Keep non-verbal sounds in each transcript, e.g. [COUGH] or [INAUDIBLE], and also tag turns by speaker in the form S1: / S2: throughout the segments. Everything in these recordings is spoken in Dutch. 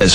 S1: As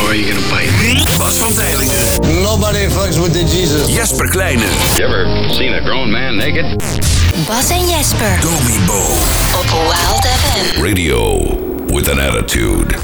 S2: Or are you gonna bite?
S3: Bas van Tijlingen.
S4: Nobody fucks with the Jesus.
S3: Jesper Kleine.
S2: You ever seen a grown man naked?
S5: Bas en Jesper.
S3: Domibo.
S5: Op Wild FM.
S6: Radio with an attitude.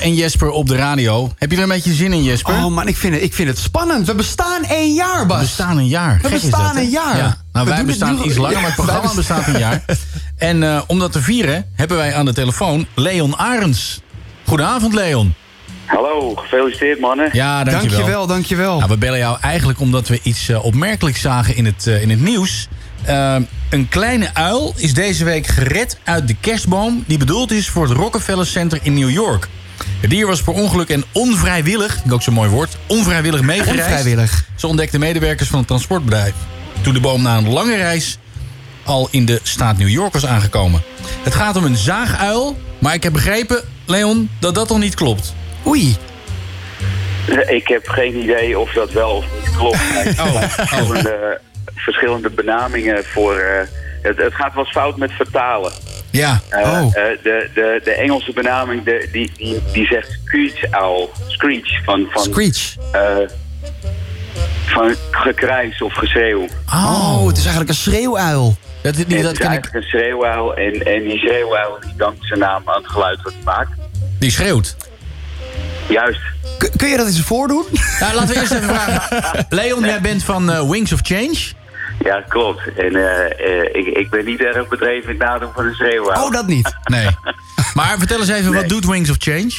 S7: en Jesper op de radio. Heb je er een beetje zin in, Jesper?
S8: Oh man, ik vind het, ik vind het spannend. We bestaan één jaar, Bas.
S7: We bestaan een jaar.
S8: We
S7: Gek
S8: bestaan
S7: dat,
S8: een jaar.
S7: Ja. Nou,
S8: We
S7: wij
S8: doen het
S7: bestaan
S8: nu-
S7: iets
S8: [LAUGHS]
S7: langer,
S8: Ja,
S7: maar het programma
S8: wij
S7: bestaat een
S8: [LAUGHS]
S7: jaar. En eh, om dat te vieren hebben wij aan de telefoon Leon Arends. Goedenavond, Leon.
S9: Hallo, gefeliciteerd mannen.
S7: Ja, dankjewel.
S8: Dankjewel, dankjewel.
S7: Nou, we bellen jou eigenlijk omdat we iets eh, opmerkelijks zagen in het, eh, in het nieuws. Eh, een kleine uil is deze week gered uit de kerstboom... die bedoeld is voor het Rockefeller Center in New York. Het dier was per ongeluk en onvrijwillig, vind ik ook zo'n mooi woord... onvrijwillig meegereisd.
S8: Onvrijwillig.
S7: Zo ontdekten medewerkers van het transportbedrijf... toen de boom na een lange reis al in de staat New York was aangekomen. Het gaat om een zaaguil, maar ik heb begrepen, Leon, dat dat al niet klopt.
S8: Oei.
S9: Ik heb geen idee of dat wel of niet klopt.
S7: Oh, oh.
S9: Verschillende, eh, verschillende benamingen voor... eh, het, het gaat wel eens fout met vertalen.
S7: Ja,
S9: Eh,
S8: Oh.
S9: eh, de, de, de Engelse benaming de, die, die, die zegt screech owl. Screech. Van, van,
S8: Screech.
S9: eh, van gekrijs of geschreeuw.
S8: Oh, het is eigenlijk een schreeuwuil.
S7: dat, die,
S9: En
S7: dat
S9: het is
S7: ken ik.
S9: eigenlijk een schreeuwuil. En, en die schreeuwuil die dankt zijn naam aan het geluid wat hij maakt.
S7: Die schreeuwt.
S9: Juist.
S8: Kun- kun je dat eens voordoen?
S7: Nou, laten we eerst
S8: [LAUGHS]
S7: even vragen. Leon, jij bent van eh, Wings of Change.
S9: Ja, klopt. En eh, eh, ik, ik ben niet erg bedreven in het nadoen van een schreeuwuil.
S8: Oh, dat niet.
S7: Nee. Maar vertel eens even, wat
S9: Nee.
S7: doet Wings of Change?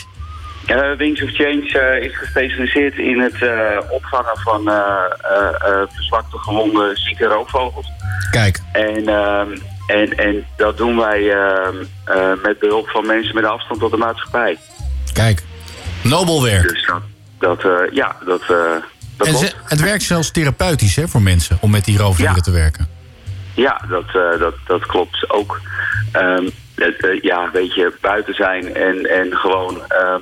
S9: Eh, Wings of Change eh, is gespecialiseerd in het eh, opvangen van eh eh, eh, verslakte, gewonde, zieke roofvogels.
S7: Kijk.
S9: En, ehm, en, en dat doen wij ehm, eh, met behulp van mensen met afstand tot de maatschappij.
S7: Kijk. Nobel werk.
S9: Dus dat, dat eh, ja, dat, eh dat
S7: En
S9: klopt.
S7: ze- het werkt zelfs therapeutisch hè, voor mensen om met die roofdieren
S9: Ja.
S7: te werken.
S9: Ja, dat, eh, dat, dat klopt ook. Ehm, het, eh, ja, weet je, buiten zijn en, en gewoon, ehm,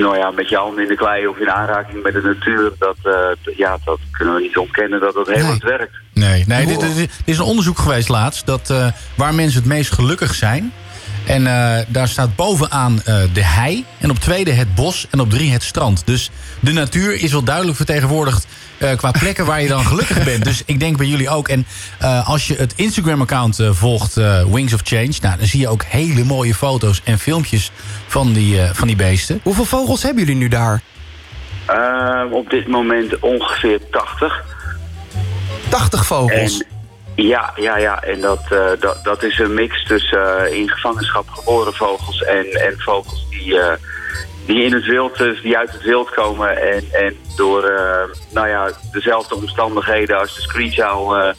S9: nou ja, met je handen in de klei of in aanraking met de natuur, dat, eh, d- ja, dat kunnen we niet ontkennen dat dat heel
S8: Nee.
S9: hard werkt.
S7: Nee, nee dit, dit- dit is een onderzoek geweest laatst dat, eh, waar mensen het meest gelukkig zijn. En eh, daar staat bovenaan eh, de hei. En op tweede het bos. En op drie het strand. Dus de natuur is wel duidelijk vertegenwoordigd eh, qua plekken waar je dan gelukkig bent. Dus ik denk bij jullie ook. En eh, als je het Instagram-account eh, volgt, eh, Wings of Change. Nou, dan zie je ook hele mooie foto's en filmpjes van die, eh, van die beesten.
S8: Hoeveel vogels hebben jullie nu daar?
S9: Ehm, op dit moment ongeveer 80.
S8: 80 vogels.
S9: En ja, ja, ja. En dat, eh, dat, dat is een mix tussen eh, in gevangenschap geboren vogels en, en vogels die, eh, die in het wild, dus die uit het wild komen. En, en door eh, nou ja, dezelfde omstandigheden als de screech owl eh,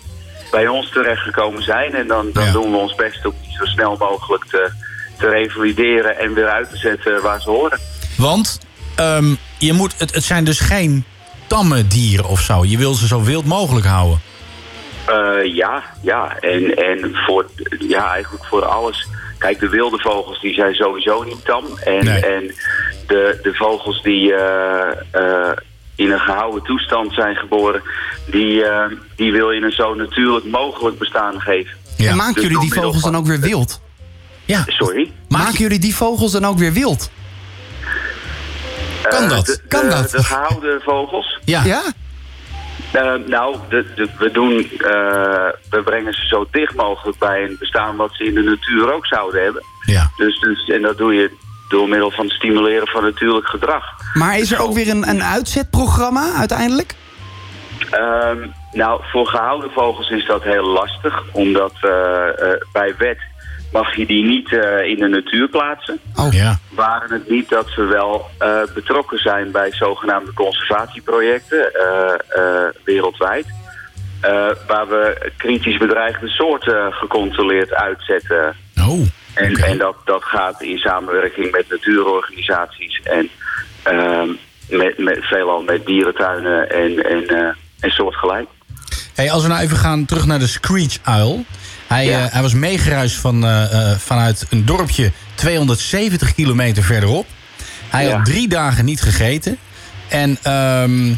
S9: bij ons terechtgekomen zijn. En dan, dan
S7: Ja.
S9: doen we ons best om die zo snel mogelijk te, te revalideren en weer uit te zetten waar ze horen.
S7: Want ehm, je moet, het, het zijn dus geen tamme dieren of zo. Je wil ze zo wild mogelijk houden.
S9: Eh, ja, ja. En, en voor, ja, eigenlijk voor alles. Kijk, de wilde vogels die zijn sowieso niet tam. En,
S7: Nee.
S9: en de, de vogels die eh, eh, in een gehouden toestand zijn geboren... Die, eh, die wil je een zo natuurlijk mogelijk bestaan geven.
S8: En
S7: Ja.
S9: Dus
S8: maken jullie die vogels dan ook weer wild?
S7: ja.
S9: Sorry?
S8: Maken jullie die vogels dan ook weer wild?
S7: Kan
S9: Eh,
S7: dat?
S9: de-
S8: Kan
S9: de-
S8: dat?
S9: De gehouden vogels...
S7: Ja.
S8: Ja?
S9: Eh, nou, de, de- we, doen, eh, we brengen ze zo dicht mogelijk bij een bestaan wat ze in de natuur ook zouden hebben.
S7: Ja.
S9: Dus, dus, en dat doe je door middel van het stimuleren van natuurlijk gedrag.
S8: Maar is er ook weer een, een uitzetprogramma uiteindelijk?
S9: Ehm, nou, voor gehouden vogels is dat heel lastig, omdat eh, eh, bij wet mag je die niet eh, in de natuur plaatsen.
S8: Oh,
S7: Ja.
S9: Waren het niet dat ze wel eh, betrokken zijn bij zogenaamde conservatieprojecten eh, eh, wereldwijd. eh, waar we kritisch bedreigde soorten gecontroleerd uitzetten.
S7: Oh.
S9: En,
S7: Oké.
S9: en dat, dat gaat in samenwerking met natuurorganisaties en ehm, met, met, veelal met dierentuinen en, en, eh, en soortgelijk.
S7: Hey, als we nou even gaan terug naar de Screech Uil. Hij,
S9: Ja.
S7: eh, hij was meegeruisd van, eh, eh, vanuit een dorpje 270 kilometer verderop. Hij
S9: Ja.
S7: had drie dagen niet gegeten. En ehm,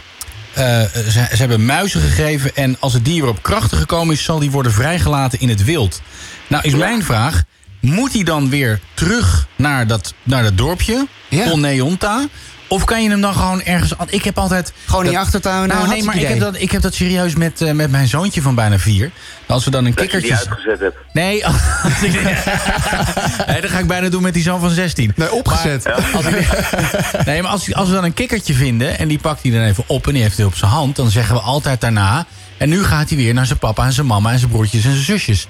S7: eh, ze, ze hebben muizen gegeven. En als het dier weer op krachten gekomen is, zal die worden vrijgelaten in het wild. Nou is mijn vraag, moet hij dan weer terug naar dat, naar dat dorpje?
S8: Ja.
S7: Polneonta? Of kan je hem dan gewoon ergens... an- Ik heb altijd...
S8: Gewoon in je
S7: dat-
S8: achtertuin, nou,
S7: Nou, nee, maar ik
S8: hartstikke
S7: heb,
S8: idee.
S7: dat, ik heb dat serieus met, eh, met mijn zoontje van bijna vier. Als we dan een
S9: Dat je die
S7: kikkertje...
S9: uitgezet hebt.
S7: Nee, als ik- [LAUGHS] nee, dat ga ik bijna doen met die zoon van 16.
S8: Nee, opgezet.
S7: Maar, als ik- nee, maar als, als we dan een kikkertje vinden en die pakt hij dan even op en die heeft hij op zijn hand, dan zeggen we altijd daarna. En nu gaat hij weer naar zijn papa en zijn mama en zijn broertjes en zijn zusjes.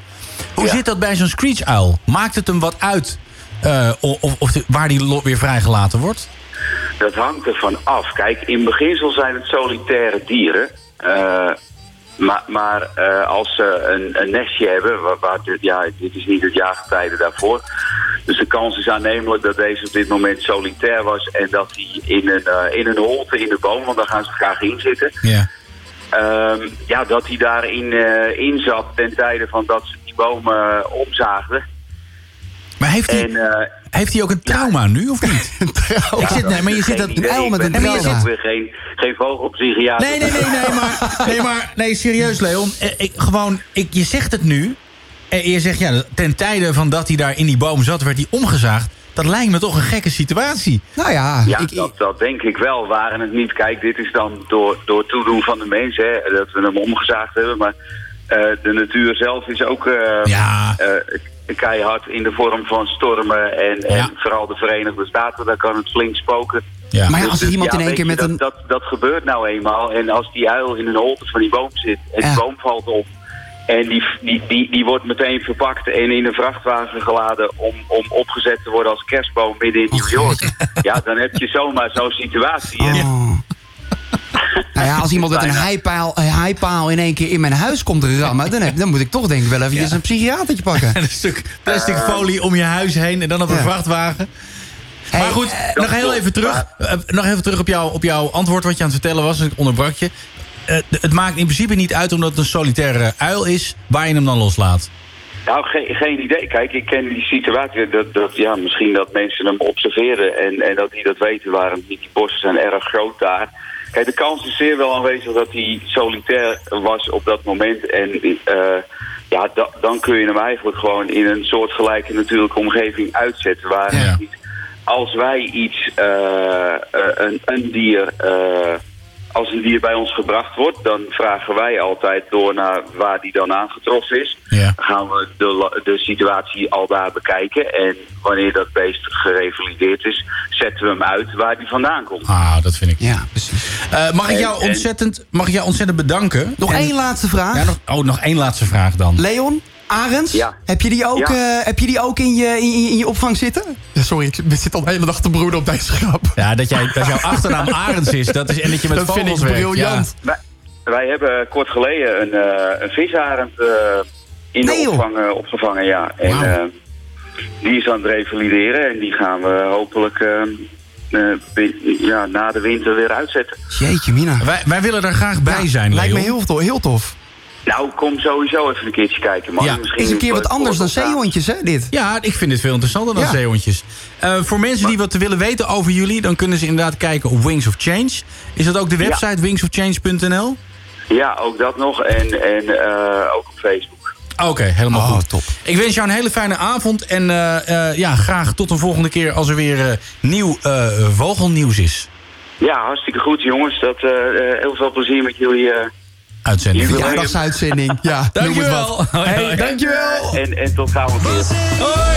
S7: Hoe
S9: Ja.
S7: zit dat bij zo'n screech-uil? Maakt het hem wat uit eh, o- of, of de- waar die lo- weer vrijgelaten wordt?
S9: Dat hangt ervan af. Kijk, in beginsel zijn het solitaire dieren. Eh, maar maar eh, als ze een, een nestje hebben, waar, waar dit, ja, dit is niet het jaargetijde daarvoor. Dus de kans is aannemelijk dat deze op dit moment solitair was en dat hij in een, eh, in een holte in de boom, want daar gaan ze graag in zitten.
S7: Ja.
S9: Ehm, ja, dat hij daarin eh in zat ten tijde van dat ze die bomen eh, omzaagden.
S7: Maar heeft hij,
S9: En eh,
S7: heeft hij ook een trauma nu of
S9: [LAUGHS]
S7: niet? Oh, Ik zit, nee, maar je zit dat
S9: geen idee.
S8: uil
S9: Ik
S8: met
S9: ben
S8: een
S9: natuurlijk
S8: trauma.
S9: ook weer geen, geen vogelpsychiater.
S7: Nee, nee, nee, nee, maar, nee, maar nee, serieus, Leon. Eh, Ik, gewoon, ik, je zegt het nu. En je zegt, ja, ten tijde van dat hij daar in die boom zat, werd hij omgezaagd. Dat lijkt me toch een gekke situatie.
S8: Nou
S9: [LAUGHS]
S8: ja,
S7: Ah,
S9: Ja,
S8: ik,
S9: dat, dat denk ik wel. Waren het niet, kijk, dit is dan door, door toedoen van de mens, hè, dat we hem omgezaagd hebben. Maar eh, de natuur zelf is ook eh,
S7: Ja.
S9: eh, keihard in de vorm van stormen. En,
S7: Ja.
S9: en vooral de Verenigde Staten, daar kan het flink spoken.
S7: Ja.
S8: Maar ja, als er iemand in één
S9: Dus, weet
S8: keer
S9: je,
S8: met
S9: dat,
S8: een-
S9: Dat, dat gebeurt nou eenmaal. En als die uil in een holte van die boom zit en
S8: Ja.
S9: die boom valt op... En die, die, die, die wordt meteen verpakt en in een vrachtwagen geladen om, om opgezet te worden als kerstboom midden in New York. Ja, dan heb je zomaar zo'n situatie. En-
S8: Oh. Nou
S7: [LAUGHS]
S8: ja, als iemand met een
S9: Bijna.
S8: heipaal, een heipaal in één keer in mijn huis komt rammen... dan, heb- dan moet ik toch denk ik wel eventjes een psychiatertje
S7: [LAUGHS]
S8: pakken.
S7: En een stuk plastic folie om je huis heen en dan op een
S8: Ja.
S7: vrachtwagen.
S8: Hey,
S7: maar goed, nog heel even terug. eh, nog even terug op, jou, op jouw antwoord wat je aan het vertellen was. Ik onderbrak je. Eh, d- het maakt in principe niet uit omdat het een solitaire uil is waar je hem dan loslaat.
S9: Nou, geen, geen idee. Kijk, ik ken die situatie. Dat, dat, ja, misschien dat mensen hem observeren en, en dat die dat weten waarom niet. Die bossen zijn erg groot daar. Kijk, de kans is zeer wel aanwezig dat hij solitair was op dat moment. En eh, ja, da- dan kun je hem eigenlijk gewoon in een soortgelijke natuurlijke omgeving uitzetten. Waar
S7: Ja.
S9: hij niet- als wij iets, eh, eh, een, een dier, eh, als een dier bij ons gebracht wordt, dan vragen wij altijd door naar waar die dan aangetroffen is
S7: Ja.
S9: gaan we de, la- de situatie al daar bekijken. En wanneer dat beest gerevalideerd is, zetten we hem uit waar hij vandaan komt.
S7: Ah, dat vind ik.
S8: Ja, precies.
S7: Eh, mag, ik jou
S9: En- en-
S7: ontzettend, mag ik jou ontzettend bedanken?
S8: Nog
S7: En-
S8: één laatste vraag.
S7: Ja, nog, oh, nog één laatste vraag dan.
S8: Leon, Arends,
S9: Ja.
S8: heb je die ook,
S9: Ja.
S8: eh, heb je die ook in, je, in, je- in je opvang zitten?
S10: Sorry, ik zit al de hele dag te broeden op deze grap.
S7: Ja, dat, jij, dat jouw
S8: [LAUGHS]
S7: achternaam Arends is, dat is en dat je met
S10: Dat vind
S7: vogels
S10: ik
S7: werkt,
S10: briljant.
S7: ja.
S9: Wij, wij hebben kort geleden een, eh een visarend eh, in
S8: Nee,
S9: de
S8: joh.
S9: opvang eh, opgevangen. Ja. En,
S7: Wauw.
S9: eh, die is aan het revalideren en die gaan we hopelijk eh, eh, bin- ja, na de winter weer uitzetten.
S8: Jeetje, Mina.
S7: Wij, wij willen er graag bij
S8: Ja,
S7: zijn,
S8: Lijkt me
S7: Leo.
S8: heel tof. Heel tof.
S9: Nou, kom sowieso even een keertje kijken, man.
S7: Ja,
S9: Misschien
S8: Is een keer wat anders dan zeehondjes, hè, dit?
S7: Ja, ik vind dit veel interessanter dan
S8: Ja.
S7: zeehondjes. Eh, voor mensen die wat willen weten over jullie... dan kunnen ze inderdaad kijken op Wings of Change. Is dat ook de
S9: Ja.
S7: website wingsofchange.nl?
S9: Ja, ook dat nog. En, en eh, ook op Facebook.
S7: Oké, helemaal
S8: Oh,
S7: goed.
S8: top.
S7: Ik wens jou een hele fijne avond. En eh, eh, ja, graag tot een volgende keer als er weer eh, nieuw eh, vogelnieuws is.
S9: Ja, hartstikke goed, jongens. Dat, eh, eh, heel veel plezier met jullie. eh,
S7: Uitzending.
S9: Jullie-
S8: Verjaardagsuitzending.
S7: [LAUGHS]
S8: Ja, noem het wat.
S7: Dankjewel. Hoi, hoi.
S8: Hey, dankjewel.
S9: en, en tot gauw weer.
S7: Hoi.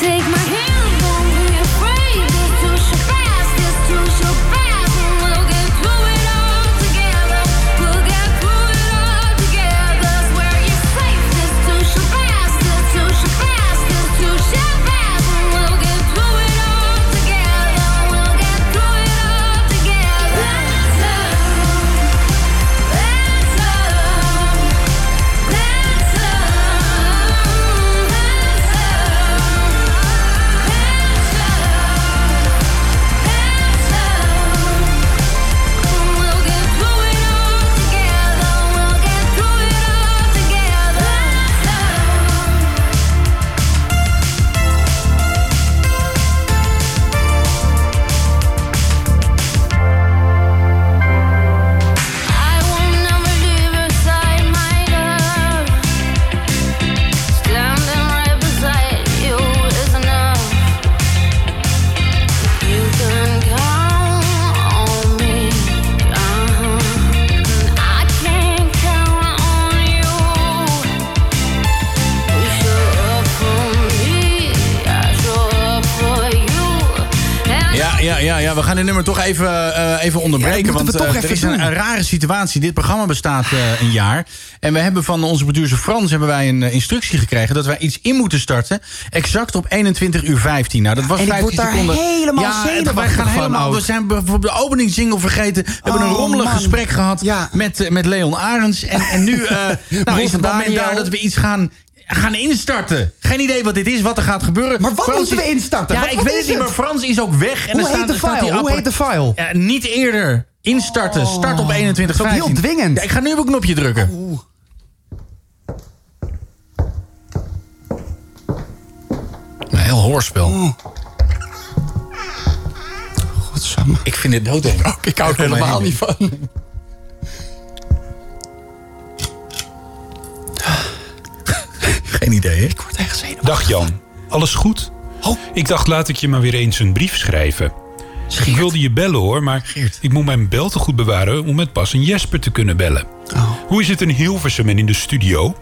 S11: Take my hand, don't be afraid. It's too so fast, it's too so fast, and we'll get through it all together. We'll get through it all together. Swear you're safe. It's too so fast, it's too so fast, it's too so fast, and we'll get through it all together. We'll get through it all together. Let's go, let's go, let's go, let's go. Enough. You can count on me, uh-huh. I can't count on you. You show up for me, I show up for you.
S7: Ja, ja, ja, ja, we gaan dit nummer toch even, eh, even onderbreken.
S8: Ja, dat moeten
S7: want
S8: we toch even
S7: eh, er is
S8: doen.
S7: een, een rare situatie. Dit programma bestaat eh, een jaar. En we hebben van onze producer Frans hebben wij een eh, instructie gekregen... dat wij iets in moeten starten exact op 21 uur 15. Nou, dat was
S8: en ik
S7: 15
S8: word daar
S7: seconden.
S8: helemaal
S7: ja, het- wij
S8: zenuwachtig
S7: gaan
S8: van
S7: helemaal, We
S8: ook.
S7: zijn bijvoorbeeld de openingssingle vergeten. We hebben een
S8: Oh,
S7: rommelig
S8: man.
S7: gesprek gehad
S8: Ja.
S7: met, eh, met Leon Arends. En, en
S8: [LAUGHS]
S7: nu eh, nou, is het moment
S8: Daniel.
S7: daar dat we iets gaan... Gaan instarten. Geen idee wat dit is, wat er gaat gebeuren.
S8: Maar wat
S7: Frans
S8: moeten we
S7: is-
S8: instarten?
S7: Ja,
S8: Wat-
S7: ik
S8: wat
S7: weet het
S8: is
S7: niet,
S8: het?
S7: maar Frans is ook weg. En
S8: Hoe
S7: er staat,
S8: heet de
S7: er staat
S8: file?
S7: die
S8: Hoe
S7: appara-
S8: heet de file? Oh.
S7: Ja, niet eerder. Instarten. Start op 21
S8: Dat is ook heel dwingend.
S7: Ja, ik ga nu op een knopje drukken. Een heel hoorspel.
S8: Oh. Godsamme.
S7: Ik vind dit
S8: [LAUGHS]
S7: dood.
S10: Ook, ik hou er helemaal niet van.
S12: [LAUGHS]
S7: Geen idee, hè?
S8: Ik word echt zenuwachtig. Oh.
S12: Dag Jan, alles goed? Ik dacht laat ik je maar weer eens een brief schrijven. Ik wilde je bellen hoor, maar ik moet mijn bel te goed bewaren om met Bas en Jesper te kunnen bellen.
S8: Oh.
S12: Hoe is het in Hilversum en in de studio?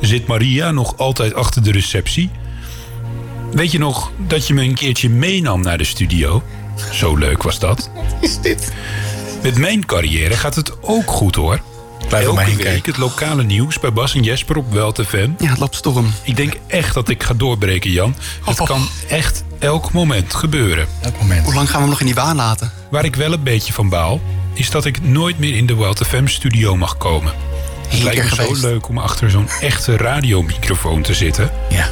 S12: Zit Maria nog altijd achter de receptie? Weet je nog dat je me een keertje meenam naar de studio? Zo leuk was dat. Met mijn carrière gaat het ook goed hoor.
S7: Blijf er
S13: Elke
S7: maar heen
S13: week
S7: kijken.
S13: het lokale nieuws bij Bas en Jesper op Welt FM.
S8: Ja, het loopt storm.
S13: Ik denk echt dat ik ga doorbreken, Jan. Het kan echt elk moment gebeuren.
S7: Elk moment.
S8: Hoe lang gaan we hem nog in die waan laten?
S13: Waar ik wel een beetje van baal, is dat ik nooit meer in de Wild FM studio mag komen. Het lijkt me zo leuk om achter zo'n echte radiomicrofoon te zitten.
S7: Ja.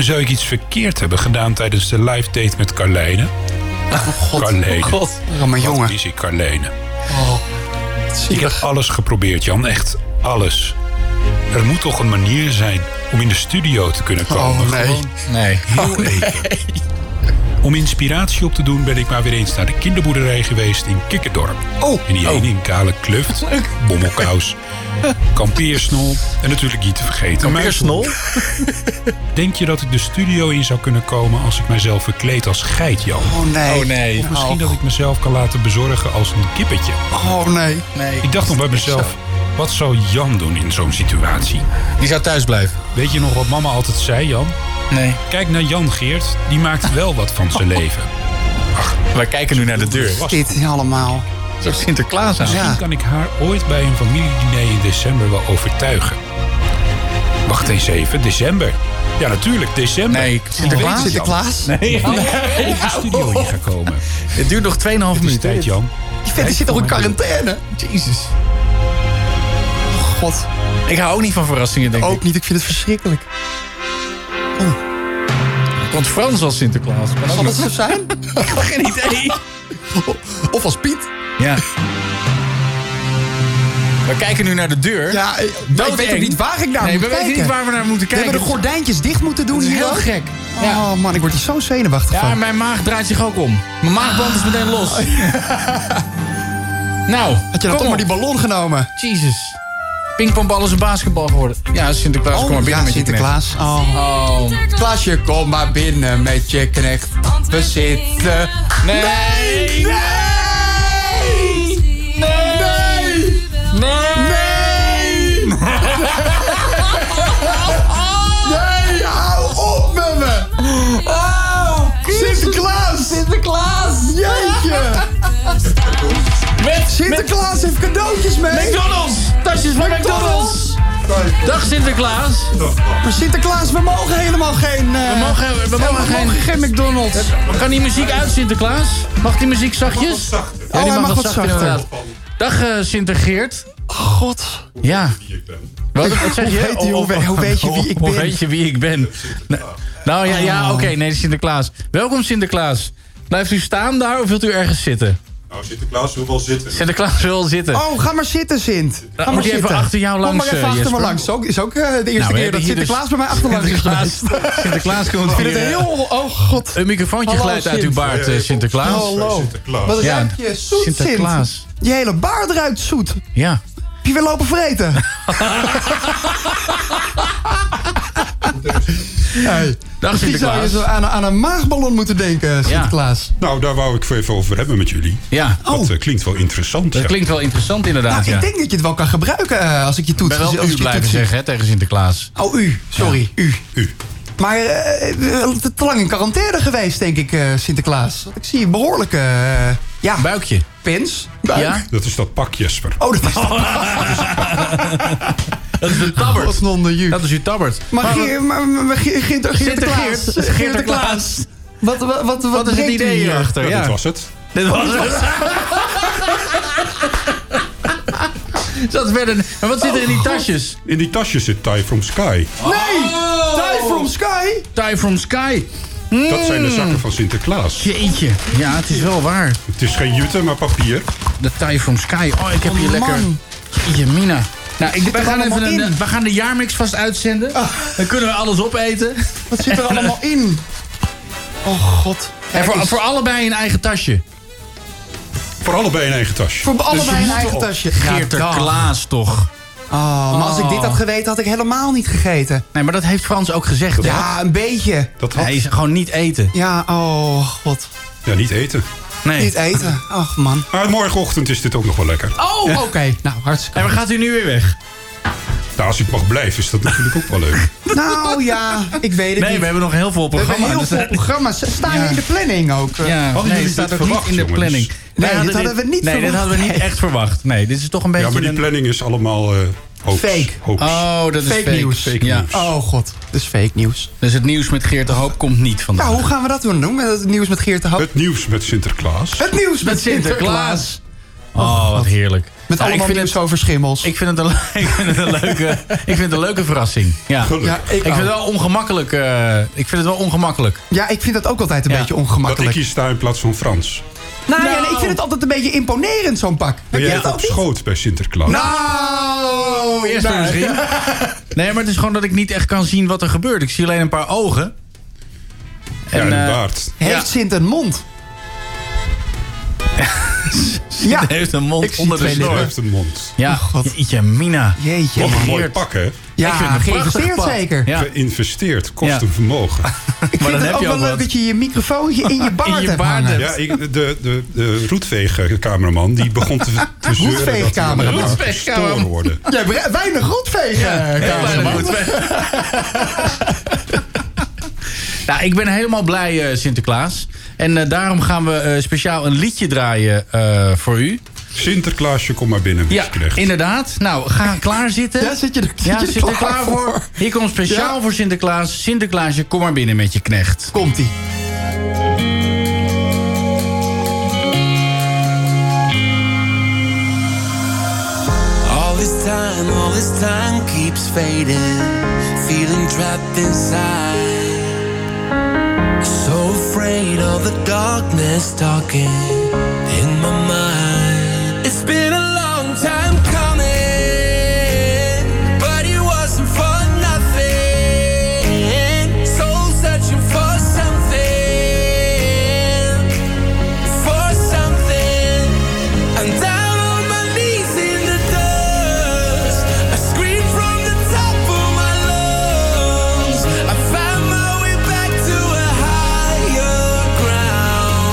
S13: Zou ik iets verkeerd hebben gedaan tijdens de live date met Carlijne? Oh god, Carlijne.
S8: oh god. Rammer
S13: Wat
S8: jongen.
S13: mis ik Carlijne.
S8: Oh,
S13: Ik heb alles geprobeerd, Jan. Echt alles. Er moet toch een manier zijn om in de studio te kunnen komen.
S7: Oh, nee.
S13: Gewoon
S7: Nee.
S13: heel even. Om inspiratie op te doen ben ik maar weer eens naar de kinderboerderij geweest in Kikkerdorp. Oh. En die ene in kale kluft,
S7: [LAUGHS]
S13: bommelkous, kampeersnol en natuurlijk niet te vergeten.
S7: Kampeersnol?
S13: muizenhoek. Denk je dat ik de studio in zou kunnen komen als ik mijzelf verkleed als geit, Jan?
S8: Oh nee.
S7: Oh, nee.
S13: Of misschien
S7: Oh.
S13: dat ik mezelf kan laten bezorgen als een kippetje.
S8: Oh nee.
S7: nee.
S13: Ik dacht nog bij mezelf, wat zou Jan doen in zo'n situatie?
S7: Die zou thuis blijven.
S13: Weet je nog wat mama altijd zei, Jan?
S7: Nee.
S13: Kijk naar Jan Geert, die maakt wel wat van zijn leven.
S7: Wij kijken nu naar de deur.
S13: Was
S8: Dit allemaal.
S7: Het is ook Sinterklaas aan.
S13: Misschien kan ik haar ooit bij een familiediner in december wel overtuigen. Wacht eens even, december. Ja, natuurlijk, december.
S7: Nee,
S13: Ik
S7: Sinterklaas?
S13: weet het, Jan.
S8: Sinterklaas?
S13: [LAUGHS]
S7: Nee.
S13: Jan, in de studio in gaan komen.
S7: [LAUGHS] Het duurt nog 2,5
S13: Het is
S7: minuten.
S13: tijd, Jan.
S8: Die vent die zit toch in quarantaine?
S7: Jezus.
S8: God.
S7: Ik hou ook niet van verrassingen, denk
S8: Ook
S7: ik.
S8: niet, ik vind het verschrikkelijk.
S7: Want Frans als Sinterklaas. Maar
S8: Zal dat zo zijn?
S7: [LAUGHS] geen idee.
S8: Of als Piet?
S7: Ja. We kijken nu naar de deur.
S8: Ja, eh, maar
S7: Doodeng.
S8: ik weet ook niet waar ik naar
S7: nee,
S8: moet
S7: we
S8: kijken.
S7: weten niet waar we naar moeten
S8: We
S7: kijken.
S8: hebben de gordijntjes dicht moeten doen
S7: Dat is
S8: hier
S7: heel
S8: ook.
S7: gek.
S8: Oh
S7: Ja.
S8: man, ik word hier zo zenuwachtig
S7: Ja,
S8: van. Oh,
S7: en mijn maag draait zich ook om. Mijn maagband is meteen los. [LAUGHS] nou,
S8: Had je
S7: kom
S8: dan toch maar
S7: op.
S8: die ballon genomen?
S7: Jezus. Pingpongbal is een basketbal geworden. Ja, Sinterklaas, kom maar binnen
S8: Oh, ja,
S7: met je
S8: Sinterklaas. Oh.
S7: knecht. Oh.
S8: Klaasje, kom maar binnen met je knecht. We zitten...
S7: Nee! Nee! Nee! Nee!
S8: Nee, hou op met me! Sinterklaas! Sinterklaas! Jeetje!
S7: Met
S8: Sinterklaas heeft cadeautjes mee!
S7: McDonald's! Tasjes van McDonald's! Dag Sinterklaas!
S8: Maar Sinterklaas, we mogen helemaal geen... eh,
S7: We mogen, we mogen, geen, McDonald's. Kan die muziek uit, Sinterklaas? Mag die muziek zachtjes? Ja, die
S8: Oh, hij mag wat zachter.
S7: inderdaad. Dag eh Sinter Geert.
S8: God.
S7: Ja. Wat, wat zeg je? Oh,
S8: Hoe weet je- hoe weet- hoe weet je wie ik
S7: Hoe
S8: ben?
S7: weet je wie ik ben? Nou, Nou ja, ja oké. Nee, Sinterklaas. Welkom Sinterklaas. Blijft u staan daar of wilt u ergens zitten?
S14: Nou, Sinterklaas wil wel zitten.
S7: Sinterklaas wil zitten.
S8: Oh, ga maar zitten, Sint. Ga maar
S7: moet je even
S8: zitten.
S7: achter jou
S8: Kom
S7: langs,
S8: maar even
S7: eh,
S8: achter me
S7: Jesper.
S8: langs. Ook, is ook eh, de eerste
S7: Nou, we
S8: keer
S7: hebben
S8: dat
S7: hier dus-
S8: Sinterklaas bij mij
S7: [LAUGHS]
S8: achterlangs is
S7: Sinterklaas,
S8: geweest.
S7: Sinterklaas komt
S8: Ik vind
S7: hier.
S8: het
S7: eh,
S8: heel... Oh, god.
S7: Een microfoontje
S8: Hallo,
S7: glijdt uit
S8: Sint.
S7: uw baard, eh, Sinterklaas.
S8: Hallo.
S14: Sinterklaas.
S8: Wat
S7: Ja,
S8: ruikt je zoet, Sint.
S7: Sinterklaas.
S8: Je hele baard ruikt zoet. Heb
S7: Ja.
S8: je weer lopen
S7: [LAUGHS]
S8: vreten? hey.
S7: Dag
S8: Misschien zou je
S7: Sinterklaas.
S8: zo aan, aan een maagballon moeten denken, Sinterklaas.
S14: Nou, daar wou ik het even over hebben met jullie.
S7: Ja. Oh.
S14: Dat eh, klinkt wel interessant.
S7: Dat
S14: ja.
S7: klinkt wel interessant inderdaad.
S8: Nou,
S7: ja.
S8: ik denk dat je het wel kan gebruiken eh, als ik je
S7: Ik
S8: toets.
S7: ben wel
S8: als ik
S7: u
S8: je
S7: blijven
S8: toets zie.
S7: zeggen hè, tegen Sinterklaas.
S8: Oh, u. Sorry, u.
S14: U.
S8: Maar eh, eh, te te lang in quarantaine geweest, denk ik, eh, Sinterklaas. Want ik zie een behoorlijke... eh, ja,
S7: Buikje.
S8: pens.
S7: Ja?
S14: Dat is dat pak, Jesper.
S8: Oh, dat is
S7: [LAUGHS] Dat is de tabbert.
S8: een onder you.
S7: Dat is uw tabbert. Ah.
S8: Maar Geer- maar- maar- maar Geer- Geert- Geerterklaas.
S7: Sintergeert. Geerterklaas.
S8: Wat, wat, wat, wat,
S7: Wat is het
S8: brengt u
S7: idee
S8: hier?
S7: hierachter?
S14: Dat
S7: Ja.
S14: nou, was het.
S7: Dit was
S14: [LAUGHS]
S7: het. Dat werd een... Maar wat zit er in die tasjes?
S14: Oh, In die tasje zit Ty from Sky.
S8: Nee! Ty from Sky?
S7: Time from Sky. Hmm.
S14: Dat zijn de zakken van Sinterklaas.
S7: Jeetje. Ja, het is wel waar.
S14: Het is geen jute, maar papier.
S7: De Thai from Sky. Oh, ik heb hier
S8: Oh,
S7: lekker...
S8: man.
S7: Jemina. Nou, ik, we,
S8: er
S7: gaan even
S8: allemaal
S7: een,
S8: in? Ah.
S7: we gaan de jaarmix vast uitzenden. Dan kunnen we alles opeten.
S8: Wat
S7: [LAUGHS]
S8: zit er allemaal in? Oh, god.
S7: En
S8: Kijk
S7: voor,
S8: eens.
S7: voor allebei een eigen tasje.
S14: Voor allebei een eigen tasje.
S8: Voor
S7: we
S8: allebei een
S7: moeten
S8: eigen
S7: op
S8: tasje. Ja, dag.
S7: Geerterklaas toch.
S8: Oh, maar als ik dit had geweten, had ik helemaal niet gegeten.
S7: Nee, maar dat heeft Frans ook gezegd. hè?
S8: Ja, een beetje.
S14: Dat had...
S7: Hij is gewoon niet eten.
S8: Ja, oh, god.
S14: Ja, niet eten.
S7: Nee. Oh.
S8: Niet eten. Ach, man.
S14: Maar morgenochtend is dit ook nog wel lekker.
S7: [LAUGHS]
S8: Oh, oké. Nou, hartstikke
S7: En waar gaat u nu weer weg?
S13: Nou, als ik mag blijven, is dat natuurlijk ook wel
S8: [LAUGHS]
S13: leuk.
S8: Nou ja, ik weet het niet.
S7: Nee, we hebben nog heel veel
S8: We hebben
S7: programma's.
S13: dus,
S8: heel
S13: eh,
S8: veel programma's.
S13: [LAUGHS]
S8: Staan
S7: Ja.
S8: in de planning ook? eh?
S7: Ja, nee, het staat ook niet in de planning. Wij
S8: Nee, dit hadden we niet
S7: Nee, dit
S8: verwacht.
S7: hadden we niet echt verwacht. Nee, dit is toch een beetje...
S13: ja, maar die
S7: een-
S13: planning is allemaal eh hoax.
S7: Fake.
S13: Hoax.
S7: Oh, dat is
S8: Fake
S7: fake,
S8: nieuws.
S7: ja.
S8: Oh god, dat is fake nieuws.
S7: Dus het nieuws met Geert de Hoop komt niet vandaag.
S8: Nou, hoe gaan we dat doen? Doen we het nieuws met Geert de Hoop?
S13: Het nieuws met Sinterklaas.
S8: Het nieuws met Sinterklaas.
S7: Oh, wat heerlijk.
S8: Met
S7: Ja,
S8: allemaal
S7: ik vind
S8: nieuws over schimmels.
S7: Ik
S8: [LAUGHS]
S7: vind het een, le- ik vind het een leuke, ik vind het een leuke verrassing. Ja.
S13: Gelukkig.
S8: Ja, ik
S7: ik vind
S8: ook.
S7: het wel ongemakkelijk. eh, ik vind het wel ongemakkelijk.
S8: Ja, ik vind dat ook altijd een
S7: Ja.
S8: beetje
S13: Dat ik
S8: ongemakkelijk.
S13: hier sta in plaats van Frans.
S8: Nou, ja, nee, ik vind het altijd een beetje imponerend, zo'n pak.
S13: Ben
S8: Heb
S13: jij
S8: je dat
S13: ook op
S8: ook niet?
S13: schoot bij Sinterklaas?
S7: [LAUGHS]
S8: Nou,
S7: Oh, Eerst
S8: nou,
S7: misschien. Nee, maar het is gewoon dat ik niet echt kan zien wat er gebeurt. Ik zie alleen een paar ogen.
S13: ja,
S7: en,
S13: en een
S7: eh,
S13: baard.
S8: Heeft
S7: Ja.
S8: Sint een
S7: [LAUGHS]
S8: mond?
S7: Hij
S8: ja,
S7: heeft een mond
S8: Ik zie
S7: onder de
S8: twee
S13: Hij
S7: snor.
S13: heeft een mond.
S7: Ja,
S8: God.
S7: jeetje, Mina.
S8: jeetje.
S13: Wat
S8: man.
S13: een mooi
S7: Geert.
S13: pak, hè?
S7: Ik vind
S8: Ja,
S7: het een prachtig
S8: geïnvesteerd
S7: pak.
S8: zeker.
S7: Ja.
S13: Geïnvesteerd. Kost
S7: Ja.
S13: een vermogen.
S8: [LAUGHS] Ik
S7: Maar
S8: vind
S7: dan
S8: het
S7: heb
S8: ook
S7: je
S8: wel
S7: ook
S8: leuk
S7: wat.
S8: dat je je microfoontje [LAUGHS] in je
S13: [LAUGHS]
S8: baard
S7: je
S8: hebt
S7: baard
S8: hangen.
S13: Ja,
S7: hebt.
S13: ik, de, de, de roetveegcameraman die begon te,
S8: [LAUGHS]
S13: te zeuren dat hij
S8: Roetveegcameraman.
S13: allemaal
S7: Roetveegcameraman.
S13: gestoord worden.
S8: Jij hebt weinig rotvegen, eh,
S7: Heel
S8: Karel.
S7: weinig goed. Nou, ik ben helemaal blij, eh, Sinterklaas. En eh, daarom gaan we eh, speciaal een liedje draaien eh, voor u.
S13: Sinterklaasje, kom maar binnen,
S7: Ja,
S13: misknecht.
S7: inderdaad. Nou, ga klaarzitten.
S8: Ja, zit je er-
S7: Ja,
S8: zit je er klaar voor?
S7: Hier komt speciaal
S8: Ja.
S7: voor Sinterklaas. Sinterklaasje, kom maar binnen met je knecht.
S8: Komt-ie.
S3: All this time, all this time keeps fading. Feeling trapped inside. So afraid of the darkness talking in my mind. It's been a long time coming, but it wasn't for nothing. Soul searching for something, for something. I'm down on my knees in the dust. I scream from the top of my lungs. I find my way back to a higher ground.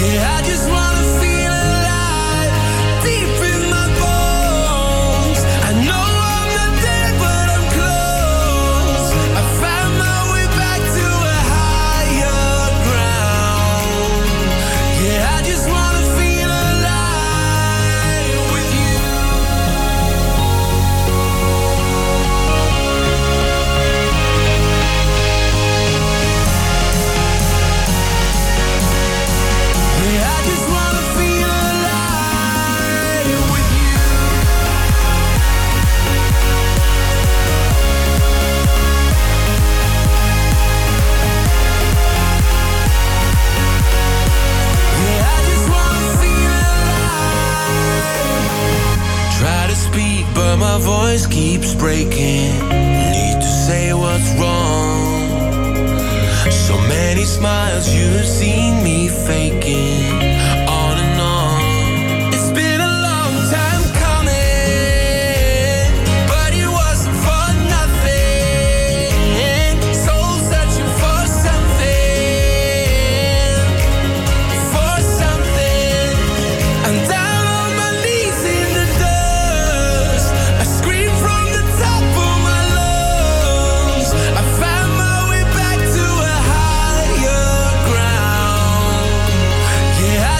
S3: Yeah, I just wanna feel alive deep in my bones. I know I'm not there, but I'm close. I find my way back to a higher ground. Yeah, I just wanna feel alive with you. Yeah, I just wanna feel alive with you. Yeah, I just wanna feel alive. Try to speak, but my voice keeps breaking. Need to say what's wrong. So many smiles you've seen me faking. On and on. It's been a long time coming, but it wasn't for nothing. Soul searching for something for something. I'm down on my knees in the dust. I scream from the top of my lungs. I find my way back to a higher ground. Yeah, I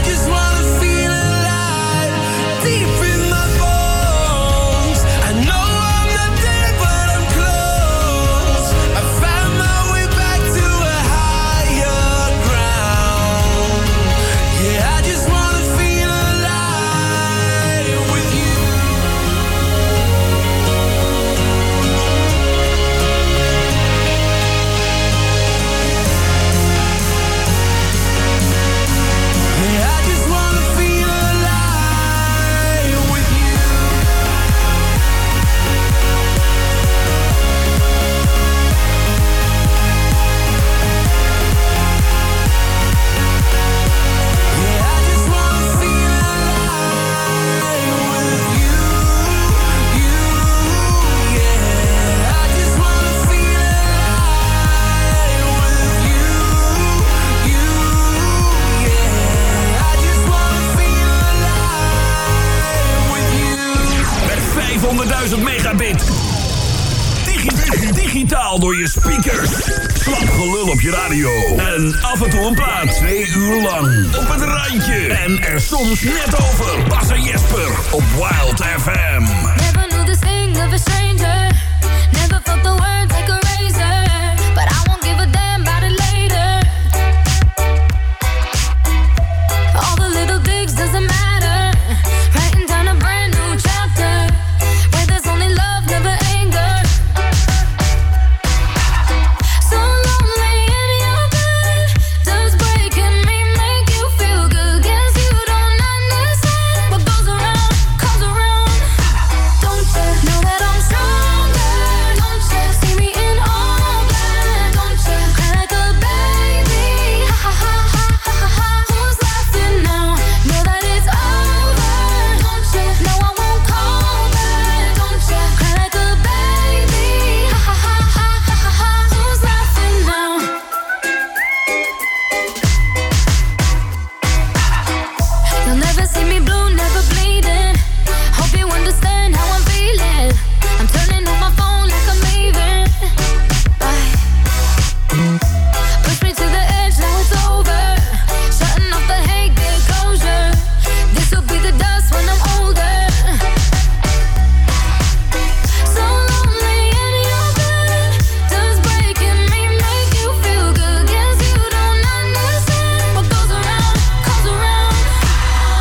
S6: door je speakers. Slap gelul op je radio. En af en toe een plaat. Twee uur lang. Op het randje. En er soms net over. Bas en Jesper op Wild FM.
S15: Never knew the sting of a stranger. Never felt the words like a razor. But I won't give a damn about it later. All the little digs doesn't matter. Writing down a brand new chapter. Where there's only love, never anger. So lonely in your bed. Does breaking me make you feel good? Guess you don't understand what goes around, comes around. Don't you know that I'm stronger? Don't you see me in all black? Don't you cry like a baby? Ha ha ha ha ha ha ha. Who's laughing now? Know that it's over. Don't you know I won't call back? Don't you cry like a baby? Ha ha ha ha ha ha ha. Who's laughing now? You'll never see me blue, never bleeding. Hope you understand how I'm feeling. I'm turning off my phone like I'm leaving. Bye. Push me to the edge, now it's over. Shutting off the hate, get closure. This will be the dust when I'm older. So lonely in your bed. Does breaking me make you feel good? Guess you don't understand what goes around, comes around.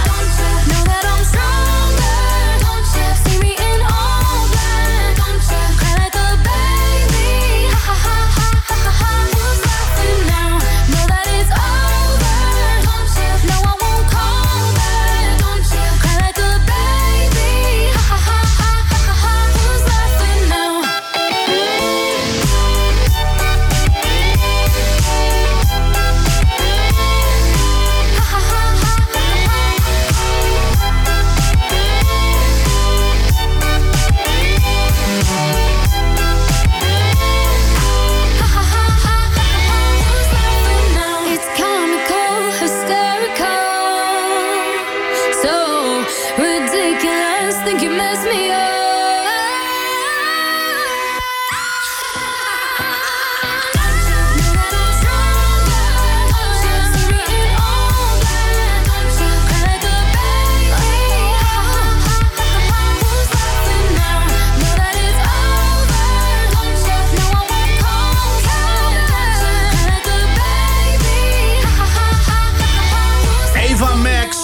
S15: Don't you know that I'm stronger? Don't you see me in all black? Don't you cry like a baby? Ha ha ha ha ha ha ha. Who's laughing now? Know that it's over. Don't you know I won't call back? Don't you cry like a baby? Ha ha ha ha ha ha ha. Who's laughing now? It's comical, hysterical, so ridiculous. Think you messed me up.
S7: Eva Max.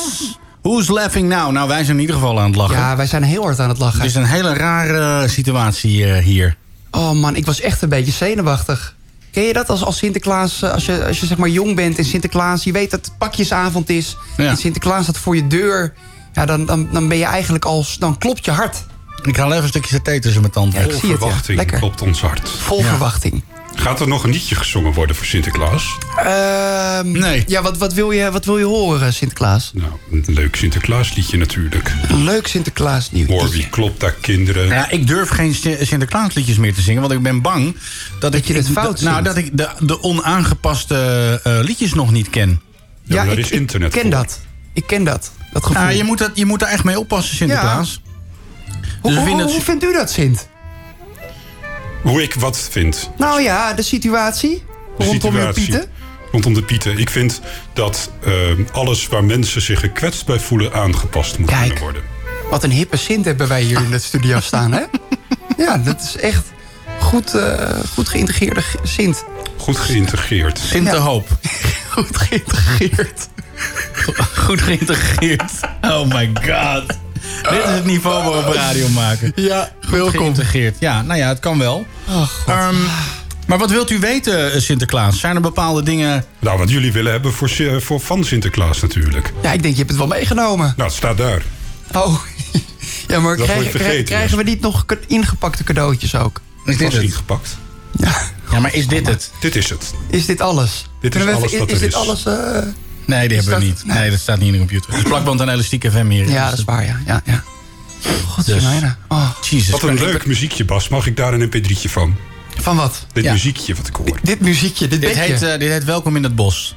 S7: Who's laughing now? Nou, wij zijn in ieder geval aan het lachen. Ja,
S8: wij zijn heel hard aan het lachen.
S7: Het is een hele rare situatie eh, hier.
S8: Oh man, ik was echt een beetje zenuwachtig. Ken je dat als, als Sinterklaas, eh, als je, als je zeg maar jong bent en Sinterklaas, je weet dat het pakjesavond is. En Sinterklaas staat voor je deur. Ja, dan, dan, dan ben je eigenlijk als, dan klopt je hart.
S7: Ik ga even een stukje saté tussen mijn tanden.
S8: Ja, ik zie het, ja.
S13: verwachting
S8: Lekker.
S13: klopt ons hart.
S8: Vol verwachting.
S13: Gaat er nog een liedje gezongen worden voor Sinterklaas?
S8: nee. Ehm, Ja, wat, wat, wil je, wat wil je horen, Sinterklaas?
S13: Nou, een leuk Sinterklaasliedje natuurlijk.
S8: Een leuk Sinterklaas nieuw.
S13: Hoor wie klopt daar kinderen.
S7: Ja, ik durf geen Sin- Sinterklaasliedjes meer te zingen, want ik ben bang dat, ik
S8: je het
S7: ik-
S8: fout
S7: Nou,
S8: zingt.
S7: dat ik de, de onaangepaste eh, liedjes nog niet ken.
S13: Ja, maar daar is internet
S8: Ik ken dat. Ik ken dat. Dat gevoel.
S7: Ja, je, moet dat, je moet daar echt mee oppassen, Sinterklaas.
S8: Hoe,
S7: Dus we
S8: hoe,
S7: vinden het-
S8: hoe vindt u dat, Sint?
S13: Hoe ik wat vind.
S8: Nou ja, de situatie
S13: De
S8: rondom je
S13: situatie
S8: pieten. [LAUGHS]
S13: Rondom de pieten. Ik vind dat ehm, alles waar mensen zich gekwetst bij voelen aangepast moet kunnen worden.
S8: Wat een hippe Sint hebben wij hier in het
S13: [LAUGHS]
S8: studio staan, hè? Ja, dat is echt goed, eh, goed geïntegreerde g- Sint.
S13: Goed geïntegreerd.
S7: Sint de Hoop.
S8: [LAUGHS] Goed geïntegreerd.
S7: [LAUGHS] Goed geïntegreerd. Oh my god. Dit is het niveau waarop we radio maken.
S8: Ja,
S7: welkom. Geïntegreerd. Ja, nou ja, het kan wel. Ehm, maar wat wilt u weten, eh, Sinterklaas? Zijn er bepaalde dingen...
S13: Nou, wat jullie willen hebben voor, Sin- voor van Sinterklaas natuurlijk.
S8: Ja, ik denk, je hebt het wel meegenomen.
S13: Nou, het staat daar.
S8: Oh, [LAUGHS] ja, maar
S13: Dat
S8: krijgen,
S13: wordt vergeten,
S8: krijgen we niet nog ka- ingepakte cadeautjes ook?
S7: dus. Is dit
S13: Was
S7: het?
S13: ingepakt.
S7: Ja, maar is dit het?
S13: Dit is het.
S8: Is dit alles?
S13: Dit is
S8: Kunnen we
S13: alles wat
S8: is.
S13: er
S8: dit
S13: is.
S8: alles... eh,
S7: Nee, die hebben we niet. Nee, dat staat niet in de computer. Het is plakband en elastiek FM hier.
S8: Ja, dat is waar, ja. ja, ja. God,
S7: Dus.
S8: oh.
S7: Jezus.
S13: Wat een leuk muziekje, Bas. Mag ik daar een mp3'tje van?
S8: Van wat?
S13: Dit muziekje wat ik hoor.
S8: Dit muziekje, dit,
S7: Dit
S8: bedje.
S7: heet, eh, dit heet Welkom in het Bos.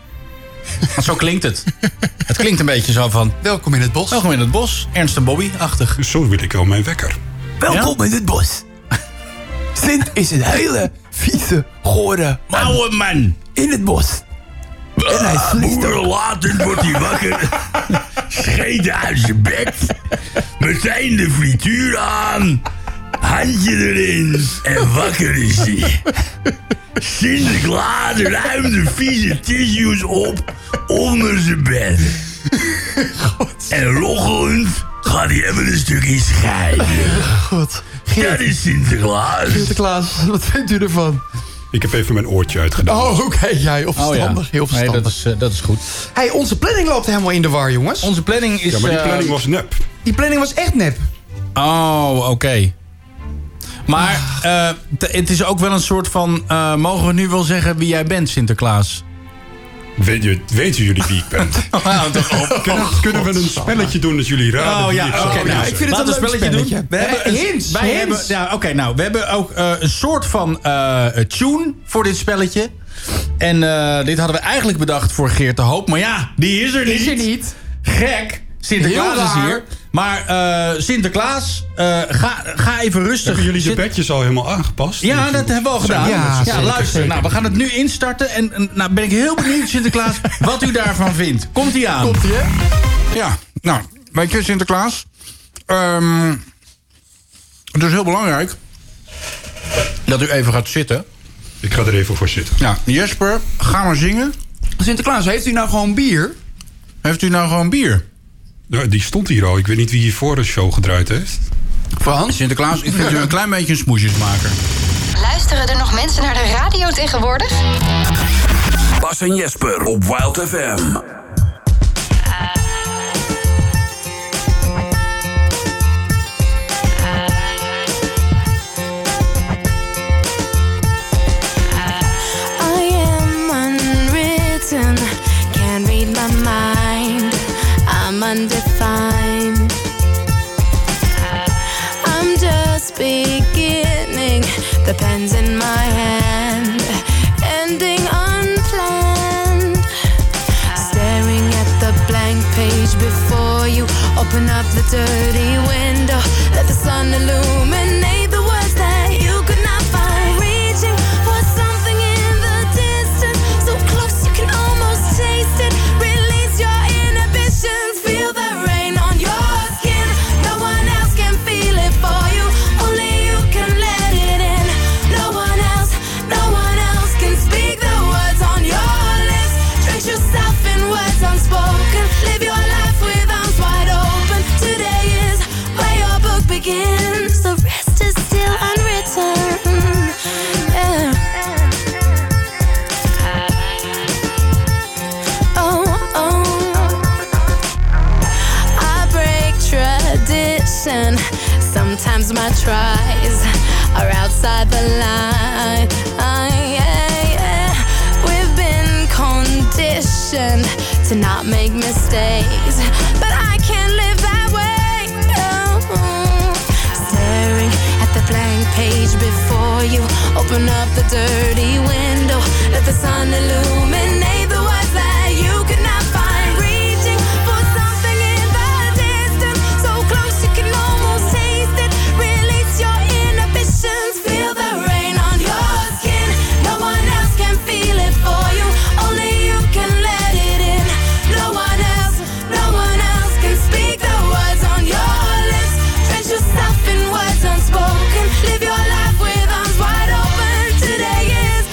S7: Want zo klinkt het. [LAUGHS] Het klinkt een beetje zo van...
S8: Welkom in het bos.
S7: Welkom in het bos. Ernst en Bobby-achtig.
S13: Zo wil ik wel mijn wekker.
S7: Welkom
S8: in het bos. Sint is een hele
S16: vieze, gore man. Oude man. In het bos. En hij sliest er.
S17: Later Ah, wordt
S16: [LAUGHS]
S17: hij wakker. Scheet uit zijn bed. Meteen de frituur aan. Handje erin. En wakker is hij. Sinterklaas ruimt de vieze tissues op onder zijn bed. En loggelend gaat hij even een stukje scheiden.
S10: God.
S17: Dat is Sinterklaas.
S10: Sinterklaas, wat vindt u ervan?
S13: Ik heb even mijn oortje uitgedaan.
S10: Oh, oké. jij, ja, verstandig. Heel verstandig.
S7: Nee, dat, is, eh, dat is goed.
S8: Hey, onze planning loopt helemaal in de war, jongens.
S7: Onze planning eh,
S13: Ja, maar die planning was nep.
S8: Die planning was echt nep.
S7: Oh, oké. Maar eh, t- het is ook wel een soort van... eh, mogen we nu wel zeggen wie jij bent, Sinterklaas?
S13: Weet je, weten jullie wie ik
S7: [LAUGHS]
S13: ben?
S7: nou,
S13: kunnen, kunnen we een spelletje doen dat jullie raden
S7: Oh
S13: wie
S7: ja,
S13: ik
S7: oké.
S13: zou
S7: nou,
S13: wezen?
S7: ik vind het een leuk spelletje. Doen. Eh,
S8: We hebben
S7: een-
S8: hints,
S7: Wij
S8: hints.
S7: hebben, ja, oké, nou, we hebben ook eh, een soort van eh, tune voor dit spelletje. En eh, dit hadden we eigenlijk bedacht voor Geert de Hoop. Maar ja, die is er niet. Is er niet. Gek. Sinterklaas
S13: Heel
S7: is
S13: raar.
S7: hier. Maar eh, Sinterklaas, eh, ga, ga even rustig.
S13: Hebben jullie je
S7: zitten.
S13: bedjes al helemaal aangepast?
S7: Ja, dat hebben we al gedaan. Ja, luister. Nou, we gaan het nu instarten. En en, nou ben ik heel
S16: [LAUGHS]
S7: benieuwd, Sinterklaas, wat u daarvan vindt. Komt ie aan? Komt ie, hè?
S16: Ja, nou, weet je, Sinterklaas. Ehm het is heel belangrijk dat u even gaat zitten.
S13: Ik ga er even voor zitten.
S16: Ja, Jesper, ga maar zingen. Sinterklaas, heeft u nou gewoon bier? Heeft u nou gewoon bier?
S13: Ja, Nou, die stond hier al. Ik weet niet wie hier voor de show gedraaid heeft.
S16: Frans? Sinterklaas, ik vind u een klein beetje een smoesjesmaker.
S5: Luisteren er nog mensen naar de radio tegenwoordig?
S17: Bas en Jesper op Wild FM.
S11: I am unwritten, can't read my mind. I'm undefined. I'm just beginning, the pen's in my hand, ending unplanned. Staring at the blank page before you, open up the dirty window, let the sun illuminate the words that you could not find. Reaching for something in the distance, so close you can almost taste it. Release your inhibitions, feel the rain on your skin. No one else can feel it for you, only you can let it in. No one else, no one else can speak the words on your lips. Dress yourself in words unspoken. Live your life with arms wide open. Today is where your book begins. The rest is still unwritten. Yeah. Oh, oh. I break tradition. Sometimes my tries are outside the line. Ah, We've been conditioned to not make mistakes, but I can't live that way. No. Staring at the blank page before you, open up the dirty window, let the sun illuminate the words that you could not find. Reaching for something in the distance, so close you can almost taste it. Release your inhibitions, feel the rain on your skin. No one else can feel it for you, only you can let it in. No one else, no one else can speak the words on your lips. Drench yourself in words unspoken. Live your life with arms wide open. Today is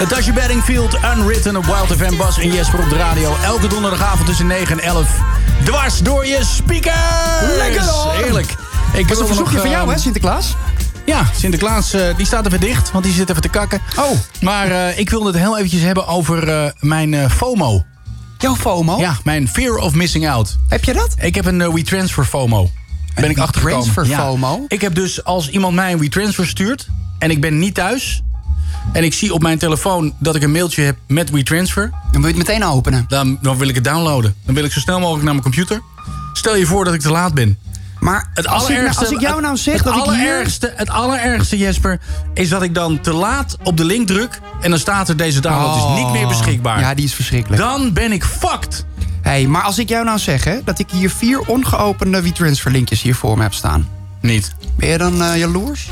S7: Natasha Bedingfield, Unwritten op Wild FM, Bas en Jesper op de radio. Elke donderdagavond tussen 9 en 11. Dwars door je speakers!
S8: Lekker hoor!
S7: Heerlijk. Ik
S8: was
S7: wil
S8: een verzoekje
S7: nog,
S8: van jou,
S7: eh,
S8: hè, Sinterklaas?
S7: Ja, Sinterklaas eh, die staat even dicht, want die zit even te kakken. Oh. Maar eh, ik wilde het heel eventjes hebben over eh, mijn eh, FOMO. Jouw FOMO? Ja, mijn Fear of Missing Out. Heb je dat? Ik heb een eh, WeTransfer FOMO. Ben ik achtergekomen.
S8: WeTransfer
S7: Ja.
S8: FOMO?
S7: Ik heb dus, als iemand mij een WeTransfer stuurt en ik ben niet thuis... en ik zie op mijn telefoon dat ik een mailtje heb met WeTransfer... Dan wil je het meteen openen? Dan, dan wil ik het downloaden. Dan wil ik zo snel mogelijk naar mijn computer. Stel je voor dat ik te laat ben. Maar het
S8: als ik nou-
S7: allerergste-
S8: als ik jou
S7: het-
S8: nou zeg
S7: het
S8: dat ik hier-
S7: allerergste- Het allerergste, Jesper, is dat ik dan te laat op de link druk... en dan staat er deze download is niet meer beschikbaar.
S8: Oh. Ja, die is verschrikkelijk.
S7: Dan ben ik fucked.
S8: Hé, hey, maar als ik jou nou zeg hè, dat ik hier vier ongeopende WeTransfer linkjes hier voor me heb staan.
S7: Niet.
S8: Ben je dan eh, jaloers?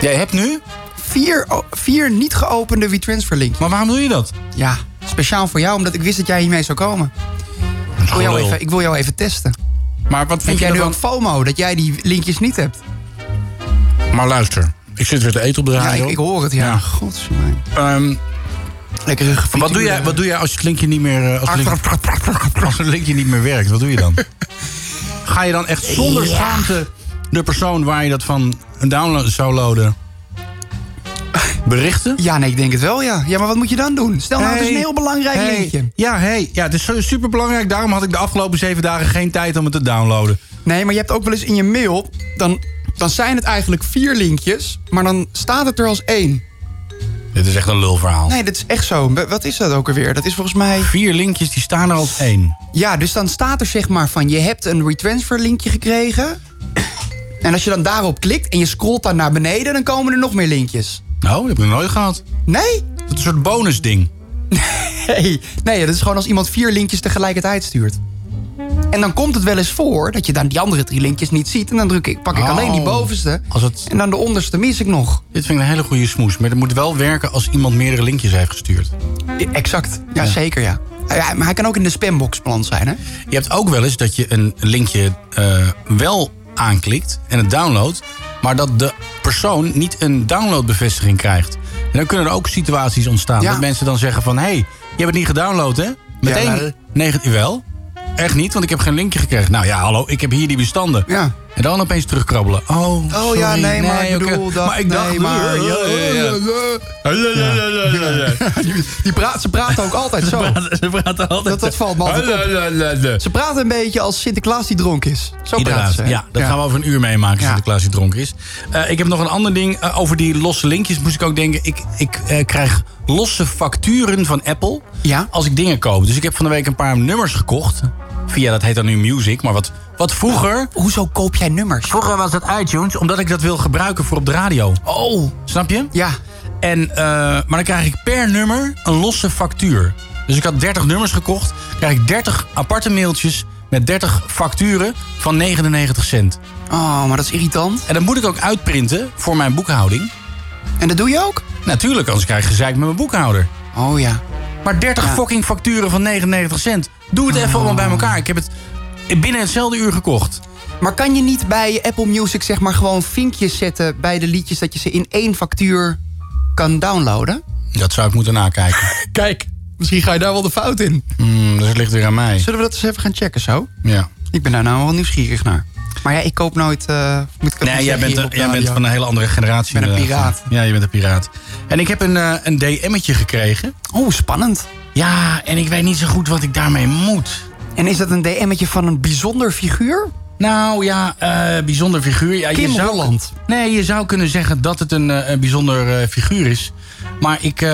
S7: Jij hebt nu?
S8: Vier, o- vier niet geopende WeTransfer linkjes.
S7: Maar waarom doe je dat?
S8: Ja, speciaal voor jou, omdat ik wist dat jij hiermee zou komen. Ik wil jou
S7: gelul.
S8: even, ik wil jou even testen.
S7: Maar wat
S8: Heb
S7: vind
S8: jij
S7: je
S8: nu ook
S7: ervan?
S8: FOMO, dat jij die linkjes niet hebt?
S7: Maar luister, ik zit weer te eten op de radio.
S8: Ja, ik, ik hoor het, ja. Gods, man.
S7: Lekkere wat doe, jij, wat doe jij als het linkje niet meer... eh, Als het linkje, als het linkje niet meer werkt, wat doe je
S8: [LAUGHS]
S7: dan? Ga je dan echt zonder
S3: Ja.
S7: schaamte de persoon waar je dat van download zou loaden... berichten?
S8: Ja, nee, ik denk het wel, ja. Ja, maar wat moet je dan doen? Stel nou, het is een
S7: Hey,
S8: heel belangrijk
S7: hey,
S8: linkje.
S7: Ja, hey, ja, het is zo- superbelangrijk. Daarom had ik de afgelopen zeven dagen geen tijd om het te downloaden.
S8: Nee, maar je hebt ook wel eens in je mail... Dan, dan zijn het eigenlijk vier linkjes, maar dan staat het er als één.
S7: Dit is echt een lulverhaal.
S8: Nee, dat is echt zo. W- Wat is dat ook alweer? Dat is volgens mij...
S7: Vier linkjes, die staan er als één.
S8: Ja, dus dan staat er zeg maar van... je hebt een retransfer linkje gekregen... en als je dan daarop klikt en je scrolt dan naar beneden... dan komen er nog meer linkjes.
S7: Nou, dat heb ik nog nooit gehad.
S8: Nee?
S7: Dat is een soort bonusding.
S8: Nee, nee, dat is gewoon als iemand vier linkjes tegelijkertijd stuurt. En dan komt het wel eens voor dat je dan die andere drie linkjes niet ziet... en dan druk ik, pak ik alleen die
S7: Oh.
S8: bovenste...
S7: Als het...
S8: en dan de onderste mis ik nog.
S7: Dit vind ik een hele goede smoes. Maar het moet wel werken als iemand meerdere linkjes heeft gestuurd.
S8: Exact. Ja, zeker ja. ja. Maar hij kan ook in de spambox plant zijn, hè?
S7: Je hebt ook wel eens dat je een linkje eh, wel aanklikt en het downloadt... maar dat de persoon niet een downloadbevestiging krijgt. En dan kunnen er ook situaties ontstaan dat mensen dan zeggen van... hé, hey, je hebt het niet gedownload, hè? Meteen
S3: Ja, maar-
S7: negatief wel. Echt niet, want ik heb geen linkje gekregen. Nou ja, hallo, ik heb hier die bestanden. En dan opeens terugkrabbelen. Oh, sorry,
S3: ja, nee, maar ik
S7: oké.
S3: bedoel dat-
S7: Maar ik dacht,
S3: nee, maar-
S7: ja, ja, ja.
S8: [LAUGHS] Die praat, ze praten ook altijd zo.
S7: Ze praten- ze praten altijd
S8: Dat, dat valt me altijd op. Ze praten een beetje als Sinterklaas die dronken is. Zo praten
S7: Inderdaad,
S8: ze. hè?
S7: ja, dat gaan we over een uur meemaken, Sinterklaas die dronken is. Eh, ik heb nog een ander ding eh, over die losse linkjes. Moest ik ook denken, ik, ik eh, krijg losse facturen van Apple als ik dingen koop. Dus ik heb van de week een paar nummers gekocht. Via, dat heet dan nu Music, maar wat, wat vroeger...
S8: Hoezo koop jij nummers?
S7: Vroeger was dat iTunes, omdat ik dat wil gebruiken voor op de radio. Oh. Snap je?
S8: Ja.
S7: En, eh, maar dan krijg ik per nummer een losse factuur. Dus ik had 30 nummers gekocht. krijg ik 30 aparte mailtjes met 30 facturen van 99 cent.
S8: Oh, maar dat is irritant.
S7: En dat moet ik ook uitprinten voor mijn boekhouding.
S8: En dat doe je ook?
S7: Natuurlijk, anders krijg ik gezeik met mijn boekhouder.
S8: Oh ja. Oh.
S7: Maar 30 fucking facturen van 99 cent. Doe het even allemaal bij elkaar. Ik heb het binnen hetzelfde uur gekocht.
S8: Maar kan je niet bij Apple Music zeg maar gewoon vinkjes zetten bij de liedjes... dat je ze in één factuur kan downloaden?
S7: Dat zou ik moeten nakijken.
S8: Kijk, misschien ga je daar wel de fout in.
S7: Hmm, dus het ligt weer aan mij.
S8: Zullen we dat eens even gaan checken zo?
S7: Ja.
S8: Ik ben daar nou wel nieuwsgierig naar. Maar ja, ik koop nooit... eh, moet ik dat
S7: Nee,
S8: niet
S7: jij
S8: zeggen
S7: bent,
S8: hier op de
S7: jij bent
S8: radio?
S7: van een hele andere generatie. eh,
S8: Ik ben een
S7: inderdaad. Ja, je bent een piraat. En ik heb een, eh, een DM'tje gekregen.
S8: Oh, spannend.
S7: Ja, en ik weet niet zo goed wat ik daarmee moet.
S8: En is dat een DM'tje van een bijzonder figuur?
S7: Nou ja, eh, bijzonder figuur. Ja,
S8: Kim
S7: je zou,
S8: Holland.
S7: Nee, je zou kunnen zeggen dat het een, eh, een bijzonder eh, figuur is. Maar ik, eh,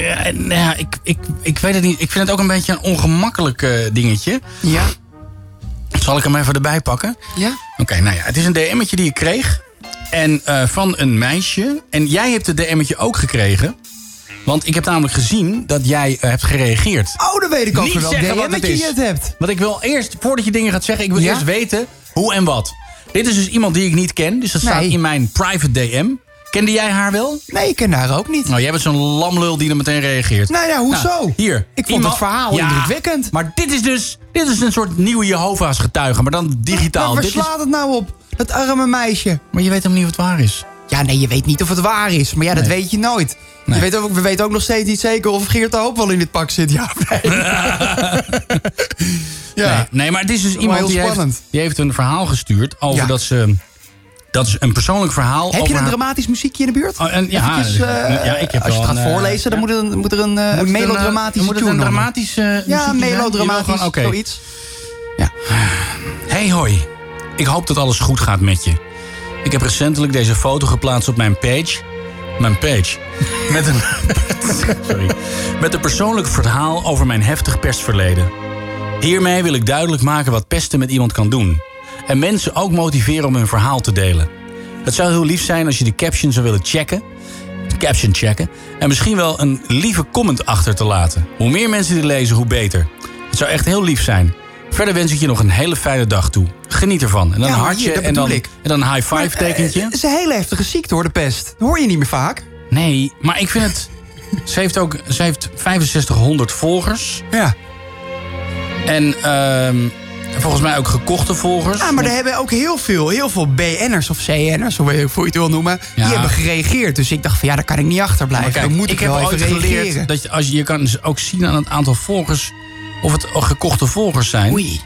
S7: ja, nou ja, ik, ik, ik weet het niet. Ik vind het ook een beetje een ongemakkelijk eh, dingetje.
S8: Ja.
S7: Zal ik hem even erbij pakken?
S8: Ja.
S7: Oké, nou ja, het is een DM'tje die ik kreeg. En eh, van een meisje. En jij hebt het DM'tje ook gekregen. Want ik heb namelijk gezien dat jij eh, hebt gereageerd.
S8: Oh, dan weet ik ook
S7: Niet
S8: wel welk
S7: zeggen wat
S8: DM'tje
S7: het is.
S8: je het hebt.
S7: Want ik wil eerst, voordat je dingen gaat zeggen, ik wil
S8: Ja?
S7: eerst weten hoe en wat. Dit is dus iemand die ik niet ken, dus dat staat in mijn private DM. Kende jij haar wel?
S8: Nee, ik ken haar ook niet.
S7: Nou, jij bent zo'n lamlul die er meteen reageert.
S8: Nee, nou, hoezo?
S7: hier.
S8: Ik vond het verhaal indrukwekkend.
S7: Maar dit is dus dit is een soort nieuwe Jehovah's getuige, maar dan digitaal.
S8: Waar
S7: Dit is-
S8: slaat het nou op? Dat arme meisje.
S7: Maar je weet hem niet wat waar is.
S8: Ja, nee, je weet niet of het waar is. Maar ja, dat weet je nooit. Je weet ook, we weten ook nog steeds niet zeker of Geert de Hoop wel in dit pak zit. Ja, of nee.
S7: Nee, nee, maar het is dus
S8: Maar
S7: iemand
S8: heel
S7: die heeft,
S8: spannend.
S7: die heeft een verhaal gestuurd over dat ze... Dat is een persoonlijk verhaal
S8: Heb
S7: over
S8: je een
S7: haar-
S8: dramatisch muziekje in de buurt?
S7: Oh, en- ja,
S8: Eventjes, eh,
S7: ja, ik heb
S8: als je het
S7: wel
S8: gaat
S7: een, eh,
S8: voorlezen, dan moet er een, moet er een eh,
S7: het een, eh,
S8: melodramatische
S7: moet het
S8: tune
S7: een
S8: onder.
S7: dramatische, eh, muziekje
S8: Ja,
S7: zijn? Je wil
S8: melodramatisch,
S7: gewoon- oké.
S8: zoiets.
S7: Hey hoi, ik hoop dat alles goed gaat met je. Ik heb recentelijk deze foto geplaatst op mijn page. Mijn page. Met een, [LAUGHS] sorry, met een persoonlijk verhaal over mijn heftig pestverleden. Hiermee wil ik duidelijk maken wat pesten met iemand kan doen. En mensen ook motiveren om hun verhaal te delen. Het zou heel lief zijn als je de caption zou willen checken. De caption checken. En misschien wel een lieve comment achter te laten. Hoe meer mensen dit lezen, hoe beter. Het zou echt heel lief zijn. Verder wens ik je nog een hele fijne dag toe. Geniet ervan. En dan
S8: Ja,
S7: een
S8: maar
S7: hartje
S8: hier, dat
S7: en, dan,
S8: bedoel ik. eh,
S7: en dan een high five tekentje.
S8: Het is een hele heftige ziekte hoor, de pest. Dat hoor je niet meer vaak.
S7: Nee, maar ik vind het... Ze heeft ook ze heeft 6500 volgers.
S8: Ja.
S7: En ehm, volgens mij ook gekochte volgers.
S8: Ja, maar er hebben ook heel veel, heel veel BN'ers of CN'ers, hoe je hoe je het wil noemen,
S7: Ja.
S8: die hebben gereageerd. Dus ik dacht van ja, daar kan ik niet achterblijven.
S7: Maar kijk,
S8: dan moet ik,
S7: heb
S8: wel even
S7: ooit
S8: reageren.
S7: geleerd dat je, als je, je kan dus ook zien aan het aantal volgers of het gekochte volgers zijn.
S8: Oei.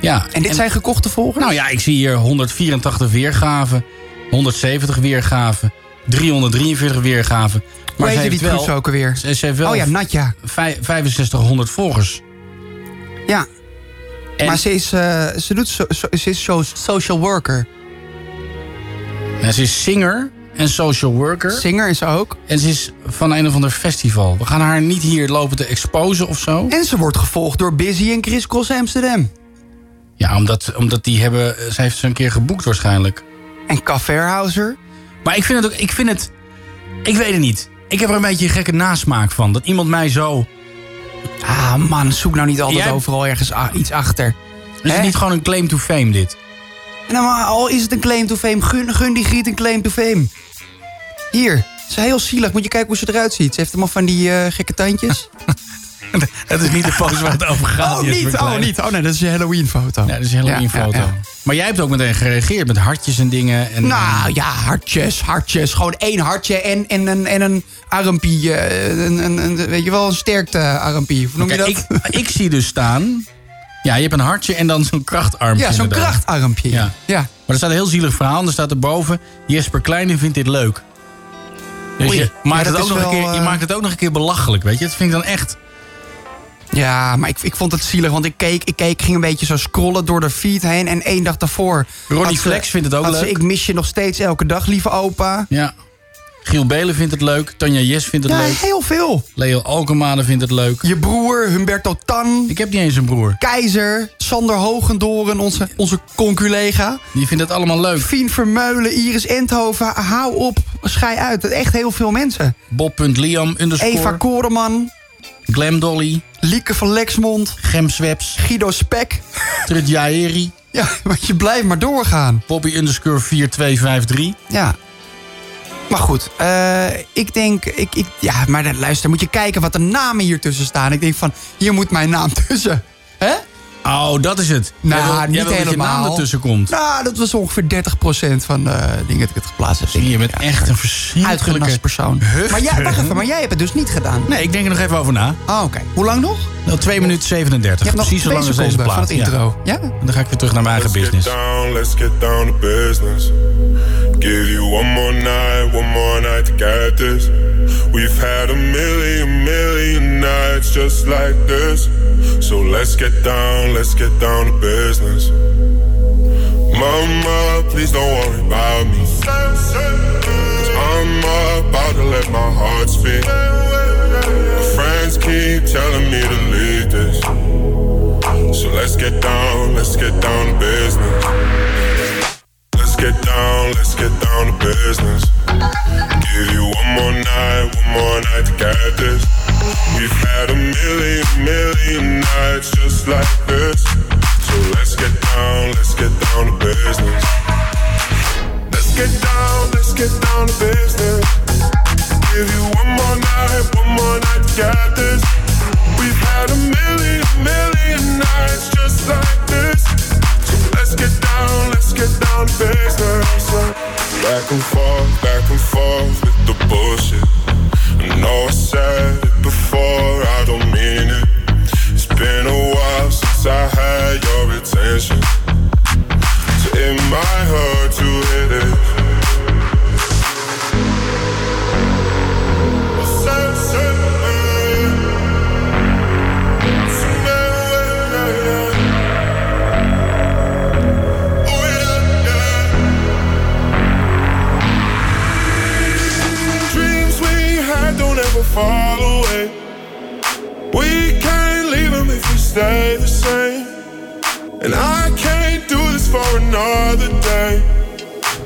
S7: Ja.
S8: En dit zijn gekochte volgers?
S7: Nou ja, ik zie hier 184 weergaven, 170 weergaven, 343 weergaven.
S8: Hoe
S7: Maar
S8: heet
S7: ze
S8: je die
S7: heeft wel,
S8: troes ook alweer?
S7: Ze, ze heeft wel
S8: Oh ja, Natja.
S7: vij- 6500 volgers.
S8: Ja. Maar ze is, eh, ze doet so- so- ze is so- social worker.
S7: En ze is singer en social worker.
S8: Singer is ze ook.
S7: En ze is van een of ander festival. We gaan haar niet hier lopen te exposen of zo.
S8: En ze wordt gevolgd door Busy en Chris Cross Amsterdam.
S7: Ja, omdat, omdat die hebben... Ze heeft ze een keer geboekt waarschijnlijk.
S8: En Kafferhauser.
S7: Maar ik vind het ook... Ik vind het... Ik weet het niet. Ik heb er een beetje een gekke nasmaak van. Dat iemand mij zo...
S8: Ah man, zoek nou niet altijd
S7: Jij-
S8: overal ergens a- iets achter.
S7: Is het niet gewoon een claim to fame dit?
S8: Nou, maar al is het een claim to fame, gun, gun die griet een claim to fame. Hier, ze is heel zielig. Moet je kijken hoe ze eruit ziet. Ze heeft allemaal van die eh, gekke
S7: [LAUGHS]
S8: tandjes.
S7: Het is niet de foto Dus waar het over gaat.
S8: Oh, niet. Oh, niet. Oh, nee, dat is je Halloween-foto.
S7: Ja, dat is een Halloween-foto.
S8: Ja, ja, ja.
S7: Maar jij hebt ook meteen gereageerd met hartjes en dingen. En,
S8: Nou ja, hartjes, hartjes. Gewoon één hartje en, en, een en een armpie. eh, Een, een, een- weet je wel, een sterkte armpie. Hoe noem je
S7: Oké,
S8: dat?
S7: Ik, ik zie dus staan... Ja, je hebt een hartje en dan zo'n krachtarmpje.
S8: ja, zo'n
S7: inderdaad.
S8: krachtarmpje.
S7: Ja.
S8: Ja.
S7: Maar er staat een heel zielig verhaal. En er staat erboven... Jesper Kleine vindt dit leuk. Dus
S8: Oei.
S7: je,
S8: Ja,
S7: maakt
S8: dat
S7: het ook
S8: is
S7: nog een
S8: wel,
S7: keer, je
S8: eh,
S7: maakt het ook nog een keer belachelijk, weet je. Dat vind ik dan echt...
S8: Ja, maar ik, ik vond het zielig, want ik keek, ik keek, ging een beetje zo scrollen door de feed heen. En één dag daarvoor.
S7: Ronnie
S8: had ze-
S7: Flex vindt het ook
S8: had ze,
S7: leuk.
S8: ik mis je nog steeds elke dag, lieve opa.
S7: Ja. Giel Belen vindt het leuk. Tanja Jes vindt het
S8: Ja,
S7: leuk.
S8: heel veel.
S7: Leo Alkemade vindt het leuk.
S8: Je broer, Humberto Tan,
S7: Ik heb niet eens een broer.
S8: Keizer, Sander Hogendoren, onze, onze conculega.
S7: Die vindt het allemaal leuk.
S8: Fien Vermeulen, Iris Endhoven, hou op, schei uit. Echt heel veel mensen.
S7: Bob.Liam underscore.
S8: Eva Koreman,
S7: Glam Dolly.
S8: Lieke van Lexmond,
S7: Gem Sweps.
S8: Guido Spek.
S7: Trut Jaeri.
S8: Ja, [LAUGHS] want je blijft maar doorgaan.
S7: Bobby underscore 4253.
S8: Ja. Maar goed, eh, ik denk, ik, ik, ja, maar dan, luister, moet je kijken wat de namen hier tussen staan. Ik denk van, hier moet mijn naam [LAUGHS] tussen. Hè?
S7: Oh, dat is het.
S8: Nou,
S7: Jij wil- jij
S8: niet
S7: wil dat je
S8: helemaal.
S7: naam ertussen komt.
S8: Nou, dat was ongeveer 30% van de dingen dat ik het geplaatst heb.
S7: Zie je, met echt een verschrikkelijke...
S8: Uitgenast persoon.
S7: Huf.
S8: Maar jij, wacht even, maar jij hebt het dus niet gedaan.
S7: Nee, ik denk er nog even over na.
S8: Oh, oké. Hoe lang nog?
S7: Nou, 2 minuten
S8: Je
S7: 37.
S8: hebt nog
S7: Precies zo
S8: twee
S7: lang als deze
S8: seconden
S7: plaat.
S8: van het
S7: Ja.
S8: intro. Ja?
S7: En Dan ga ik weer terug naar mijn eigen business.
S18: down, let's get down to business. Give you one more night, one more night to get this. We've had a million, million nights just like this. So let's get down, let's get down to business. Mama, please don't worry about me. Cause I'm about to let my heart speak. My friends keep telling me to leave this. So let's get down, let's get down to business. Let's get down, let's get down to business. Give you one more night, one more night to get this. We've had a million, million nights just like this. So let's get down, let's get down to business. Let's get down, let's get down to business. Give you one more night, one more night to get this. We've had a million, million nights just like this. So let's get down, let's get down to business. Back and forth, back and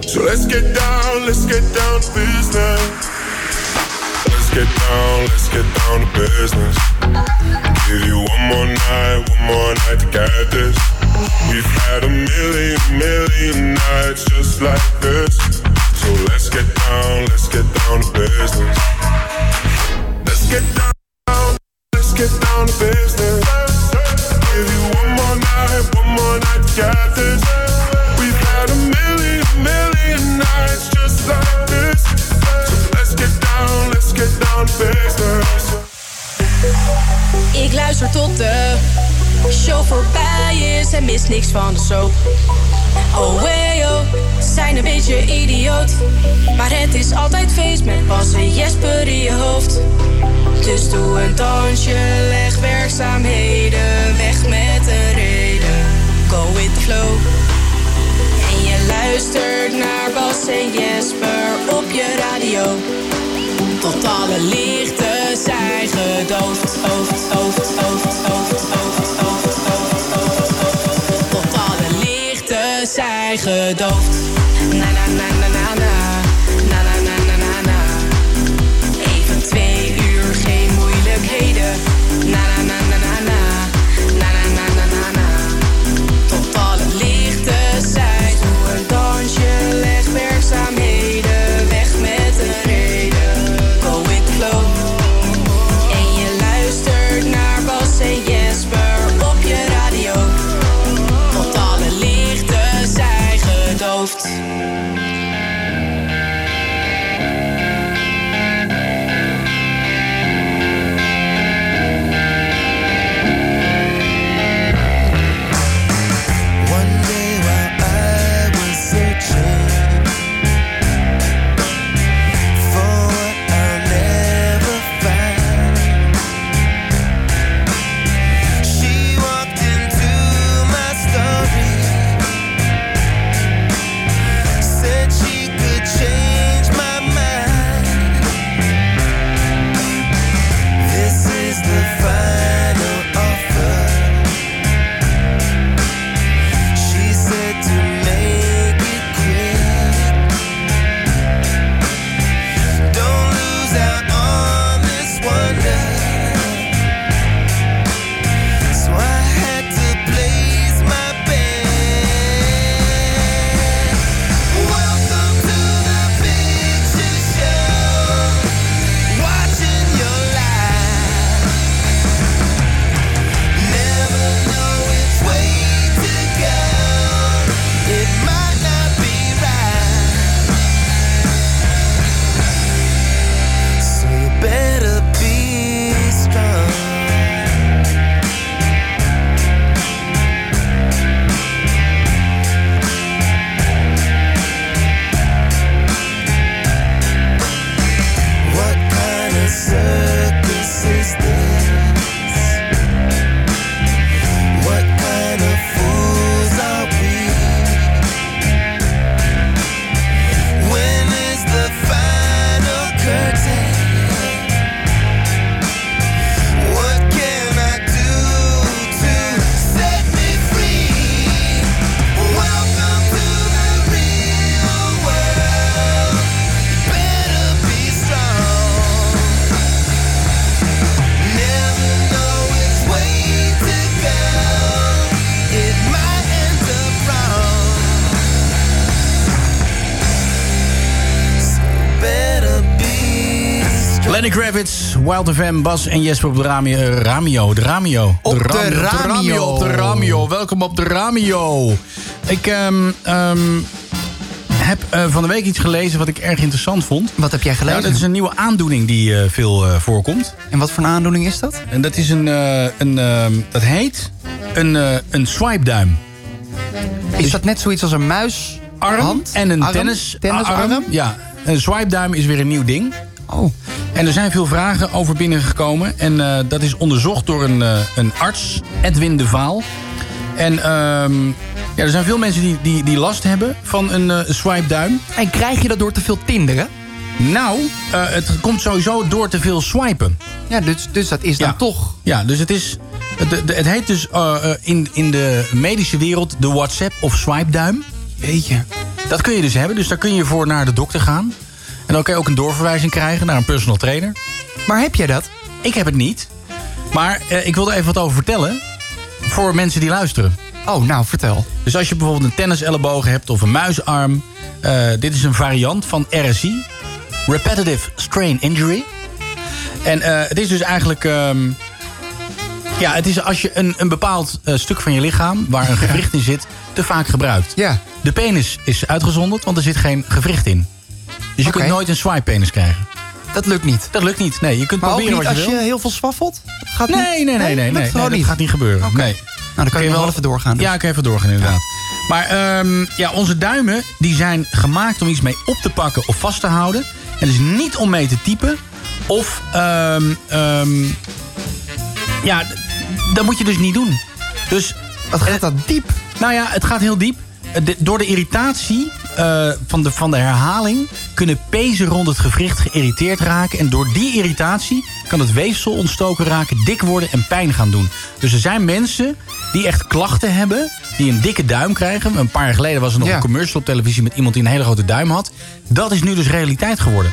S18: So let's get down, let's get down to business. Let's get down, let's get down to business. Give you one more night, one more night to get this. We've had a million, million nights just like this. So let's get down, let's get down to business. Let's get down, let's get down to business. Give you one more night, one more night to get this. We've had a million, million nights just like this. So let's get down, let's get down to business.
S19: Ik luister tot de show voorbij is en mis niks van de soap. Oh hey oh, ze zijn een beetje idioot. Maar het is altijd feest met Bas en Jesper in je hoofd. Dus doe een dansje, leg werkzaamheden weg met een reden. Go with the flow. En je luistert naar Bas en Jesper op je radio. Tot alle lichten zijn gedoofd. Hoofd, hoofd, hoofd, hoofd, hoofd, hoofd, hoofd, hoofd, hoofd. Tot alle lichten zijn gedoofd. Na na na na na na. Na na na na na na. Even twee uur geen moeilijkheden. Na na na na na na. Na na na na na na. Tot alle lichten zijn. Doe een dansje, leg werkzaamheden weg met een reden. Go with the flow. En je luistert naar Bas en Jesper op je radio. Want alle lichten zijn gedoofd.
S3: One day while I was searching for what I'll never find, she walked into my story, said she could change my mind. This is the final offer. She said to make it quick. Don't lose out on this wonder. So I had to place my bet. Welcome to the picture show. Watching your life. Never know which way to go. It might not be right, so you better be strong. What kind of circus is this? What kind of fools are we? When is the final curtain? What can I do to set me free? Welcome to the real world. Better be strong. Never know which way to go. It might end up wrong. So better be strong.
S7: Lenny Kravitz, Wild FM, Bas en Jesper op de Ramio. Ramio, de Ramio.
S10: Op de
S7: Ramio, op de Ramio.
S10: Ramio.
S7: Op de Ramio. Welkom op de Ramio. Ik ehm, ehm, heb eh, van de week iets gelezen wat ik erg interessant vond.
S8: Wat heb jij gelezen?
S7: Nou, dat is een nieuwe aandoening die eh, veel eh, voorkomt. En wat voor een aandoening is dat? En dat is een, eh, een ehm, dat heet een, eh een swipeduim.
S8: Is dat net zoiets als een muis?
S7: Arm en een tennis,
S8: tennisarm?
S7: arm. Ja, een swipeduim is weer een nieuw ding. Oh. En er zijn veel vragen over binnengekomen. En eh, dat is onderzocht door een, eh, een arts, Edwin de Vaal. En ehm, ja, er zijn veel mensen die, die, die last hebben van een eh swipeduim. En krijg je dat door te veel tinderen? Nou, eh, het komt sowieso door te veel swipen. Ja, dus, dus dat is dan toch... Ja, dus het is... Het, het heet dus eh, eh, in, in de medische wereld de WhatsApp of swipeduim. Weet je. Dat kun je dus hebben. Dus daar kun je voor naar de dokter gaan. En dan kun je ook een doorverwijzing krijgen naar een personal trainer.
S8: Maar heb jij dat?
S7: Ik heb het niet. Maar eh, ik wilde even wat over vertellen. Voor mensen die luisteren.
S8: Oh, nou, vertel.
S7: Dus als je bijvoorbeeld een tenniselleboog hebt of een muisarm. eh, dit is een variant van RSI. Repetitive Strain Injury. En eh, het is dus eigenlijk... ehm, ja, het is als je een, een bepaald eh, stuk van je lichaam... waar een gewricht in zit, te vaak gebruikt.
S8: Ja.
S7: De penis is uitgezonderd, want er zit geen gewricht in. Dus je kunt nooit een swipe penis krijgen.
S8: Dat lukt niet.
S7: Dat lukt niet. Nee, je kunt
S8: Maar ook
S7: proberen
S8: niet
S7: wat
S8: als
S7: je wil.
S8: je heel veel swaffelt? Gaat
S7: nee,
S8: niet?
S7: nee, nee, nee, nee,
S8: dat
S7: nee,
S8: gewoon
S7: dat
S8: niet.
S7: gaat niet gebeuren. Nee.
S8: Nou, dan kan je nog wel even doorgaan. dus.
S7: Ja, ik kan even doorgaan inderdaad. Maar ehm, ja, onze duimen die zijn gemaakt om iets mee op te pakken of vast te houden. En dus niet om mee te typen. Of, ehm, ehm, ja, d- dat moet je dus niet doen. Dus,
S8: Wat gaat dat diep?
S7: Nou ja, het gaat heel diep. Eh, de- door de irritatie eh, van, de, van de herhaling kunnen pezen rond het gewricht geïrriteerd raken. En door die irritatie kan het weefsel ontstoken raken, dik worden en pijn gaan doen. Dus er zijn mensen die echt klachten hebben, die een dikke duim krijgen. Een paar jaar geleden was er nog een commercial op televisie met iemand die een hele grote duim had. Dat is nu dus realiteit geworden.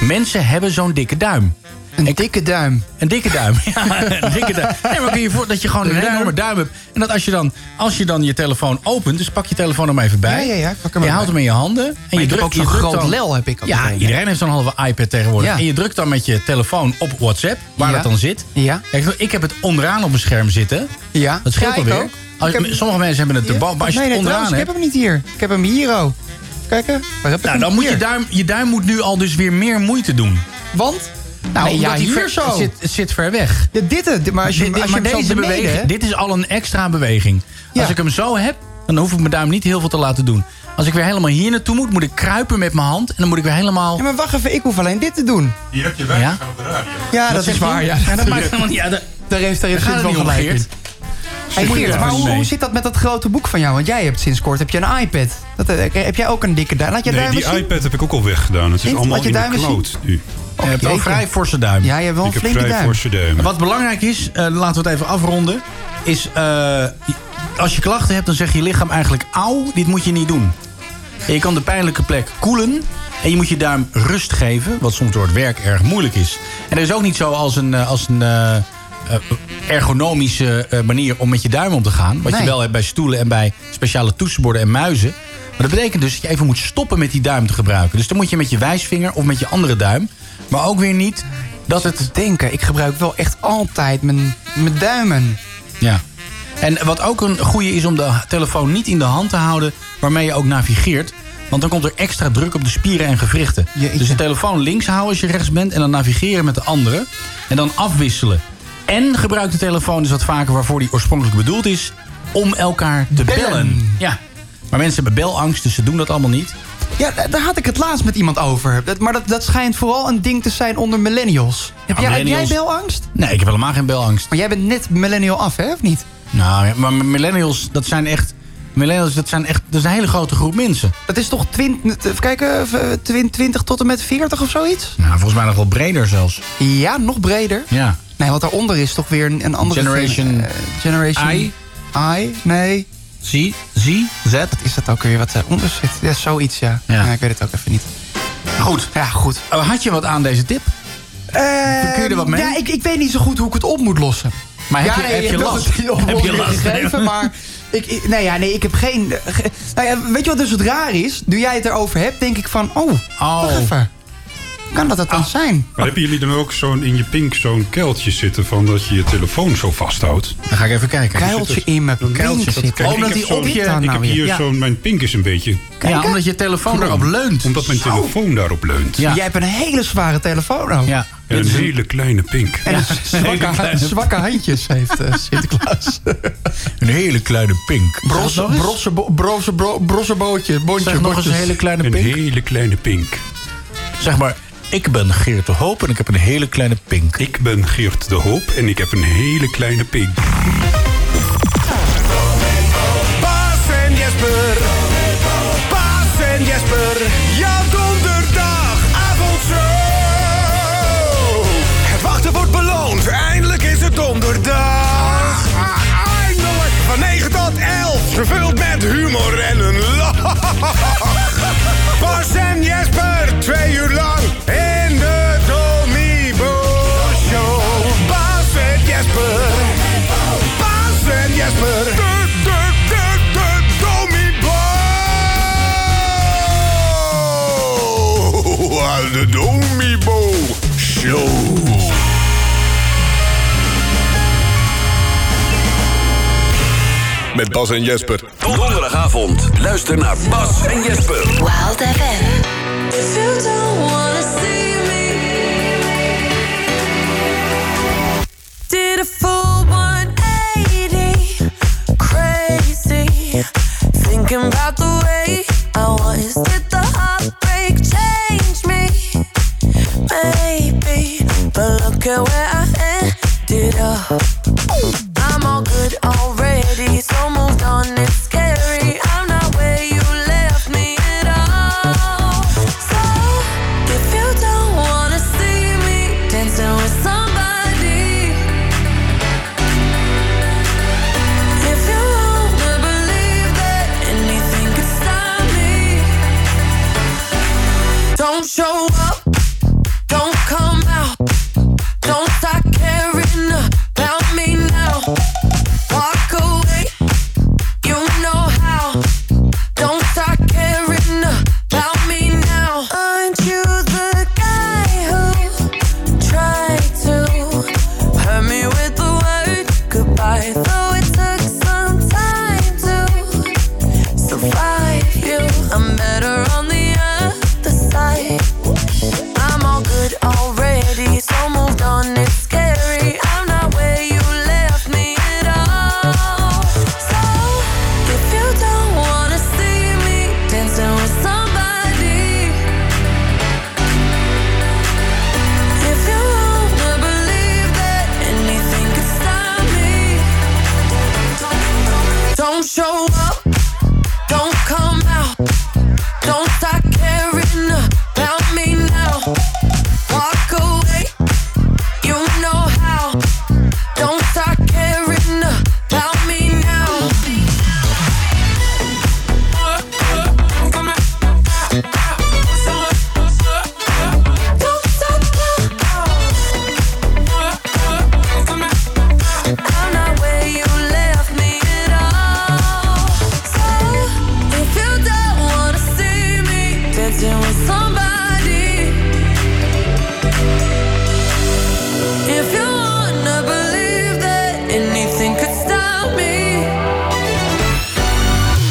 S7: Mensen hebben zo'n dikke duim.
S8: Een dikke duim.
S7: Een dikke duim. [LAUGHS] Ja, een dikke duim. Nee, maar kun je je voor dat je gewoon een enorme duim hebt. En dat als je dan, als je, dan je telefoon opent, dus pak je telefoon er maar even bij.
S8: Ja, ja, ja, ik pak hem
S7: je
S8: erbij.
S7: houdt hem in je handen. En
S8: ik
S7: je
S8: heb
S7: drukt
S8: ook zo'n
S7: je drukt
S8: groot
S7: dan-
S8: lel, heb ik ook
S7: Ja,
S8: meteen, ja.
S7: iedereen heeft zo'n halve iPad tegenwoordig.
S8: Ja.
S7: En je drukt dan met je telefoon op WhatsApp, waar
S8: Ja.
S7: dat dan zit.
S8: Ja.
S7: Kijk, ik heb het onderaan op mijn scherm zitten.
S8: Ja.
S7: Dat scheelt
S8: Ja, ik
S7: alweer.
S8: ook.
S7: Als,
S8: Ik heb-
S7: Sommige mensen hebben het
S8: Ja.
S7: erboven, maar als je
S8: nee,
S7: het
S8: nee,
S7: onderaan
S8: trouwens, ik
S7: hebt...
S8: heb hem niet hier. Ik heb hem hier, oh. Kijken. Waar heb ik
S7: Nou,
S8: hem?
S7: dan moet je
S8: Hier.
S7: duim, je duim moet nu al dus weer meer moeite doen.
S8: Want? Nou,
S7: Nee,
S8: omdat
S7: ja,
S8: hij
S7: hier
S8: ver-
S7: zo.
S8: Het zit,
S7: het zit ver weg.
S8: Ja, dit, het. maar als je,
S7: Dit- dit-
S8: als je
S7: maar
S8: hem
S7: deze
S8: zo beneden,
S7: beweging,
S8: hè?
S7: dit is al een extra beweging. Als ik hem zo heb, dan hoef ik mijn duim niet heel veel te laten doen. Als ik weer helemaal hier naartoe moet, moet ik kruipen met mijn hand. En dan moet ik weer helemaal...
S8: Ja, maar wacht even, ik hoef alleen dit te doen.
S7: Hier heb je weg. Ja,
S8: Ja,
S7: Wat
S8: dat
S7: zeg
S8: is
S7: je?
S8: waar. Ja,
S7: Ja, dat maakt helemaal niet uit.
S8: Daar heeft, daar heeft
S7: Daar
S8: Sint
S7: gaat
S8: wel
S7: het niet om,
S8: gelijk in.
S7: Geert.
S8: Hey
S7: Moet je
S8: Geert,
S7: er
S8: maar
S7: even
S8: hoe,
S7: mee.
S8: hoe zit dat met dat grote boek van jou? Want jij hebt sinds kort heb je een iPad. Dat, eh, heb jij ook een dikke duim? Laat je
S13: Nee,
S8: duim
S13: die
S8: eens zien.
S13: iPad heb ik ook al weggedaan. Het is
S8: Niet?
S13: allemaal
S8: Laat je
S13: in de
S8: duim eens zien.
S13: cloud nu.
S7: Je hebt wel nou, vrij forse duim.
S8: Ja, je hebt wel
S13: Ik
S8: een
S13: heb
S8: flinke
S13: vrij
S8: duim.
S13: forse duimen.
S7: Wat belangrijk is, eh, laten we het even afronden... is eh, als je klachten hebt, dan zegt je lichaam eigenlijk... auw, dit moet je niet doen. En je kan de pijnlijke plek koelen... en je moet je duim rust geven... wat soms door het werk erg moeilijk is. En er is ook niet zo als een, eh, als een eh, eh, ergonomische eh, manier... om met je duim om te gaan. Wat
S8: Nee.
S7: je wel hebt bij stoelen en bij speciale toetsenborden en muizen. Maar dat betekent dus dat je even moet stoppen met die duim te gebruiken. Dus dan moet je met je wijsvinger of met je andere duim... maar ook weer niet dat het...
S8: denken, ik gebruik wel echt altijd mijn, mijn duimen.
S7: Ja. En wat ook een goede is om de telefoon niet in de hand te houden waarmee je ook navigeert. Want dan komt er extra druk op de spieren en gewrichten. Dus de telefoon links houden als je rechts bent en dan navigeren met de andere. En dan afwisselen. En gebruik de telefoon dus wat vaker waarvoor die oorspronkelijk bedoeld is. Om elkaar te bellen. Ja. Maar mensen hebben belangst, dus ze doen dat allemaal niet.
S8: Ja, da- Eh, daar had ik het laatst met iemand over. Dat, maar dat, dat schijnt vooral een ding te zijn onder millennials. Heb,
S7: Ja,
S8: jij, heb jij
S7: millennials-
S8: belangst?
S7: Nee, ik heb helemaal geen belangst.
S8: Maar jij bent net millennial af, hè, of niet?
S7: Nou, ja, maar millennials, dat zijn echt... Millennials, dat zijn echt... Dat is een hele grote groep mensen.
S8: Dat is toch 20, even kijken, v- eh, 20 tot en met 40 of zoiets?
S7: Nou, volgens mij nog wel breder zelfs.
S8: Ja, nog breder.
S7: Ja.
S8: Nee, want daaronder is toch weer een, een andere...
S7: Generation
S8: eh, generation
S7: I.
S8: I, nee.
S7: Z, Z, Z. Wat
S8: is dat ook weer wat eh, onder zit? Ja, zoiets, ja. ja. ik weet het ook even niet.
S7: Goed.
S8: Ja, goed.
S7: Oh, Had je wat aan deze tip?
S8: Kun je er wat mee? Ja, ik, ik weet niet zo goed hoe ik het op moet lossen.
S7: Maar heb
S8: ja,
S7: je- heb je
S8: hebt
S7: last?
S8: het in de
S7: Heb je
S8: oplossing
S7: last? [LAUGHS]
S8: Gegeven, maar ik, ik- nee, ja, nee, ik heb geen... ge- nou ja, weet je wat dus het raar is? Nu jij het erover hebt, denk ik van... Oh, wacht even. Kan dat dat
S7: Ah.
S8: dan zijn?
S13: Maar hebben jullie dan ook zo'n in je pink zo'n kuiltje zitten van dat je je telefoon zo vasthoudt?
S7: Dan ga ik even kijken.
S8: Kuiltje in mijn pink Oh, zitten.
S13: Kijk,
S7: Omdat
S13: ik heb,
S7: die op
S13: zo'n-
S7: je-
S13: ik heb hier
S7: Ja.
S13: zo'n mijn pink is een beetje.
S7: Kijk, hè? omdat je telefoon
S13: Krom.
S7: erop leunt.
S13: Omdat mijn telefoon daarop leunt.
S8: Jij hebt een hele zware telefoon ook.
S7: Ja.
S13: En een hele kleine pink. [LAUGHS]
S8: En een zwakke, zwakke handjes heeft eh, Sinterklaas.
S7: [LAUGHS] Een hele kleine pink.
S8: Brosse, brosse, bo- brosse, bro- brosse bootje, bondje,
S7: Zeg nog eens
S8: botjes.
S7: een hele kleine
S13: Een
S7: pink.
S13: hele kleine pink.
S7: Zeg maar, ik ben Geert de Hoop en ik heb een hele kleine pink.
S13: Ik ben Geert de Hoop en ik heb een hele kleine pink.
S3: Bas en Jesper. Bas en Jesper. Jouw donderdagavondshow. Het wachten wordt beloond. Eindelijk is het donderdag. Eindelijk. Van 9 tot 11. Gevuld met humor en een lach.
S18: de Domibo Show. Met Bas en Jesper.
S6: Donderdagavond. Luister naar Bas en Jesper.
S3: Wild FM.
S1: If you don't wanna see me, did a full 180, crazy, thinking about the way I was. Did the heartbreak change me? Maybe, but look at where I ended up. I'm all good already, so moved on. It's scary. I'm not where you left me at all. So if you don't wanna see me dancing with somebody, if you wanna believe that anything could stop me, don't show up, don't come out. Don't stop caring about me now. Walk away, you know how. Don't stop caring about me now. Aren't you the guy who tried to hurt me with the word goodbye? Though it took some time to survive you, I'm better on the other side. I'm all good already, so moved on. It's scary. I'm not where you left me at all. So if you don't wanna see me dancing with somebody, if you wanna believe that anything could stop me, don't show up, don't come out. Don't stop caring about me now. Walk away, you know how. Don't stop caring about me now. Don't stop now. I'm not where you left me at all. So if you don't wanna see me dancing with somebody, if you wanna believe that anything could stop me,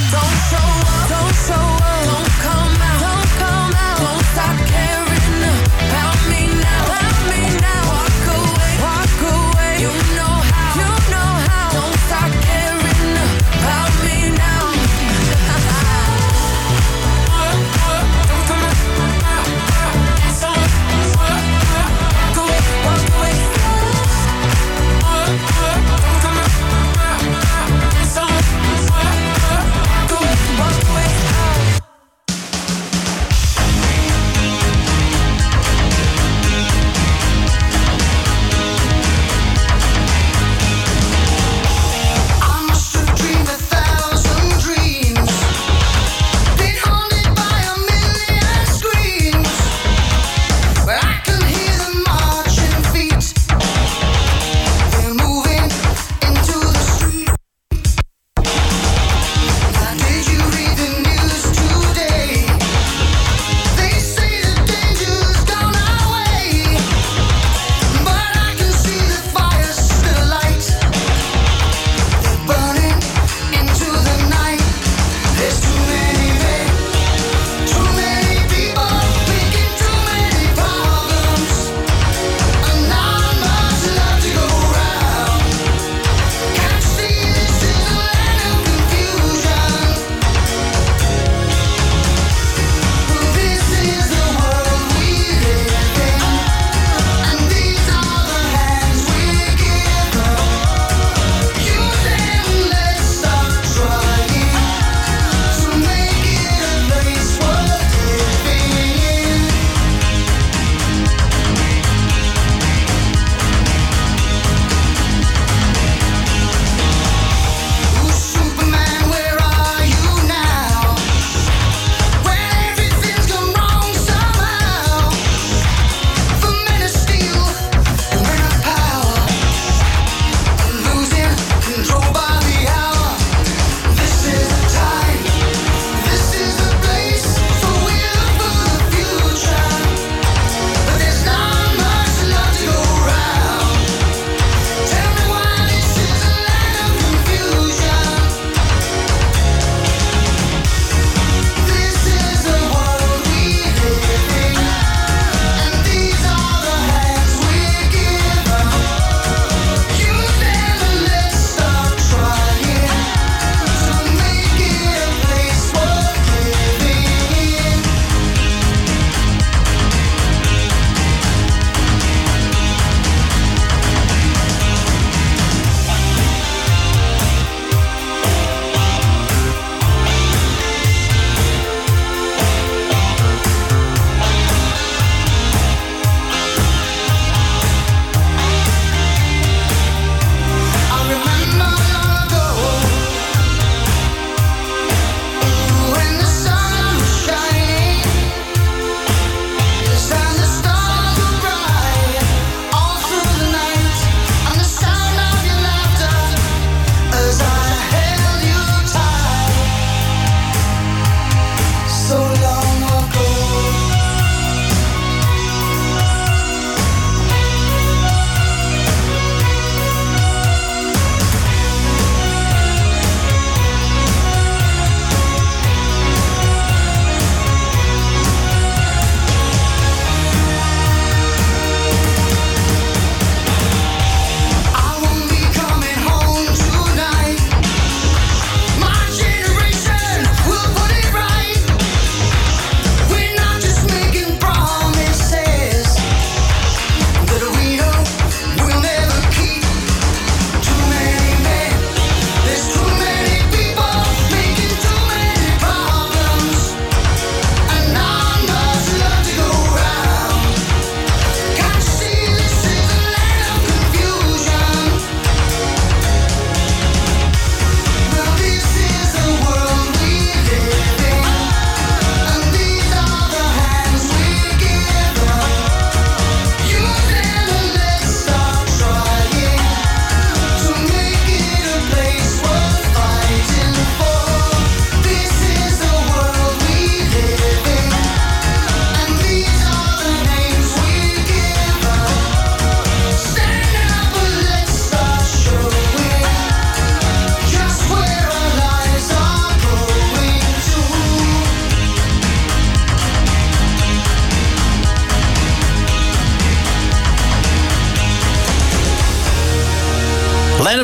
S1: don't show up, don't show up, don't come out, don't come out, don't stop caring about me now, about me now. Walk away, walk away, you know how, you know how. Don't stop caring about me [LAUGHS] now.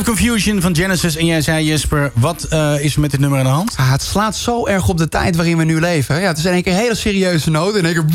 S7: Confusion van Genesis. En jij zei, Jesper, wat eh, is er met dit nummer aan de hand?
S8: Ah, het slaat zo erg op de tijd waarin we nu leven. Ja, het is in één keer een hele serieuze nood. In één keer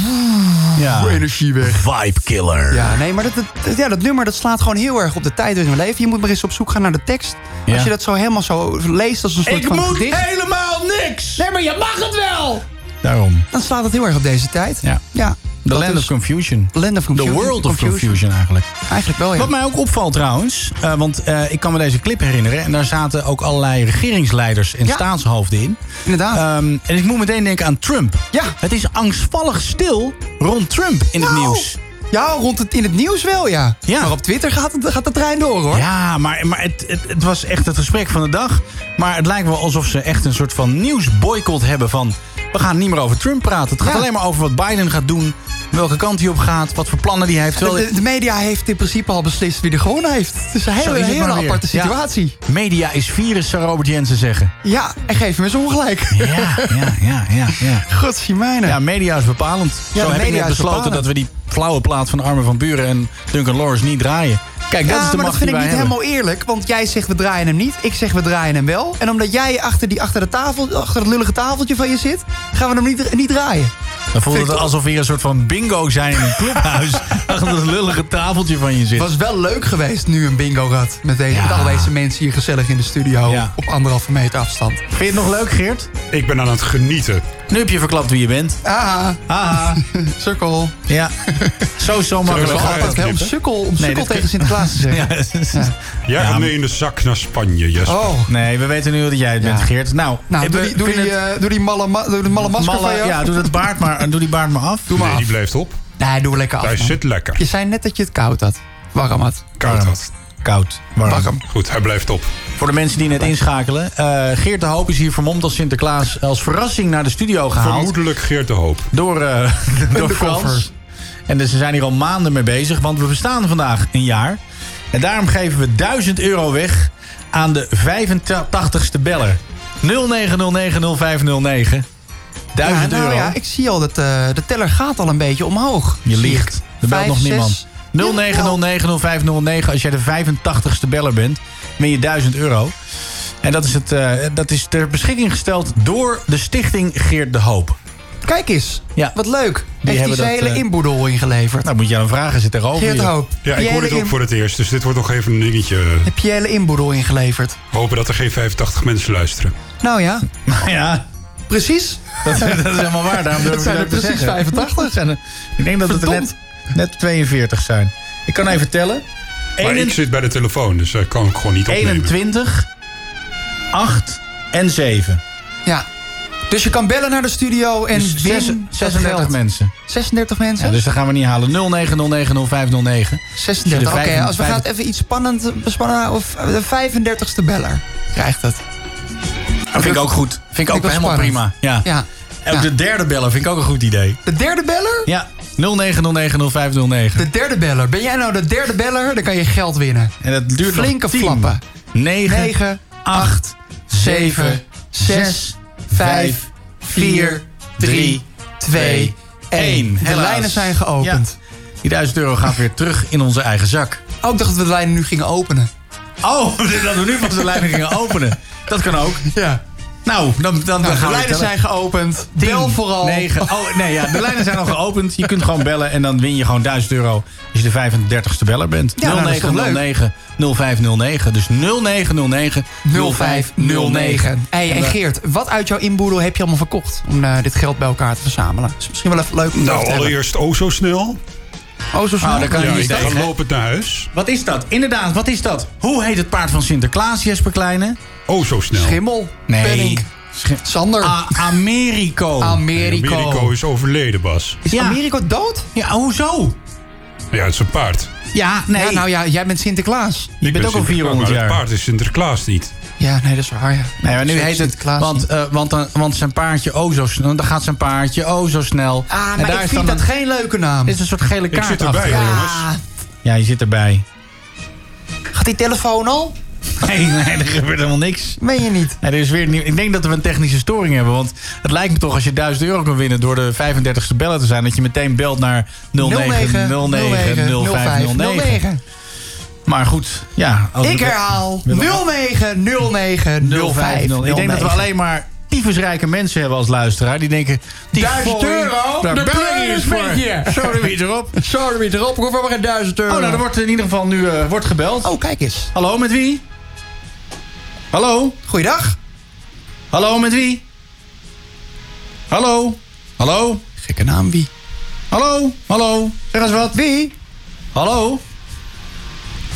S7: ja.
S8: energie weg.
S7: Vibe killer.
S8: Ja, nee, maar dat, dat- ja, dat nummer dat slaat gewoon heel erg op de tijd waarin we leven. Je moet maar eens op zoek gaan naar de tekst.
S7: Ja.
S8: Als je dat zo helemaal zo leest als een soort
S7: Ik
S8: van
S7: moet
S8: gedicht,
S7: helemaal niks!
S8: Nee, maar je mag het wel!
S7: Daarom.
S8: Dan slaat het heel erg op deze tijd.
S7: Ja.
S8: ja
S7: The Land of Confusion.
S8: Land of
S7: The
S8: Confusion.
S7: World of
S8: Confusion.
S7: Confusion eigenlijk.
S8: Eigenlijk wel, ja.
S7: Wat mij ook opvalt trouwens, eh, want eh, ik kan me deze clip herinneren... en daar zaten ook allerlei regeringsleiders en
S8: Ja.
S7: staatshoofden in. Ehm,
S8: Inderdaad.
S7: en ik moet meteen denken aan Trump.
S8: Ja.
S7: Het is angstvallig stil rond Trump in het
S8: Nou,
S7: nieuws.
S8: Ja, rond het, in het nieuws wel, ja. Maar op Twitter gaat, het, gaat de trein door, hoor.
S7: Ja, maar, maar het, het, het was echt het gesprek van de dag. Maar het lijkt wel alsof ze echt een soort van nieuwsboycott hebben van... we gaan niet meer over Trump praten. Het gaat alleen maar over wat Biden gaat doen... welke kant hij op gaat, wat voor plannen die hij heeft.
S8: De,
S7: Terwijl-
S8: de- de media heeft in principe al beslist wie er gewonnen heeft. Het is een
S7: Zo
S8: hele,
S7: is het
S8: hele
S7: maar weer.
S8: aparte
S7: Ja.
S8: situatie.
S7: Media is virus, zou Robert Jensen zeggen.
S8: Ja, en geef hem eens ongelijk.
S7: Ja, ja, ja, ja.
S8: [LAUGHS]
S7: ja.
S8: Godzijmijnen.
S7: Ja, media is bepalend.
S8: Ja,
S7: Zo
S8: de
S7: heb ik
S8: media
S7: net
S8: is
S7: besloten
S8: bepalend.
S7: dat we die flauwe plaat van Armin van Buren en Duncan Lawrence niet draaien. Kijk, dat
S8: ja,
S7: is de
S8: maar
S7: macht
S8: dat vind
S7: die
S8: ik
S7: wij
S8: niet helemaal
S7: hebben.
S8: eerlijk. Want jij zegt we draaien hem niet. Ik zeg we draaien hem wel. En omdat jij achter, die, achter, de tafel, achter het lullige tafeltje van je zit... gaan we hem niet, niet draaien.
S7: Dan voelt
S8: Vind
S7: het
S8: ik-
S7: alsof we hier een soort van bingo zijn in een
S8: [LAUGHS]
S7: clubhuis. achter dat lullige tafeltje van je zit.
S8: was wel leuk geweest nu een bingo-rad. Met, deze, met al deze mensen hier gezellig in de studio. Op anderhalve meter afstand.
S7: Vind je het nog leuk, Geert?
S13: Ik ben aan het genieten.
S7: Nu heb je verklapt wie je bent.
S8: Ah, [LAUGHS]
S7: ah.
S8: sukkel.
S7: Ja. Zo, zo
S8: Zo is
S7: makkelijk.
S8: het altijd, hè, om sukkel, om sukkel
S7: dit-
S8: tegen Sinterklaas
S7: [LAUGHS]
S8: te zeggen.
S7: ja.
S13: Jij gaat mee in de zak naar Spanje, Jesper.
S8: Oh.
S7: Nee, we weten nu dat jij het bent, Geert. Nou,
S8: Nou, doe
S7: we
S8: die, doe die,
S7: vinden het-
S8: eh, doe die malle, ma- doe die malle masker
S7: Malle-
S8: van je af.
S7: Ja, doe, dat baard maar, doe die baard maar af.
S8: Doe maar
S13: nee,
S8: af.
S13: die blijft op.
S8: Nee, doe lekker af.
S13: Hij
S8: man.
S13: zit lekker.
S8: Je zei net dat je het koud had. Warm had.
S13: Koud had.
S7: Koud. Warm.
S13: Goed, hij blijft op.
S7: Voor de mensen die net inschakelen. eh, Geert de Hoop is hier vermomd als Sinterklaas als verrassing naar de studio Oh, gehaald.
S13: Vermoedelijk Geert de Hoop.
S7: Door,
S8: [LAUGHS]
S7: eh door
S13: Undercover.
S7: Frans. En dus ze zijn hier al maanden mee bezig, want we bestaan vandaag een jaar. En daarom geven we 1000 euro weg aan de 85ste beller. 09090509. 1000
S8: ja, nou
S7: euro.
S8: Ja, ik zie al dat eh, de teller gaat al een beetje omhoog.
S7: Je
S8: Zie
S7: liegt.
S8: ik.
S7: Er belt
S8: Vijf,
S7: nog
S8: zes.
S7: niemand. 09090509. Als jij de 85ste beller bent, win je 1000 euro. En dat is, het, eh, dat is ter beschikking gesteld door de stichting Geert de Hoop.
S8: Kijk eens.
S7: Ja.
S8: Wat leuk. Heeft die
S7: hebben
S8: zijn
S7: dat,
S8: hele
S7: eh,
S8: inboedel ingeleverd.
S7: Nou, moet je aan vragen, zit tegenover
S8: Geert
S7: je.
S8: de Hoop.
S13: Ja, ik
S8: Die
S13: hoor dit
S8: hele
S13: ook
S8: in-
S13: voor het eerst, dus dit wordt nog even een dingetje.
S8: Heb je hele inboedel ingeleverd?
S13: Hopen dat er geen 85 mensen luisteren.
S8: Nou ja.
S7: ja.
S8: Precies.
S7: [LAUGHS] Dat, dat is helemaal waar. Daarom
S8: Dat
S7: durf ik
S8: zijn er
S7: ook te
S8: precies
S7: zeggen.
S8: 85.
S7: Dat zijn er- ik denk dat het er net, net 42 zijn. Ik kan even tellen.
S13: Maar ik zit bij de telefoon, dus dat kan ik gewoon niet opnemen.
S7: 21, 8 en 7.
S8: Ja. Dus je kan bellen naar de studio en
S7: Dus
S8: win
S7: zes-
S8: dat
S7: 36
S8: geld.
S7: mensen.
S8: 36 mensen?
S7: Ja, dus dat gaan we niet halen. 09090509. Als je de
S8: 36. Oké,
S7: dus vijf-
S8: als we
S7: vijf-
S8: gaan even iets spannend bespannen of eh, de 35ste beller krijgt het.
S7: Dat vind ik ook goed. Vind ik ook
S8: wel
S7: helemaal prima.
S8: spannend.
S7: Ja.
S8: Ja.
S7: En ook de derde bellen vind ik ook een goed idee.
S8: De derde beller?
S7: Ja, 09090509.
S8: De derde beller. Ben jij nou de derde beller? Dan kan je geld winnen.
S7: En dat duurt nog
S8: Flinke
S7: 10,
S8: flappen.
S7: 9,
S8: 9,
S7: 8,
S8: 7, 6, 5, 4, 3, 2, 1. De
S7: Helaas.
S8: lijnen zijn geopend.
S7: Die 1000 euro gaat weer terug in onze eigen zak.
S8: Oh, ik dacht dat we de lijnen nu gingen openen.
S7: Oh, [LAUGHS] dat we nu pas de lijnen gingen openen. Dat kan ook.
S8: Ja.
S7: Nou, dan, dan,
S8: [LAUGHS]
S7: dan
S8: Nou,
S7: gaan
S8: de
S7: we
S8: lijnen
S7: tellen.
S8: zijn geopend.
S7: 10,
S8: Bel vooral.
S7: 9. Oh, nee, ja, de lijnen zijn al
S8: [LAUGHS]
S7: geopend. Je kunt gewoon bellen en dan win je gewoon 1000 euro als je de 35ste beller bent.
S8: Ja, nou, dat is toch leuk?
S7: 0909 0509. Dus 0909
S8: 0509. Hey, en
S7: we-
S8: Geert, wat uit jouw inboedel heb je allemaal verkocht om eh, dit geld bij elkaar te verzamelen? is misschien wel even leuk om te
S13: Nou,
S8: vertellen.
S13: allereerst oh zo snel.
S8: Oh, zo snel.
S7: Ah, daar kan je
S13: ja,
S7: niet
S13: ik
S7: tegen,
S13: ga
S7: hè?
S13: lopend naar huis.
S7: Wat is dat? Inderdaad, wat is dat? Hoe heet het paard van Sinterklaas, Jesper Kleine?
S13: Oh zo snel.
S8: Schimmel.
S7: Nee.
S8: Penning. Sander.
S7: A- Americo.
S8: Americo.
S13: Americo is overleden, Bas.
S8: Is
S7: Ja.
S8: Americo dood?
S7: Ja, hoezo?
S13: Ja, het is een paard.
S7: Ja, nee.
S8: Ja, nou ja, jij bent Sinterklaas.
S7: Je bent ook al 400 jaar.
S13: Het paard is Sinterklaas niet.
S8: Ja, nee, dat is waar, ja.
S7: Nee, maar nu heet het...
S8: Sinterklaas
S7: Want, eh, want, dan- want zijn paardje oh zo snel... Dan gaat zijn paardje oh zo snel.
S8: Ah, maar
S7: en daar
S8: ik
S7: is
S8: vind
S7: dan
S8: dat geen leuke naam.
S7: Dit is een soort gele
S13: Ik
S7: kaart
S13: zit erbij,
S7: achter.
S13: hoor,
S7: Ja.
S13: jongens.
S7: Ja, je zit erbij. [LAUGHS]
S8: Gaat die telefoon al?
S7: Nee, nee, er gebeurt helemaal niks.
S8: Meen je niet?
S7: Nee, er is weer nieuw. Ik denk dat we een technische storing hebben. Want het lijkt me toch als je 1000 euro kan winnen door de 35ste bellen te zijn. Dat je meteen belt naar 0909 0509. Maar goed, ja. als
S8: Ik
S7: we-
S8: herhaal.
S7: we-
S8: 09 09 05
S7: 050. Ik denk dat we alleen maar tyfusrijke mensen hebben als luisteraar. Die denken... die
S8: Duizend
S7: fooi,
S8: euro?
S7: Daar
S8: De
S7: bel ik
S8: pleur
S7: eens
S8: is met je.
S7: voor. Sorry, wie
S8: [LAUGHS]
S7: erop?
S8: Sorry, wie erop? Ik hoef maar geen duizend euro.
S7: Oh, nou, er wordt in ieder geval nu eh, wordt gebeld.
S8: Oh, kijk eens.
S7: Hallo, met wie? Hallo?
S8: Goeiedag.
S7: Hallo, met wie? Hallo? Hallo?
S8: Gekke naam, wie?
S7: Hallo? Hallo? Zeg eens wat.
S8: Wie?
S7: Hallo?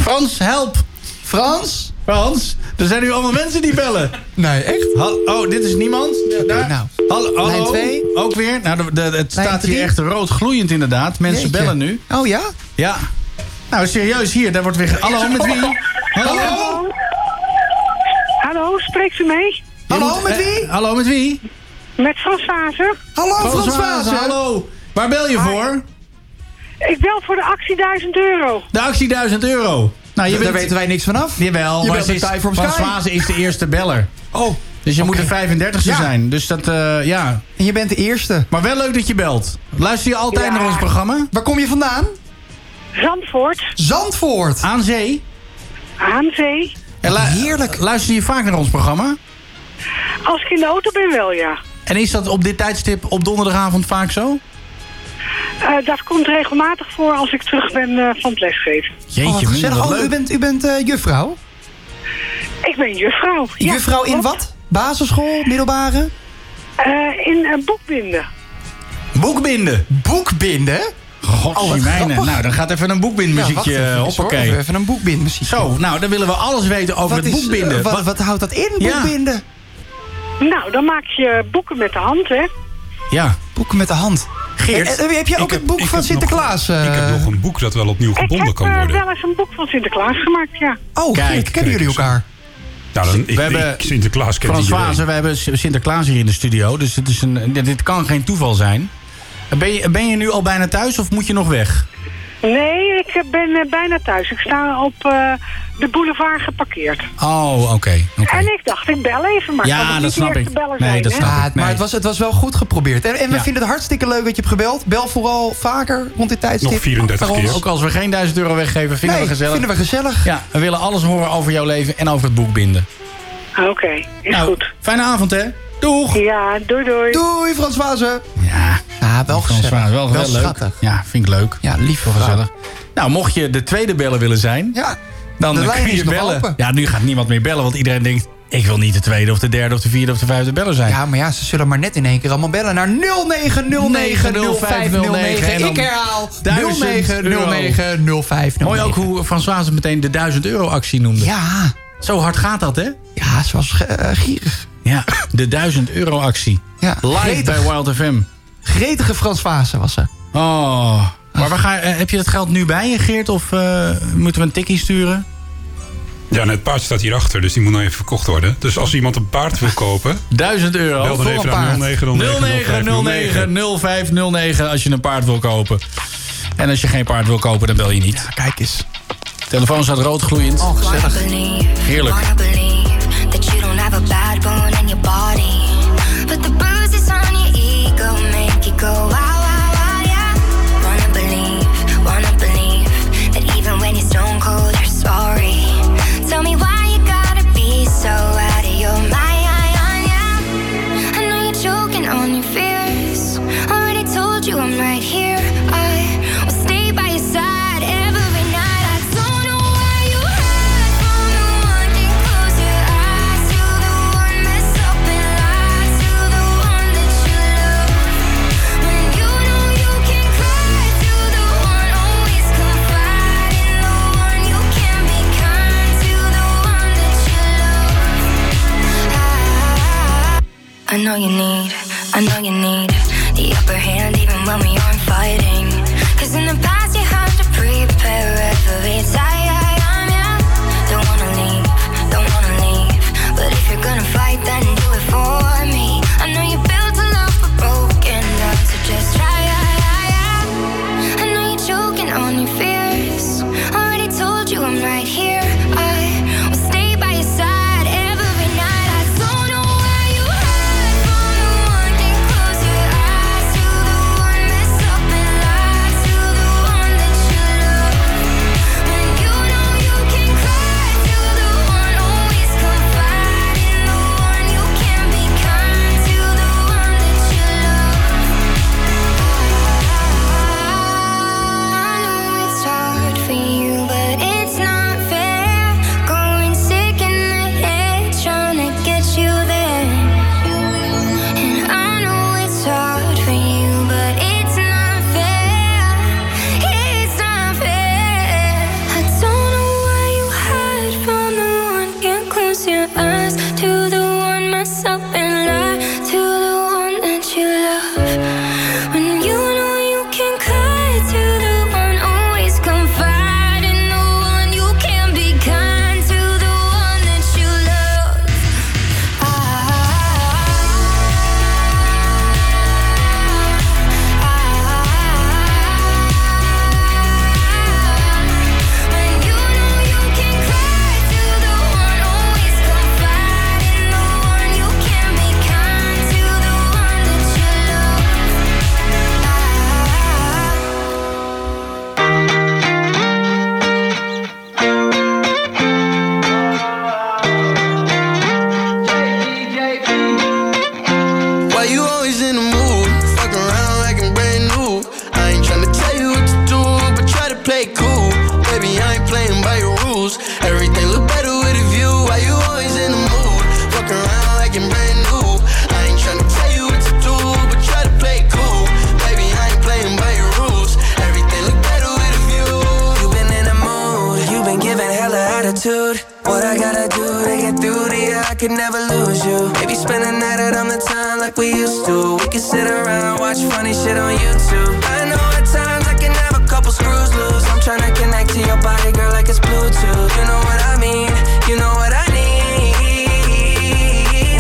S7: Frans, help!
S8: Frans?
S7: Frans? Er zijn nu allemaal mensen die bellen.
S8: Nee, echt?
S7: Hal- oh, dit is niemand? Ja, daar.
S8: Nou.
S7: Hallo?
S8: Lijn
S7: hallo?
S8: twee.
S7: Ook weer? Nou, de, de- het
S8: Lijn
S7: staat
S8: drie.
S7: hier echt rood gloeiend inderdaad. Mensen
S8: Jeetje.
S7: bellen nu.
S8: Oh ja?
S7: Ja. Nou, serieus, hier, daar wordt weer... ge- Hallo, met wie? Hallo?
S20: Hallo, spreekt u mee?
S7: Hallo, met wie? Eh, Hallo, met wie?
S20: Met Frans Vazen.
S7: Wazen, Hallo, waar bel je voor?
S20: Ik bel voor de actie 1000 euro.
S7: De actie 1000 euro. Nou,
S8: Daar weten wij niks vanaf.
S7: Jawel,
S8: Je
S7: maar
S8: bent
S7: ze
S8: met
S7: is,
S8: Ty from
S7: Frans
S8: Sky.
S7: Vazen is de eerste beller. Oh. Dus je moet de 35ste
S8: Ja.
S7: zijn. Dus dat, eh, ja.
S8: En je bent de eerste.
S7: Maar wel leuk dat je belt. Luister je altijd
S8: Ja.
S7: naar ons programma?
S8: Waar kom je vandaan?
S20: Zandvoort.
S8: Zandvoort.
S7: Aan zee.
S20: Aan zee.
S7: En Heerlijk. Luister je vaak naar ons programma?
S20: Als ik in de auto ben wel, ja.
S7: En is dat op dit tijdstip op donderdagavond vaak zo?
S20: Eh, dat komt regelmatig voor als ik terug ben eh, van het lesgeven.
S7: Jeetje,
S8: oh, wat
S7: mina,
S8: gezellig.
S7: wat
S8: Oh, u
S7: leuk.
S8: bent, u bent eh, juffrouw?
S20: Ik ben juffrouw. Ja,
S8: juffrouw in
S20: klopt.
S8: wat? Basisschool? Middelbare?
S20: Eh, in eh, boekbinden.
S7: Boekbinden.
S8: Boekbinden? Oh,
S7: Godzijmijnen.
S8: grappig.
S7: nou, dan gaat even een boekbindmuziekje. eh,
S8: Ja, wacht even
S7: Ja,
S8: eens, hoor. Even- even een boekbindmuziekje.
S7: Zo, nou, dan willen we alles weten over
S8: Wat
S7: het
S8: is,
S7: boekbinden.
S8: eh, wat,
S7: Wat-
S8: wat houdt dat in,
S7: Ja.
S8: boekbinden?
S20: Nou, dan maak je boeken met de hand, hè? Eh,
S7: Ja.
S8: Boeken met de hand.
S12: Geert,
S8: Eh, eh, heb je
S12: ik
S8: ook
S12: heb-
S8: het boek
S12: ik
S8: van
S12: heb nog-
S8: Sinterklaas? eh?
S12: Ik heb nog een boek dat wel opnieuw gebonden
S20: ik heb
S12: kan
S20: eh,
S12: worden.
S20: wel eens een boek van Sinterklaas gemaakt, ja.
S8: Oh, Geert, kennen jullie elkaar?
S12: Nou, dan, ik,
S7: We hebben-
S12: ik- Sinterklaas kent
S7: Frans
S12: iedereen.
S7: Vazen, we hebben S- Sinterklaas hier in de studio. Dus dit, is een, dit kan geen toeval zijn. Ben je, ben je nu al bijna thuis of moet je nog weg?
S20: Nee, ik eh, ben eh, bijna thuis. Ik sta op eh, de boulevard geparkeerd.
S7: Oh, oké.
S20: En ik dacht, ik bel even, maar
S7: Ja,
S20: kan
S7: dat
S20: niet de
S7: snap
S20: eerste
S7: ik.
S20: beller
S7: Nee,
S20: zijn,
S7: dat
S20: hè?
S7: snap ik.
S8: Ah, het- maar
S7: Nee.
S8: het was, het was wel goed geprobeerd. En, en we
S7: Ja.
S8: vinden het hartstikke leuk dat je hebt gebeld. Bel vooral vaker rond dit tijdstip.
S7: Nog 34 keer. Ook als we geen 1000 euro weggeven, vinden
S8: Nee,
S7: we gezellig.
S8: vinden we gezellig.
S7: Ja, we willen alles horen over jouw leven en over het boek binden.
S20: Ah, Oké, is
S7: Nou,
S20: goed.
S7: Fijne avond, hè? Doeg!
S20: Ja, doei doei.
S8: Doei, Frans Wazen.
S7: Ja,
S8: ja Ah, wel
S7: Frans
S8: gezellig.
S7: Vazen, wel, wel leuk.
S8: schattig.
S7: Ja, vind ik leuk.
S8: Ja, lief
S7: Wel
S8: vrouw.
S7: gezellig. Nou, mocht je de tweede bellen willen zijn,
S8: Ja,
S7: dan
S8: de
S7: eh,
S8: lijn
S7: kun
S8: is
S7: je
S8: nog
S7: bellen.
S8: open.
S7: Ja, nu gaat niemand meer bellen, want iedereen denkt... ik wil niet de tweede of de derde of de vierde of de vijfde beller zijn.
S8: Ja, maar ja, ze zullen maar net in één keer allemaal bellen naar 09090509.
S7: En dan
S8: Ik herhaal
S7: 1000 euro.
S8: 09090509.
S7: Mooi ook hoe Françoise meteen de 1000 euro actie noemde.
S8: Ja,
S7: Zo hard gaat dat, hè?
S8: ja, ze was eh, gierig.
S7: Ja, de 1000 euro actie.
S8: Ja,
S7: Live
S8: gretig.
S7: bij Wild FM.
S8: Gretige Frans Vazen was ze.
S7: Oh. Maar waar ga, eh, heb je dat geld nu bij je, Geert? Of eh, moeten we een tikkie sturen?
S12: Ja, en het paard staat hierachter, dus die
S13: nou
S12: moet nog even verkocht worden. Dus als iemand een paard wil kopen...
S7: 1000 euro.
S12: Bel dan
S7: voor
S12: even
S7: een
S12: naar
S7: paard.
S12: 0909
S7: 0909 als je een paard wil kopen. En als je geen paard wil kopen, dan bel je niet.
S8: kijk eens.
S7: Telefoon staat rood gloeiend.
S8: Oh, gezellig.
S7: Heerlijk.
S21: Wanna believe that you don't have a bad bone in your body. But the bruises on your ego make you go wow, wow, wow, yeah. Wanna believe, wanna believe that even when you're stone cold, you're sorry. Tell me why you gotta be so out of your mind, yeah. I know you're choking on your fears. Already told you I'm right here. I will stay by your side every night. I don't know why you hide from the one that close your eyes. You're the one that's up and lies. You're the one that you love. When you know you can cry, you're the one always confide in the one you can be kind. You're the one that you love. I know you need, I know you need the upper hand even when we aren't fighting. Cause in the past you had to prepare every time, yeah. Don't wanna leave, don't wanna leave. But if you're gonna fight, then do it for me. I know you built a love for broken love, so just try, I know you're choking on your fears. Already told you I'm right here. I will stay by your side every night. I don't know why you hide from the one that close your eyes. You're the one that's up and lies. You're the one
S22: looking brand new. I ain't tryna tell you what to do, but try to play it cool. Baby, I ain't playing by your rules. Everything look better with a view. You been in the mood, you been giving hella attitude. What I gotta do to get through to you, I could never lose you. Maybe spend a night out on the town like we used to. We could sit around, watch funny shit on YouTube. I know at times I can have a couple screws loose. I'm tryna connect to your body, girl, like it's Bluetooth. You know what I mean, you know what I need.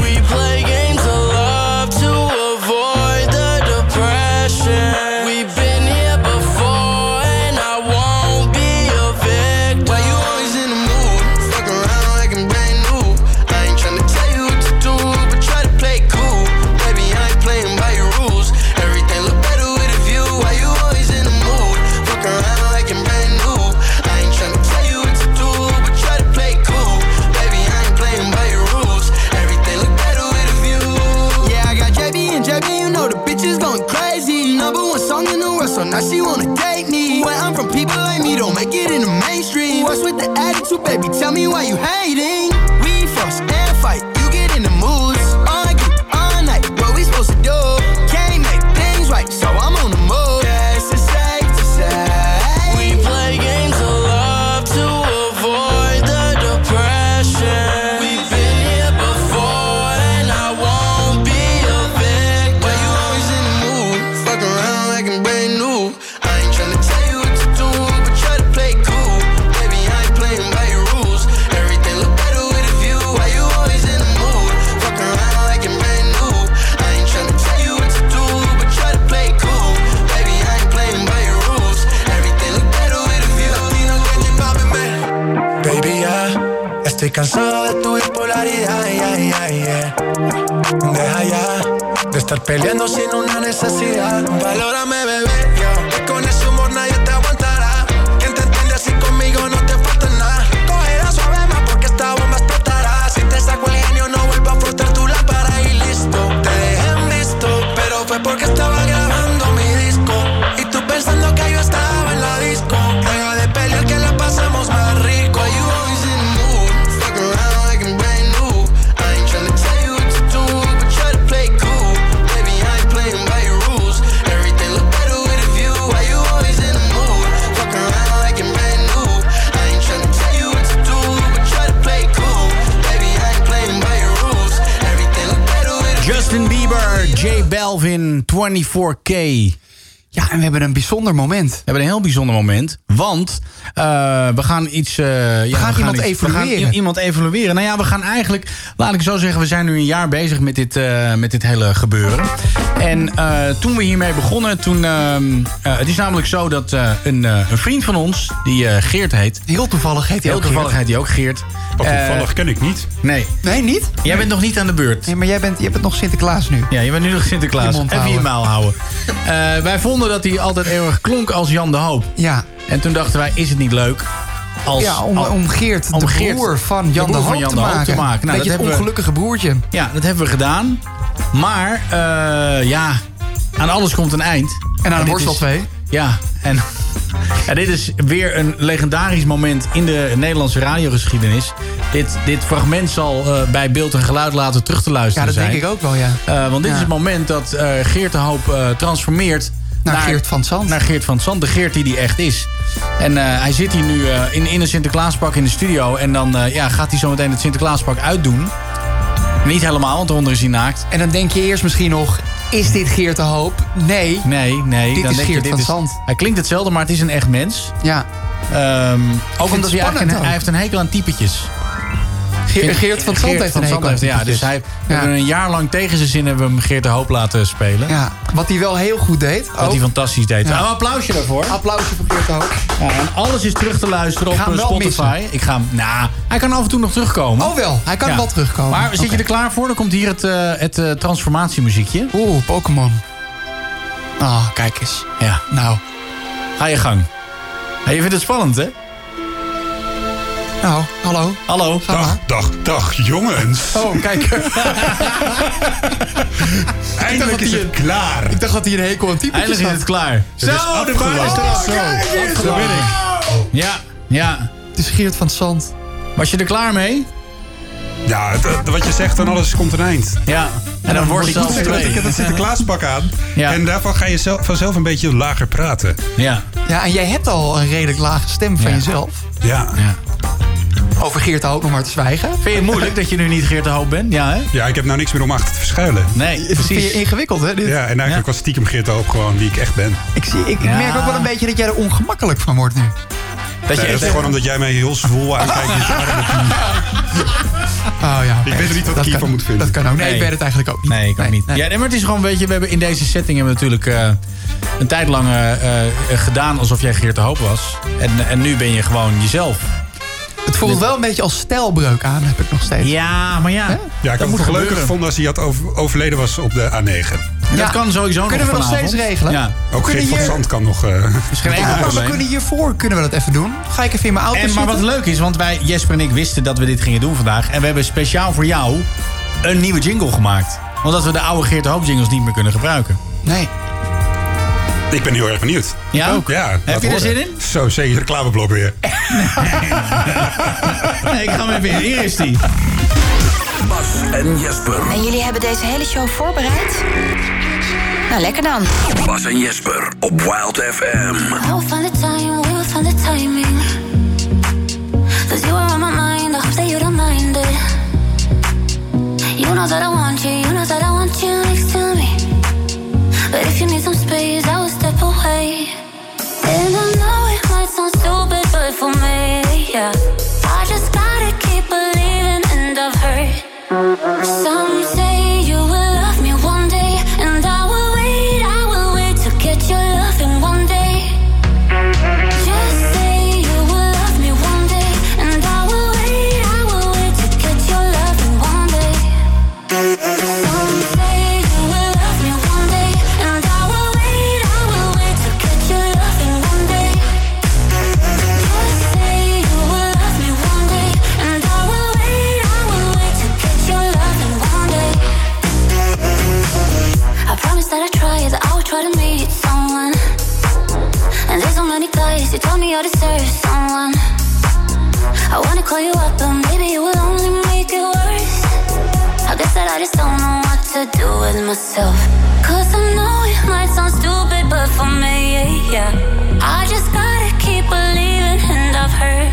S22: We play games of love to avoid the depression. We've been here before, and I won't be a victim. Why you always in the mood? Fuck around like I'm brand new. I ain't tryna tell you what to do, but try to play it cool. Baby, I ain't playing by your rules. Everything look better with a view. Why you always in the mood? Fuck around like I'm brand new. I ain't tryna tell you what to do, but try to play it cool. Baby, I ain't playing by your rules. Everything look better with a view. Yeah, I got JB and JB, you know the bitch is going crazy. Number one song in the world, so now she wanna date me. Where I'm from, people like me don't make it in the mainstream. What's with the attitude, baby? Tell me why you hating. We fuss and fight, you get in the moods. Argue all night, what we supposed to do? Can't make things right, so I'm on the move. Yes, it's safe to say. We play games of love to avoid the depression. We've been here before, and I won't be a victim. Why you always in the mood? Fuck around like I'm brand new. I ain't tryna tell you what to do, but try to play it cool. Baby, I ain't playing by your rules. Everything look better with a view. Why you always in the mood? Fuck around like I'm brand new. I ain't tryna tell you what to do, but try to play it cool. Baby, I ain't playing by your rules. Everything look better with a view.
S3: Baby, ya estoy cansado de tu bipolaridad. ay, ay, yeah. Deja ya de estar peleando sin una necesidad.
S22: Valórame, bebé. yo. Que con ese humor nadie te aguantará. Quien te entiende así conmigo no te falta nada. Cógela suave más porque esta bomba explotará. Si te saco el genio, no vuelvo a frotar tu lámpara y listo. Te dejé en visto, pero fue porque estaba grabando mi disco. Y tú pensando que yo estaba en la disco. Juega de pelear que la pasamos más rico. Why you always in the mood? Fuck around like I'm brand new. I ain't tryna tell you what to do, but try to play it cool. Baby, I ain't playing by your rules. Everything look better with a view. Why you always in the mood? Fuck around like I'm brand new. I ain't tryna tell you what to do, but try to play it cool. Baby, I ain't playing by your rules. Everything look better with a view.
S7: Justin Bieber, J Belvin, 24K. Ja, en we hebben een bijzonder moment. We hebben een heel bijzonder moment. Want eh, we gaan iets... eh, ja, we
S8: gaan iemand
S7: iets- we gaan
S8: evalueren.
S7: i- iemand evalueren. Nou ja, we gaan eigenlijk... Laat ik zo zeggen, we zijn nu een jaar bezig met dit, eh, met dit hele gebeuren. En eh, toen we hiermee begonnen, toen... ehm, eh, het is namelijk zo dat eh, een, eh, een vriend van ons, die eh, Geert heet... Heel toevallig heet
S8: hij
S7: Heel
S8: ook
S7: toevallig
S8: Geert.
S7: heet hij ook Geert.
S8: Wat toevallig
S7: Oh, ken ik niet. Nee.
S8: Nee, niet?
S7: Jij bent nog niet aan de beurt.
S8: Nee, maar jij bent, je bent nog Sinterklaas nu.
S7: Ja, je bent nu nog Sinterklaas.
S8: Je mond
S7: Even je
S8: houden.
S7: maal houden. Eh, wij vonden dat hij altijd heel erg klonk als Jan de Hoop. Ja. En toen dachten wij, is het niet leuk als...
S8: ja, om,
S7: al-
S8: om Geert, de broer van Jan de,
S7: broer
S8: Hoop,
S7: van Jan
S8: te, maken.
S7: Nou,
S8: Beetje
S7: dat
S8: het
S7: hebben we-
S8: ongelukkige broertje.
S7: ja, dat hebben we gedaan. Maar, eh, ja, aan alles komt een eind.
S8: En aan de
S7: dit
S8: worst wel
S7: is-
S8: twee.
S7: Ja, en, [LAUGHS] en dit is weer een legendarisch moment in de Nederlandse radiogeschiedenis. Dit, dit fragment zal eh, bij beeld en geluid later terug te
S8: Ja,
S7: luisteren
S8: dat
S7: zijn.
S8: denk ik ook wel, ja.
S7: Eh, want dit
S8: Ja.
S7: is het moment dat eh, Geert de Hoop eh, transformeert...
S8: Naar Geert van Zand.
S7: Naar Geert van Zand, de Geert die die echt is. En eh, hij zit hier nu eh, in, in een Sinterklaaspak in de studio. En dan eh, ja, gaat hij zo meteen het Sinterklaaspak uitdoen. Niet helemaal, want eronder is hij naakt.
S8: En dan denk je eerst misschien nog, is dit Geert de Hoop? Nee.
S7: Nee, nee.
S8: Dit
S7: dan
S8: is
S7: denk je,
S8: Geert
S7: dit
S8: van
S7: is-
S8: Zand.
S7: Hij klinkt hetzelfde, maar het is een echt mens.
S8: Ja.
S7: Ehm, ook omdat hij,
S8: spannend
S7: eigenlijk een,
S8: ook.
S7: hij heeft een hekel aan typetjes.
S8: Ge-
S7: Vind-
S8: Geert van Zand heeft een hekel aan
S7: Ja, dus
S8: typetjes.
S7: hij, we
S8: Ja.
S7: hebben een jaar lang tegen zijn zin hebben we hem Geert de Hoop laten spelen.
S8: Ja, wat hij wel heel goed deed.
S7: Wat hij fantastisch deed. Oh,
S8: Ja.
S7: Een applausje daarvoor.
S8: Applausje voor Geert de Hoop.
S7: Ja, en alles is terug te luisteren
S8: Ik
S7: op
S8: ga hem
S7: eh,
S8: wel
S7: Spotify.
S8: missen.
S7: Ik ga hem. Nou, hij kan af en toe nog terugkomen.
S8: Oh wel, hij kan
S7: Ja.
S8: wel terugkomen.
S7: Maar zit
S8: Oké.
S7: je er klaar voor? Dan komt hier het, eh, het eh, transformatiemuziekje.
S8: Oeh, Pokémon. Ah, kijk eens.
S7: Ja.
S8: Nou.
S7: Ga je gang. Ja, je vindt het spannend, hè?
S8: Nou, hallo.
S7: Hallo.
S8: Ga maar.
S13: Dag, dag jongens.
S8: Oh, kijk. [LAUGHS]
S13: Eindelijk is het klaar.
S8: Ik dacht dat hij een hekel aan typetjes
S7: Eindelijk is
S8: had.
S7: het klaar.
S8: Het is
S7: Zo, de baan is
S8: afgelopen.
S7: eraf.
S8: Zo, Oh, kijk eens.
S7: Zo ben ik. Ja, ja.
S8: Het is Geert van Zand.
S7: Was je er klaar mee?
S13: Ja, het, eh, wat je zegt, aan alles komt een eind.
S7: Ja,
S13: en
S7: dan wordt
S13: Ik
S7: zelfs
S13: moet zeggen dat ik
S7: twee.
S13: het- dat Sinterklaaspak aan. En daarvan ga je zelf, vanzelf een beetje lager praten.
S7: Ja.
S8: Ja, en jij hebt al een redelijk lage stem van jezelf.
S13: Ja.
S8: Over Geert de Hoop nog maar te zwijgen.
S7: Vind je het moeilijk dat je nu niet Geert de Hoop bent? Ja, hè?
S13: Ja, ik heb nou niks meer om achter te verschuilen.
S7: Nee,
S8: Vind je ingewikkeld, hè? Dit?
S13: Ja, en eigenlijk was stiekem Geert de Hoop gewoon wie ik echt ben.
S8: Ik, zie, ik, ik merk ook wel een beetje dat jij er ongemakkelijk van wordt nu.
S13: Dat,
S8: echt-
S13: is gewoon omdat jij mij heel zwoel aankijkt. en zwaar aan het doen.
S8: Oh ja.
S13: Ik weet er niet wat ik
S8: kan-
S13: hiervan moet vinden.
S8: Dat kan ook. Nee, ik weet het eigenlijk ook niet.
S7: Nee, ik ook niet. Ja, nee, maar het is gewoon, weet je, we hebben in deze setting hebben we natuurlijk eh, een tijd lang eh, eh, gedaan alsof jij Geert de Hoop was. En, en nu ben je gewoon jezelf.
S8: Het voelt wel een beetje als stijlbreuk aan, heb ik nog steeds.
S7: Ja, maar ja.
S13: Ja, ik
S8: Dat
S13: had
S8: moet
S13: het gelukkig
S8: gebeuren.
S13: gevonden als hij had over- overleden was op de A9.
S8: Ja. Dat kan sowieso nog Kunnen we nog vanavond. steeds regelen?
S13: Ja.
S8: We
S13: Ook
S8: kunnen
S13: Geert van
S8: hier-
S13: Zand kan nog... eh
S7: [LAUGHS]
S8: Ja, maar we kunnen hiervoor kunnen we dat even doen. Ga ik even in mijn auto
S7: En, maar
S8: zitten?
S7: wat leuk is, want wij, Jesper en ik, wisten dat we dit gingen doen vandaag. En we hebben speciaal voor jou een nieuwe jingle gemaakt. Omdat we de oude Geert de Hoop jingles niet meer kunnen gebruiken.
S8: Nee.
S13: Ik ben heel erg benieuwd.
S7: Ja?
S13: Ook, ja.
S7: Heb
S13: laat
S7: je er
S13: horen.
S7: zin in?
S13: Zo, zeker reclameblok weer.
S7: Nee, ik ga hem even in. Hier is die.
S6: Bas en Jesper.
S21: En jullie hebben deze hele show voorbereid? Nou, lekker dan.
S6: Bas en Jesper op Wild FM.
S5: I will find the time, we will find the timing. Cause you are on my mind, I hope that you don't mind it. You know that I want you, you know that I want you next to me. But if you need some space, I will step away. And I know it might sound stupid, but for me, yeah. I just gotta keep believing, and I've heard. Some say you will love me one day, and I will wait, I will wait to get your love in one day. Just say you will love me one day, and I will wait, I will wait to get your love in one day. Some say you will love me one day, and I will wait, I will wait to get your love in one day. Just say you will love me one day, and I will wait, I will wait to get your love in one day. I promise that I try, that I will try to meet someone. And there's so many guys, you told me I deserve someone. I wanna call you up, but maybe it will only make it worse. I guess that I just don't know what to do with myself. Cause I know it might sound stupid, but for me, yeah. I just gotta keep believing, and I've heard.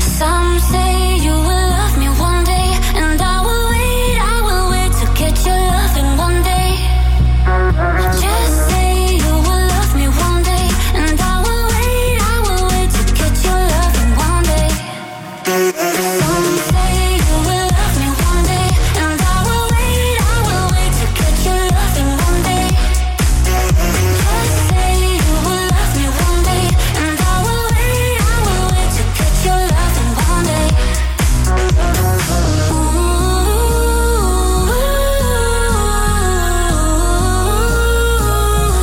S5: Some say you will love me one day, and I will wait, I will wait to get your love in one day. Just say you will love me one day, and I will wait, I will wait to get your love in one day. Some say you will love me one day, and I will wait, I will wait to get your love in one day. Just say you will love me one day, and I will wait, I will wait to get your love in one day.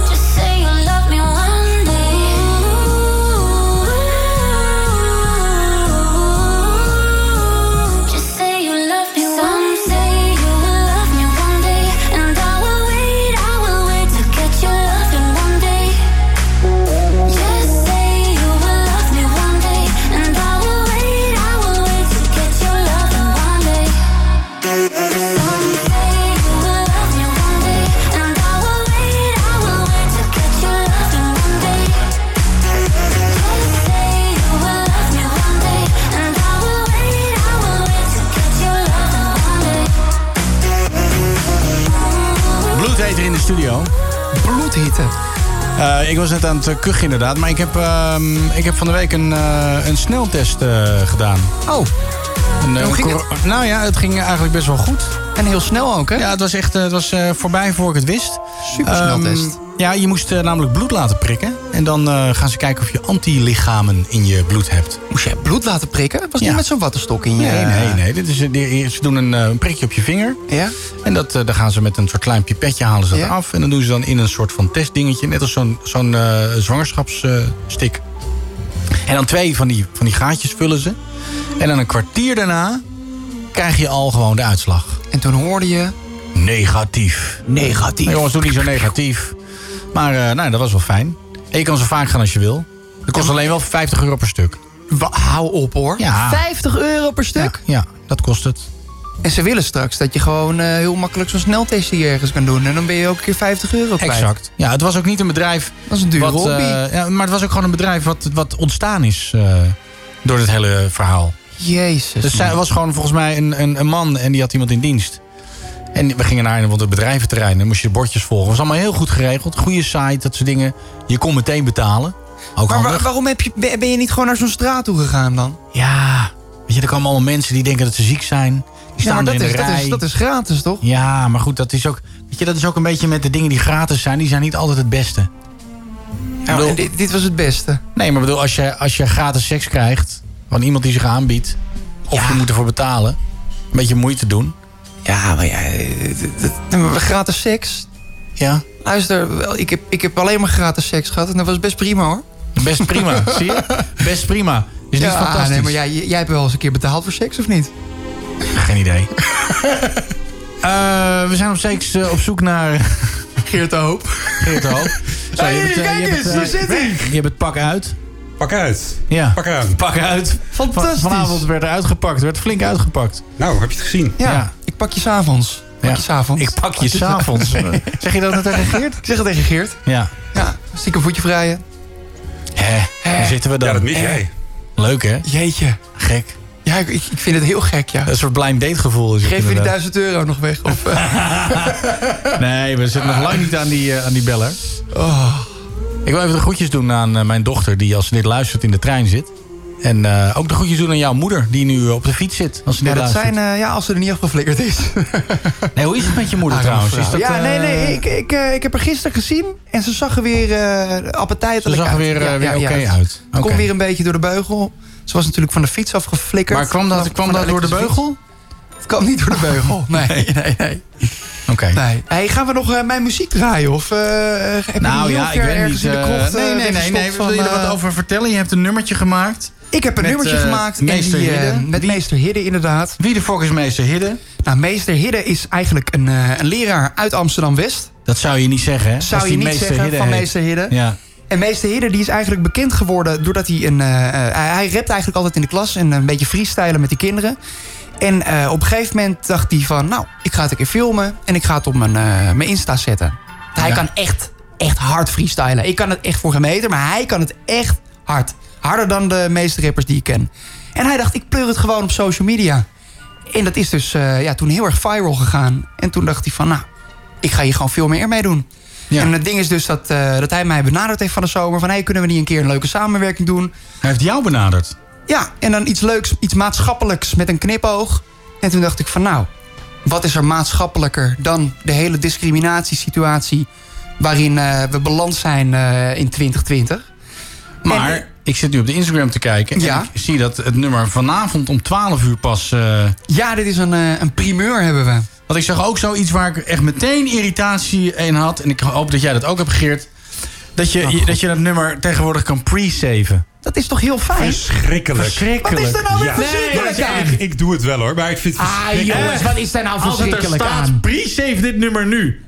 S5: Just say you love me one day. Just say you love me. Some say you will love me one day, and I will wait, I will wait to get your love in one day. Just say you will love me one day, and I will wait, I will wait to get your love in one day. Some say you will love me one day, and I will wait, I will wait to get your love in one day. Just say you will love me one day, and I will wait, I will wait to get your love in one day.
S7: Bloedheter in de studio.
S8: Bloedhitte.
S7: ik was net aan het eh, kuchen inderdaad. Maar ik heb, ehm, ik heb van de week een, eh, een sneltest eh, gedaan.
S8: Oh.
S7: Een, eh,
S8: Hoe ging
S7: cor- Nou ja, het ging eigenlijk best wel goed.
S8: En heel snel ook, hè?
S7: Ja, het was echt eh, het was, eh, voorbij voor ik het wist.
S8: Supersneltest.
S7: Ehm, ja, je moest eh, namelijk bloed laten prikken. En dan eh, gaan ze kijken of je antilichamen in je bloed hebt.
S8: Moest jij bloed laten prikken? Was niet met zo'n wattenstok in je?
S7: Nee, nee, nee. Dit is, eh, die- ze doen een, eh, een prikje op je vinger.
S8: Ja?
S7: En dat, eh, dan gaan ze met een soort klein pipetje halen ze dat af. En dan doen ze dan in een soort van testdingetje. Net als zo'n zo'n eh, zwangerschapsstick. en dan twee van die, van die gaatjes vullen ze. En dan een kwartier daarna krijg je al gewoon de uitslag.
S8: En toen hoorde je...
S7: Negatief.
S8: Negatief.
S7: Nee, jongens, doe niet zo negatief. Maar eh, nou, dat was wel fijn. En je kan zo vaak gaan als je wil. Dat kost alleen wel 50 euro per stuk.
S8: Wa- hou op, hoor.
S7: Ja.
S8: 50 euro per stuk?
S7: Ja, Ah. dat kost het.
S8: En ze willen straks dat je gewoon eh, heel makkelijk zo'n sneltest hier ergens kan doen. En dan ben je ook een keer 50 euro kwijt.
S7: Exact. Ja, het was ook niet een bedrijf.
S8: Dat is een dure
S7: wat,
S8: hobby.
S7: eh, ja, maar het was ook gewoon een bedrijf wat, wat ontstaan is eh, door dit hele verhaal.
S8: Jezus.
S7: Dus zij
S8: man.
S7: was gewoon volgens mij een, een, een man en die had iemand in dienst. En we gingen naar een of ander bedrijventerrein. Dan moest je de bordjes volgen. was allemaal heel goed geregeld. Goede site, dat soort dingen. Je kon meteen betalen. Ook
S8: maar wa-
S7: handig.
S8: waarom heb je, ben ben je niet gewoon naar zo'n straat toe gegaan dan?
S7: Ja, weet je, er komen allemaal mensen die denken dat ze ziek zijn. Die
S8: Ja,
S7: staan
S8: maar
S7: er
S8: dat
S7: in
S8: is,
S7: de
S8: dat,
S7: rij.
S8: is, dat is gratis, toch?
S7: Ja, maar goed, dat is, ook, weet je, dat is ook een beetje met de dingen die gratis zijn. Die zijn niet altijd het beste.
S8: Ja, maar Nou, dit, dit was het beste.
S7: Nee, maar bedoel, als je, als je gratis seks krijgt van iemand die zich aanbiedt... of je moet ervoor betalen, een beetje moeite doen.
S8: Ja, eh, maar ja, Nee, maar Gratis seks.
S7: Ja.
S8: Luister, wel, ik heb, ik heb alleen maar gratis seks gehad. En dat was best prima, hoor.
S7: Best
S8: [LAUGHS]
S7: prima, zie je? Best prima. Is niet
S8: ja, ah,
S7: fantastisch.
S8: Nee, maar jij, jij hebt wel eens een keer betaald voor seks, of niet?
S7: Geen idee. [LAUGHS] Eh, we zijn op seks eh, op zoek naar...
S8: Geert de Hoop.
S7: Geert de
S8: [LAUGHS]
S7: Hoop. Zo,
S8: Hey,
S7: je hebt, eh,
S8: kijk
S7: je hebt,
S8: eens,
S7: eh,
S8: daar zit hij.
S7: Je hebt het pak uit.
S13: Pak uit.
S7: Ja.
S13: Pak aan.
S7: Pak uit.
S8: Fantastisch.
S7: Van- vanavond werd er uitgepakt. Werd flink uitgepakt.
S13: Nou, heb je het gezien?
S8: Ja, ik pak je s'avonds. Pak je s'avonds.
S7: Ik pak je
S8: [LAUGHS]
S7: s'avonds. eh. zeg je dat net tegen Geert?
S8: Ik zeg het tegen Geert.
S7: Ja.
S8: Ja, stiekem voetje vrijen.
S7: Hè, daar zitten we dan.
S13: Ja, dat mis jij.
S7: Leuk, hè?
S8: Jeetje.
S7: Gek.
S8: Ja, ik, ik ik vind het heel gek, ja.
S7: Een soort blind date gevoel is het
S8: Geef je die
S7: inderdaad.
S8: 1000 euro nog weg? Of, eh,
S7: Nee, we zitten nog lang niet aan die, eh, aan die beller.
S8: Oh.
S7: Ik wil even de groetjes doen aan eh, mijn dochter... die als ze dit luistert in de trein zit. En eh, ook de groetjes doen aan jouw moeder... die nu eh, op de fiets zit als ze
S8: ja,
S7: dit
S8: dat
S7: luistert.
S8: zijn, eh, ja, als ze er niet afgeflikkerd is.
S7: Nee, hoe is het met je moeder trouwens? Is dat,
S8: Ah, ja,
S7: eh,
S8: nee, nee. Ik, ik, eh, ik heb haar gisteren gezien en ze zag er weer eh
S7: Ze
S8: appetijtelijk
S7: zag er
S8: uit.
S7: weer, eh, weer oké uit.
S8: Ze kon
S7: Oké.
S8: weer een beetje door de beugel. Ze was natuurlijk van de fiets afgeflikkerd.
S7: Maar kwam dat-
S8: Van-
S7: kwam
S8: van
S7: dat door de
S8: elektrische
S7: beugel?
S8: fiets. Het kwam niet door de
S7: [LAUGHS]
S8: beugel. Nee, nee, nee. nee.
S7: Oké.
S8: Hey, gaan we nog eh, mijn muziek draaien? Of eh, heb je
S7: Nou
S8: die heel
S7: ja, ik
S8: ver
S7: weet
S8: ergens in
S7: niet.
S8: de
S7: eh,
S8: krocht, eh,
S7: nee, nee, nee.
S8: weggestopt
S7: nee.
S8: van,
S7: Wil je er wat
S8: eh,
S7: over vertellen? Je hebt een nummertje gemaakt.
S8: Ik heb een
S7: met,
S8: nummertje
S7: eh,
S8: gemaakt.
S7: Meester
S8: en die, eh,
S7: Hidde.
S8: met meester Hidde, inderdaad.
S7: Wie de fuck is meester Hidde?
S8: Nou, meester Hidde is eigenlijk een, eh, een leraar uit Amsterdam-West.
S7: Dat zou je niet zeggen, hè?
S8: Zou
S7: Als
S8: je
S7: die
S8: niet
S7: meester
S8: zeggen
S7: Hidde
S8: van
S7: heet.
S8: meester Hidde.
S7: Ja.
S8: En meester Hidde die is eigenlijk bekend geworden doordat hij een... eh, eh, hij, hij rapt eigenlijk altijd in de klas en een beetje freestylen met die kinderen. En eh, op een gegeven moment dacht hij van... Nou, ik ga het een keer filmen en ik ga het op mijn, eh, mijn Insta zetten. Hij
S7: Ja.
S8: kan echt, echt hard freestylen. Ik kan het echt voor geen meter, maar hij kan het echt hard. Harder dan de meeste rappers die ik ken. En hij dacht, ik pleur het gewoon op social media. En dat is dus eh, ja, toen heel erg viral gegaan. En toen dacht hij van, nou, ik ga hier gewoon veel meer mee doen. En het ding is dus dat, eh, dat hij mij benaderd heeft van de zomer. Van, hey, kunnen we niet een keer een leuke samenwerking doen?
S7: Hij heeft jou benaderd?
S8: Ja, en dan iets leuks, iets maatschappelijks met een knipoog. En toen dacht ik van, nou, wat is er maatschappelijker dan de hele discriminatiesituatie... waarin eh, we beland zijn eh, in 2020?
S7: Maar ik zit nu op de Instagram te kijken. En
S8: Ja.
S7: ik zie dat het nummer vanavond om 12 uur pas... eh,
S8: Ja, dit is een, eh, een primeur hebben we.
S7: Want ik zag ook zoiets waar ik echt meteen irritatie in had. En ik hoop dat jij dat ook hebt, Geert. Dat je je- dat, je dat nummer tegenwoordig kan pre-saven.
S8: Dat is toch heel fijn?
S13: Verschrikkelijk.
S8: Wat is er nou weer verschrikkelijk
S13: Nee,
S8: aan?
S13: ik, ik doe het wel hoor, maar ik vind het
S8: Ah,
S13: verschrikkelijk.
S8: jongens, wat is daar nou verschrikkelijk
S7: staat,
S8: aan?
S7: pre-save dit nummer nu.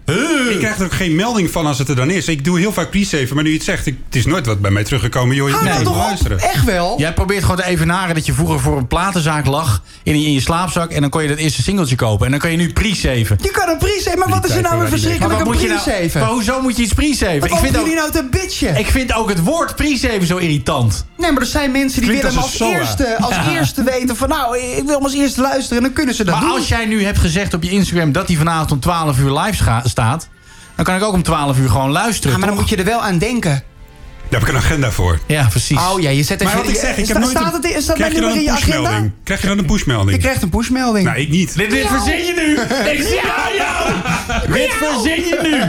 S13: Ik krijg er ook geen melding van als het er dan is. Ik doe heel vaak pre-saven, maar nu je het zegt, ik, het is nooit wat bij mij teruggekomen. Joh, je moet even luisteren.
S8: Echt wel?
S7: Jij probeert gewoon te evenaren dat je vroeger voor een platenzaak lag... in je, in je slaapzak en dan kon je dat eerste singeltje kopen. En dan kan je nu pre-saven.
S8: Je kan een pre maar wat is er
S7: tijd
S8: nou
S7: waar
S8: een
S7: die
S8: verschrikkelijke
S7: Maar wat moet je nou-
S8: pre
S7: maar hoezo moet je iets pre-saven?
S8: Wat
S7: Ik vind
S8: lopen
S7: ook-
S8: jullie nou te bitchen?
S7: Ik vind ook het woord pre-saven zo irritant.
S8: Nee, maar er zijn mensen die
S7: Klinkt
S8: willen hem
S7: als
S8: als,
S7: een SOA.
S8: eerste, als
S7: Ja.
S8: eerste weten van... nou, ik wil hem als eerste luisteren en dan kunnen ze dat
S7: Maar
S8: doen.
S7: als jij nu hebt gezegd op je Instagram... dat hij vanavond om 12 uur live scha- staat... dan kan ik ook om 12 uur gewoon luisteren.
S8: Ja, maar dan moet je er wel aan denken.
S13: Daar heb ik een agenda voor.
S7: Ja, precies.
S8: Oh ja, je zet
S13: Maar
S8: even...
S13: wat ik zeg, ik heb
S8: staat,
S13: nooit
S8: staat
S13: een-
S8: het in- staat
S13: Krijg
S8: mijn
S13: je dan
S8: nummer in
S13: een
S8: je agenda?
S13: pushmelding? Krijg je dan een pushmelding?
S8: Je krijgt een pushmelding.
S13: Nou, ik niet.
S7: Dit, dit verzin je nu! Ik zie aan jou! Dit verzin je nu!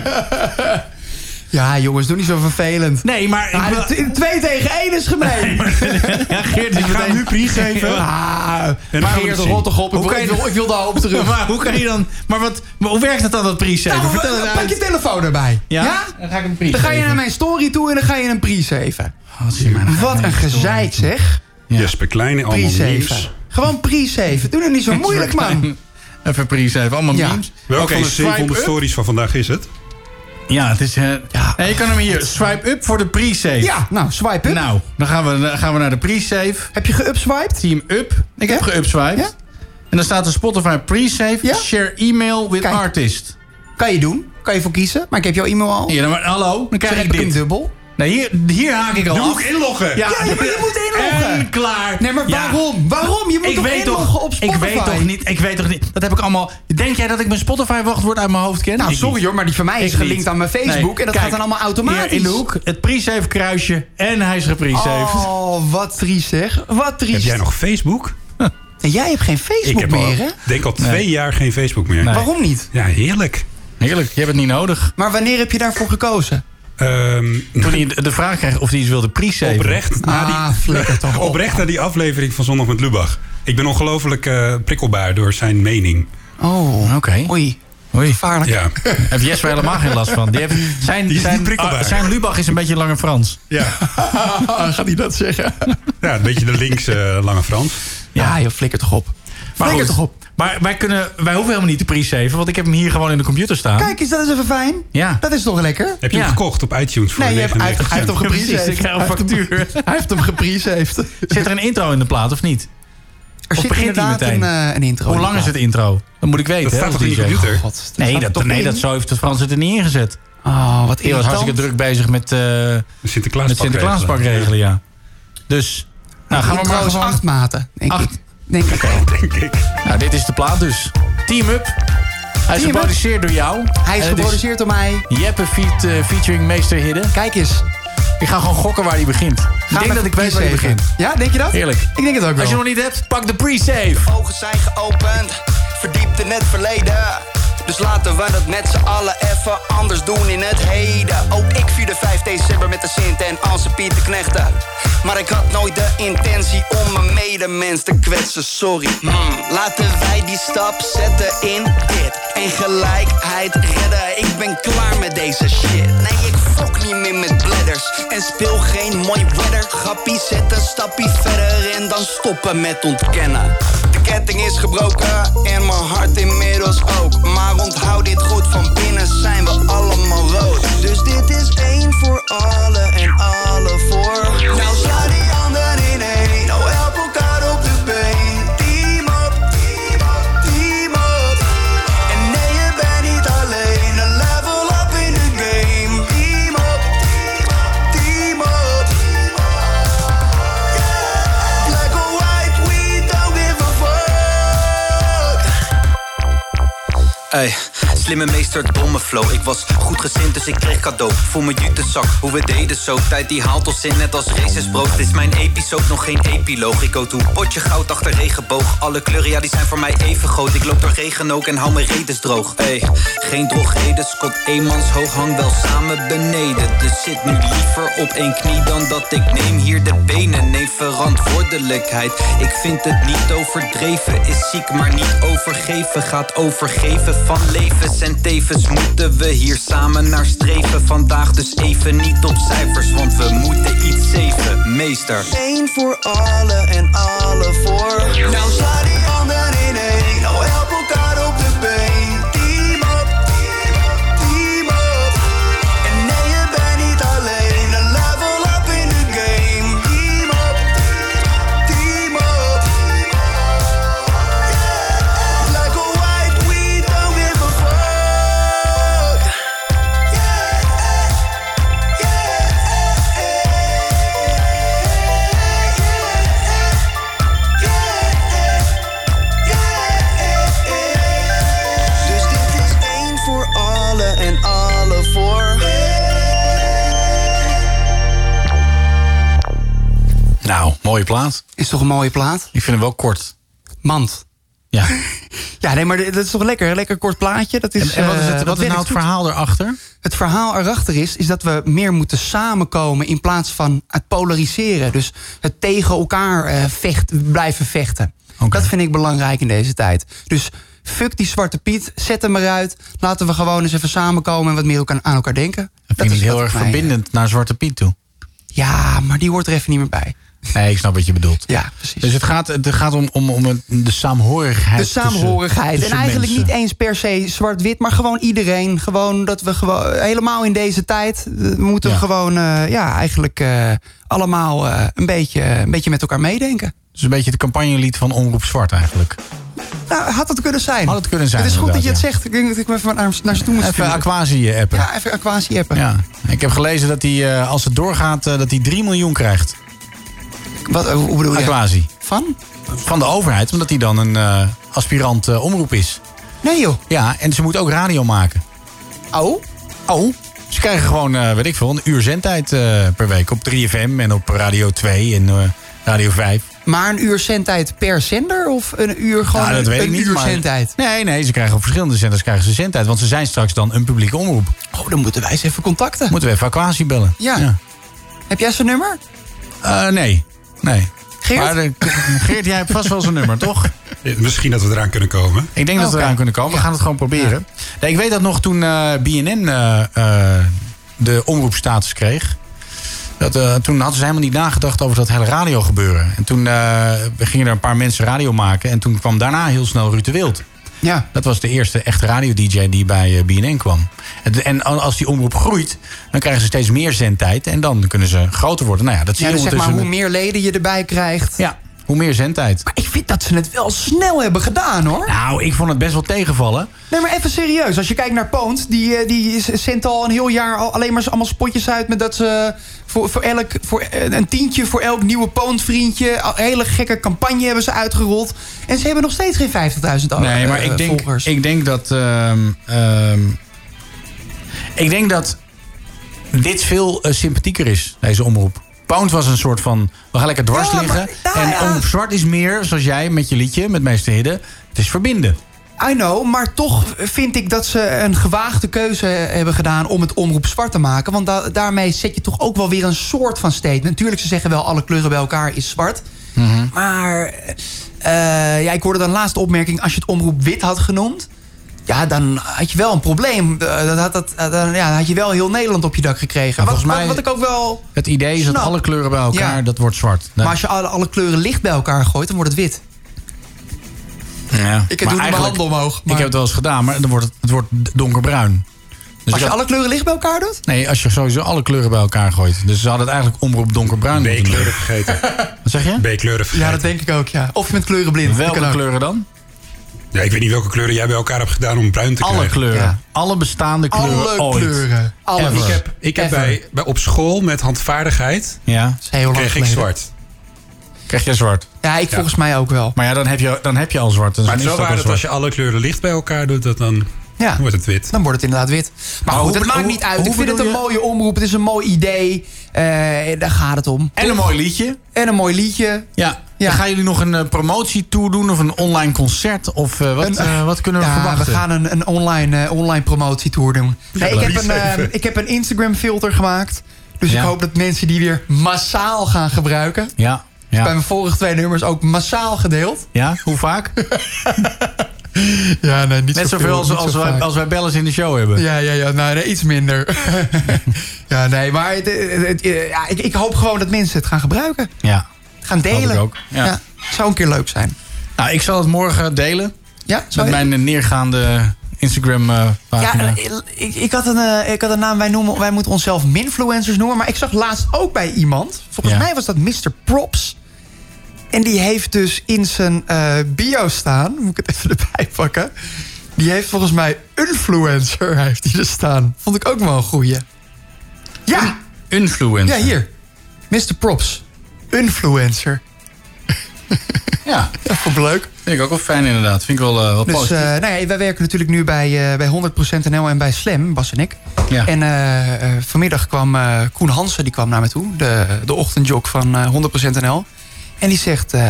S8: Ja, jongens, doe niet zo vervelend.
S7: Nee, maar...
S8: Ah,
S7: wil-
S8: de t- twee tegen één is gemeen.
S7: [LAUGHS] Ja, Geert is
S13: Ik ga hem nu pre-saven.
S7: [LAUGHS]
S8: Ah,
S13: dan
S7: maar
S13: gaan we
S7: Geert,
S13: het zien.
S7: rot toch op. Ik
S8: Hoe
S7: wil,
S8: kan
S7: ik
S8: je-
S7: wil, ik wil de hoop terug. [LAUGHS] maar hoe kan je dan... Maar, wat, maar hoe werkt het dan, dat pre-saven?
S8: Nou,
S7: Vertel het
S8: pak
S7: uit.
S8: je telefoon erbij.
S7: Ja?
S8: Ja?
S7: Dan ga ik hem
S8: Dan
S7: pre-saven.
S8: ga je naar mijn story toe en dan ga je een pre-saven.
S7: Wat zie je mij nou
S8: Wat
S7: mee?
S8: een gezeik, zeg.
S13: Jesper Kleine, allemaal
S8: Pre-saven.
S13: nieuws.
S8: Gewoon pre-saven. Doe
S7: [LAUGHS]
S8: het niet zo moeilijk, man.
S7: Even pre-saven, allemaal
S8: Ja.
S7: memes.
S13: Welke
S7: Oké,
S13: van de
S7: swipe
S13: 700
S7: up.
S13: stories van vandaag is het?
S7: Ja, het is... eh Nee, je kan hem hier. Swipe up voor de pre-save.
S8: Ja, nou, swipe up.
S7: Nou, dan gaan we, dan gaan we naar de pre-save.
S8: Heb je geupswiped?
S7: Team up. Ik heb geupswiped. En dan staat een Spotify pre-save. Share email with artist.
S8: Kan je doen. Kan je voor kiezen. Maar ik heb jouw e-mail al.
S7: Ja, maar hallo. Dan krijg
S8: Zeg,
S7: ik
S8: heb
S7: dit.
S8: ik hem dubbel.
S7: Nee, hier, hier haak ik al
S8: Dan
S7: af.
S8: moet ik inloggen.
S7: Ja,
S8: Ja, maar je moet inloggen.
S7: En klaar.
S8: Nee, maar
S7: Ja.
S8: waarom? Waarom? Je moet
S7: ik
S8: toch
S7: weet
S8: inloggen op Spotify?
S7: Ik weet toch niet, ik weet toch niet. Dat heb ik allemaal... Denk jij dat ik mijn Spotify-wachtwoord uit mijn hoofd ken?
S8: Nou,
S7: Ik
S8: sorry
S7: niet.
S8: hoor, maar die van mij is
S7: Ik
S8: gelinkt
S7: niet.
S8: aan mijn Facebook en dat
S7: Kijk,
S8: gaat dan allemaal automatisch.
S7: hier in de hoek, het pre-save kruisje en hij is gepre-saved.
S8: Oh, wat triest zeg. Wat triest.
S7: Heb jij nog
S12: Facebook?
S8: En jij hebt geen Facebook
S12: Ik heb al,
S8: meer, hè?
S12: denk al twee jaar geen Facebook meer.
S8: Nee. Waarom niet?
S12: Ja, heerlijk.
S7: Heerlijk, je hebt het niet nodig.
S8: Maar wanneer heb je daarvoor gekozen? Ehm,
S7: Toen hij de vraag kreeg of hij iets wilde pre-save.
S12: Oprecht na die,
S8: Ah,
S12: [LAUGHS]
S8: flikker toch op.
S12: oprecht na die aflevering van Zondag met Lubach. Ik ben ongelooflijk eh, prikkelbaar door zijn mening.
S8: Oh,
S7: Eh, oké.
S8: Oei. Gevaarlijk. [LAUGHS]
S12: Ja.
S7: Heeft Jesper helemaal geen last van. Die heeft, zijn,
S12: Die is
S7: zijn,
S12: niet prikkelbaar.
S7: ah, zijn Lubach is een beetje langer Frans.
S12: Ja.
S8: [LAUGHS] Gaat hij dat zeggen?
S12: Ja, een beetje de linkse eh, lange Frans.
S8: Ja, je Ah, flikker toch op.
S7: Maar
S8: Flikker
S7: goed.
S8: toch op.
S7: Maar wij, kunnen, wij hoeven helemaal niet te pre-saven, want ik heb hem hier gewoon in de computer staan.
S8: Kijk eens, dat is even fijn.
S7: Ja.
S8: Dat is toch lekker?
S12: Heb je hem
S7: Ja.
S12: gekocht op iTunes voor
S8: Nee, je hebt, hij, heeft,
S12: 99
S8: hij heeft hem
S12: cent?
S8: geprezen.
S7: Precies, ik krijg een factuur.
S8: [LAUGHS] Hij heeft hem geprezen. heeft.
S7: Zit er een intro in de plaat of niet?
S8: Er
S7: of
S8: zit
S7: begint hij
S8: inderdaad
S7: meteen?
S8: een, eh, een intro
S7: Hoe
S8: in de
S7: lang is
S8: plaat.
S7: het intro? Dat moet ik weten.
S12: Dat
S7: hè,
S12: staat
S7: als
S12: toch in je
S7: DJ.
S12: computer?
S7: God, dat nee,
S8: staat er
S7: dat,
S8: toch
S7: nee
S8: in?
S7: dat zo heeft het Frans het er niet ingezet.
S8: Oh, wat
S7: Die was hartstikke druk bezig met, eh
S12: Sinterklaas
S7: met
S12: pakregelen.
S7: Sinterklaasbakregelen, ja. Dus, nou gaan we maar
S8: Trouwens,
S7: gewoon...
S8: acht maten. Denk ik. Denk ik.
S7: [LAUGHS]
S12: Denk ik.
S7: Nou, dit is de plaat dus. Team Up. Hij is
S8: Team Up.
S7: geproduceerd door jou.
S8: Hij is
S7: En het
S8: geproduceerd door mij.
S7: Jeppe feat, eh, featuring Meester Hidde.
S8: Kijk eens.
S7: Ik ga gewoon gokken waar hij begint. ik denk
S8: we
S7: dat ik weet
S8: even
S7: waar hij
S8: kiezen.
S7: begint.
S8: Ja, denk je dat?
S7: Heerlijk.
S8: Ik denk het ook wel.
S7: Als je nog niet hebt, pak de pre-save.
S4: Ogen zijn geopend, verdiept in het verleden. Dus laten we dat met z'n allen even anders doen in het heden. Ook ik vierde 5 december met de Sint en Anse Pieter Knechten. Maar ik had nooit de intentie om mijn medemens te kwetsen, sorry. Mm. Laten wij die stap zetten in dit. En gelijkheid redden, ik ben klaar met deze shit. Nee, ik fok niet meer met bladders. En speel geen mooi weather. Grappie zet een stapje verder en dan stoppen met ontkennen. De ketting is gebroken en mijn hart inmiddels ook. Maar onthoud dit goed, van binnen zijn we allemaal rood. Dus dit is één voor allen en alle voor. Nou sla die anderen in één, nou help elkaar op de been. Team up, team up, team up. En nee, je bent niet alleen, een level up in de game. Team up, team up, team up. Black or white, we don't give a fuck.
S23: Ey, slimme meester, het domme flow. Ik was goed gezind, dus ik kreeg cadeau. Voel mijn jutezak, hoe we deden zo. Tijd die haalt ons in, net als races brood. Dit is mijn episode, nog geen epiloog. Ik go toe, potje goud achter regenboog. Alle kleuren, ja, die zijn voor mij even groot. Ik loop door regen ook en hou mijn redes droog. Ey, geen drogreden, Scott Eemans hoog hang wel samen beneden. Dus zit nu liever op één knie dan dat ik neem hier de benen. Neem verantwoordelijkheid. Ik vind het niet overdreven, is ziek, maar niet overgeven. Gaat overgeven van levens en tevens moeten we hier samen naar streven. Vandaag dus even niet op cijfers, want we moeten iets zeven, meester.
S4: Eén voor allen en alle voor. Nou sla die ander in één. Nou help elkaar op de been. Team up, team up, team up. En nee, je bent niet alleen. Een level up in de game. Team up, team up, team up. Yeah. Black or white, we don't give a fuck. Dus dit is één voor allen en alle voor.
S7: Nou, mooie plaat.
S8: Is toch een mooie plaat?
S7: Ik vind hem wel kort.
S8: Mand.
S7: Ja.
S8: [LAUGHS] ja, nee, maar dit- dat is toch lekker? Een lekker kort plaatje. Dat is,
S7: En- en wat is het-
S8: eh, dat
S7: wat is nou
S8: werkt
S7: het
S8: goed.
S7: verhaal erachter?
S8: Het verhaal erachter is, is dat we meer moeten samenkomen in plaats van het polariseren. Dus het tegen elkaar eh, vecht, blijven vechten. Dat vind ik belangrijk in deze tijd. Dus fuck die zwarte Piet, zet hem eruit. Laten we gewoon eens even samenkomen en wat meer elkaar, aan elkaar denken.
S7: Dat vind ik heel erg
S8: mij,
S7: verbindend naar Zwarte Piet toe.
S8: Ja, maar die hoort er even niet meer bij.
S7: Nee, ik snap wat je bedoelt.
S8: Ja, precies.
S7: Dus het gaat, het gaat om, om, om een- de saamhorigheid.
S8: De
S7: tussen-
S8: saamhorigheid.
S7: tussen
S8: en eigenlijk
S7: mensen.
S8: niet eens per se zwart-wit, maar gewoon iedereen. Gewoon dat we gewoon helemaal in deze tijd eh, we moeten
S7: Ja.
S8: gewoon eh, ja, eigenlijk eh, allemaal eh, een, beetje, een beetje met elkaar meedenken.
S7: Dus een beetje het campagnelied van Omroep Zwart eigenlijk.
S8: Nou, had het kunnen zijn. Had het
S7: kunnen zijn,
S8: Het is goed dat je het
S7: inderdaad,
S8: zegt. Ik denk dat ik me even naar, naar ze toe moet
S7: Even
S8: sturen.
S7: Aquasi appen.
S8: Ja, even aquatie appen.
S7: Ja. Ik heb gelezen dat hij, eh, als het doorgaat, eh, dat hij 3 miljoen krijgt.
S8: Wat, eh, hoe bedoel je?
S7: Aquasi.
S8: Van?
S7: Van de overheid, omdat hij dan een eh, aspirant eh, omroep is.
S8: Nee joh.
S7: Ja, en ze moet ook radio maken.
S8: Oh?
S7: Oh? Ze krijgen gewoon, eh, weet ik veel, een uur zendtijd eh, per week. Op 3FM en op Radio 2 en eh, Radio 5.
S8: Maar een uur zendtijd per zender? Of een uur gewoon
S7: Nou, dat
S8: een,
S7: weet ik niet,
S8: uur
S7: maar-
S8: zendtijd?
S7: Nee, nee, ze krijgen op verschillende zenders krijgen ze zendtijd. Want ze zijn straks dan een publieke omroep.
S8: Oh, dan moeten wij eens even contacten.
S7: Moeten we even Aquasi bellen.
S8: Ja. Heb jij zijn nummer?
S7: Eh, nee, nee.
S8: Geert?
S7: Maar, eh, Geert, jij hebt vast wel zijn nummer, toch?
S13: [LAUGHS] Misschien dat we eraan kunnen komen.
S7: Ik denk dat we
S13: Oké.
S7: eraan kunnen komen. We gaan het gewoon proberen. Nee, ik weet dat nog toen eh, BNN eh, eh, de omroepstatus kreeg. Dat, eh, toen hadden ze helemaal niet nagedacht over dat hele radiogebeuren. En toen eh, gingen er een paar mensen radio maken. En toen kwam daarna heel snel Ruud de Wild.
S8: Ja.
S7: Dat was de eerste echte radio-dj die bij eh, BNN kwam. En, en als die omroep groeit, dan krijgen ze steeds meer zendtijd. En dan kunnen ze groter worden. Nou ja, dat zie
S8: Ja,
S7: je
S8: dus zeg maar
S7: ondertussen
S8: hoe
S7: met-
S8: meer leden je erbij krijgt.
S7: Ja. hoe meer zendtijd.
S8: Maar ik vind dat ze het wel snel hebben gedaan hoor.
S7: Nou, ik vond het best wel tegenvallen.
S8: Nee, maar even serieus. Als je kijkt naar Poont, die, eh, die is- zendt al een heel jaar al alleen maar allemaal spotjes uit... met dat ze voor, voor, elk, voor eh, een tientje voor elk nieuwe Poont-vriendje... al- een hele gekke campagne hebben ze uitgerold. En ze hebben nog steeds geen eh, 50.000 euro.
S7: Nee, maar ik denk, ik denk dat. ehm, ehm, ik denk dat dit veel eh, sympathieker is, deze omroep. Pound was een soort van. We gaan lekker dwars liggen. en Omroep Zwart is meer, zoals jij met je liedje, met Meester Hidden. Het is verbinden.
S8: I know, maar toch vind ik dat ze een gewaagde keuze hebben gedaan om het omroep zwart te maken. Want da- daarmee zet je toch ook wel weer een soort van statement. Natuurlijk, ze zeggen wel alle kleuren bij elkaar is zwart. Maar eh, ja, ik hoorde dan laatste opmerking, als je het omroep wit had genoemd... Ja, dan had je wel een probleem. Eh, Dan had, dat, dan, ja, dan had je wel heel Nederland op je dak gekregen. wat,
S7: volgens
S8: wat,
S7: mij-
S8: wat ik ook wel...
S7: Het idee is dat
S8: Snap.
S7: alle kleuren bij elkaar,
S8: Ja.
S7: dat wordt zwart. Nee.
S8: Maar als je alle, alle kleuren licht bij elkaar gooit, dan wordt het wit.
S7: ja.
S8: Ik doe nu mijn handen omhoog.
S7: Ik heb het wel eens gedaan, maar dan wordt het, het wordt donkerbruin. Dus
S8: als je
S7: dat-
S8: alle kleuren licht bij elkaar doet?
S7: Nee, als je sowieso alle kleuren bij elkaar gooit. Dus ze hadden het eigenlijk omroep donkerbruin moeten doen. B-kleuren
S13: vergeten.
S7: [LAUGHS] Wat zeg je?
S13: B-kleuren
S8: Ja, dat denk ik ook, ja. Of je bent kleurenblind.
S7: Welke kleuren dan?
S13: Ja, ik weet niet welke kleuren jij bij elkaar hebt gedaan om bruin te
S7: Alle
S13: krijgen.
S7: kleuren. Alle bestaande kleuren
S13: Alle
S7: ooit.
S13: kleuren.
S7: Alle
S13: Ik heb, ik heb bij, bij op school met handvaardigheid.
S7: Ja.
S8: lang
S13: kreeg ik
S8: geleden.
S13: zwart.
S7: Krijg jij zwart?
S8: Ja, ik volgens mij ook wel.
S7: Maar ja, dan heb je, dan heb je al zwart. Dus
S13: Maar
S7: dan
S13: het is
S7: is
S13: wel waar
S7: het ook
S13: dat
S7: al
S13: als je
S7: zwart.
S13: alle kleuren licht bij elkaar doet, dat dan
S8: Ja.
S13: wordt het wit. Oh,
S8: Dan wordt het inderdaad wit. Maar,
S13: Maar
S8: goed,
S13: hoe
S8: het
S13: bedo-
S8: maakt
S13: hoe-
S8: niet uit.
S13: hoe
S8: Ik vind het een
S13: bedoel
S8: mooie omroep. Het is een mooi idee. Eh, daar gaat het om.
S7: En een mooi liedje.
S8: En een mooi liedje.
S7: Ja. Dan gaan jullie nog een eh, promotietour doen of een online concert? Of eh, wat,
S8: Een-
S7: eh, wat kunnen we
S8: Ja,
S7: verwachten?
S8: We gaan een, een online, eh, online promotietour doen. Nee,
S7: Ja,
S8: ik,
S7: leuk.
S8: heb een, eh, ik heb een Instagram filter gemaakt. Dus
S7: Ja.
S8: ik hoop dat mensen die weer massaal gaan gebruiken.
S7: Ja.
S8: Bij
S7: Ja.
S8: mijn vorige twee nummers ook massaal gedeeld.
S7: ja, hoe
S8: [LAUGHS]
S7: vaak?
S8: Ja, nee, niet
S7: Net
S8: zoveel,
S7: zoveel als,
S8: niet zo
S7: als, wij,
S8: vaak.
S7: als wij bellers in de show hebben.
S8: Ja, ja, ja. Nou, nee, iets minder. [LAUGHS] ja, nee, maar het, het- het- ja, ik, ik hoop gewoon dat mensen het gaan gebruiken.
S7: Ja.
S8: Gaan delen.
S7: Hoop ik ook. Ja.
S8: Zou een keer leuk zijn.
S7: Nou, ik zal het morgen delen.
S8: Ja,
S7: Met mijn eh, neergaande eh,
S8: Ja,
S7: Instagram-pagina.
S8: ik, ik, had een, eh, ik had een naam, wij, noemen, wij moeten onszelf minfluencers noemen. Maar ik zag laatst ook bij iemand, volgens
S7: Ja.
S8: mij was dat Mr. Props. En die heeft dus in zijn eh, bio staan, moet ik het even [LAUGHS] erbij pakken. Die heeft volgens mij influencer, [LAUGHS] heeft die er staan. Vond ik ook wel een goeie. Ja,
S7: Influencer.
S8: ja hier. Mr. Props, influencer.
S7: Ja.
S8: Dat vond ik leuk.
S7: Vind ik ook wel fijn inderdaad. Vind ik wel, eh, wel
S8: Dus eh,
S7: positief.
S8: nou ja, wij werken natuurlijk nu bij, eh bij 100% NL en bij Slam, Bas en ik.
S7: Ja.
S8: En eh, eh, vanmiddag kwam eh, Koen Hansen, die kwam naar me toe. De, de ochtendjog van eh, 100% NL. En die zegt... eh,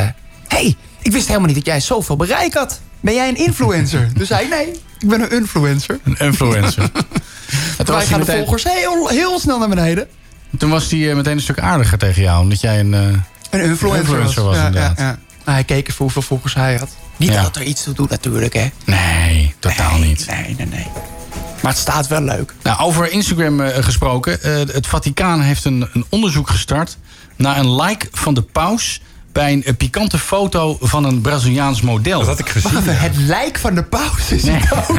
S8: hey, ik wist helemaal niet dat jij zoveel bereik had. Ben jij een
S7: [LAUGHS]
S8: influencer? dus zei ik, nee, ik ben een influencer.
S7: Een influencer. En
S8: Wij
S7: toen, was
S8: gaan
S7: hij
S8: de
S7: meteen,
S8: volgers [LAUGHS] heel, heel snel naar beneden.
S7: toen was hij eh, meteen een stuk aardiger tegen jou. Omdat jij een, eh,
S8: Een influencer,
S7: influencer was.
S8: Ja,
S7: inderdaad.
S8: ja, ja. Nou, hij keek even hoeveel volgers hij had. Niet
S7: Ja.
S8: dat er iets toe doet natuurlijk, hè.
S7: Nee, totaal niet.
S8: oh. Nee, nee, nee. Maar het staat wel leuk.
S7: Nou, over Instagram eh, gesproken. eh, het Vaticaan heeft een, een onderzoek gestart naar een like van de paus bij een eh, pikante foto van een Braziliaans model. Dat had ik gezien.
S8: Wacht even, Het lijk van de paus is
S7: Nee. [LAUGHS]
S8: dood.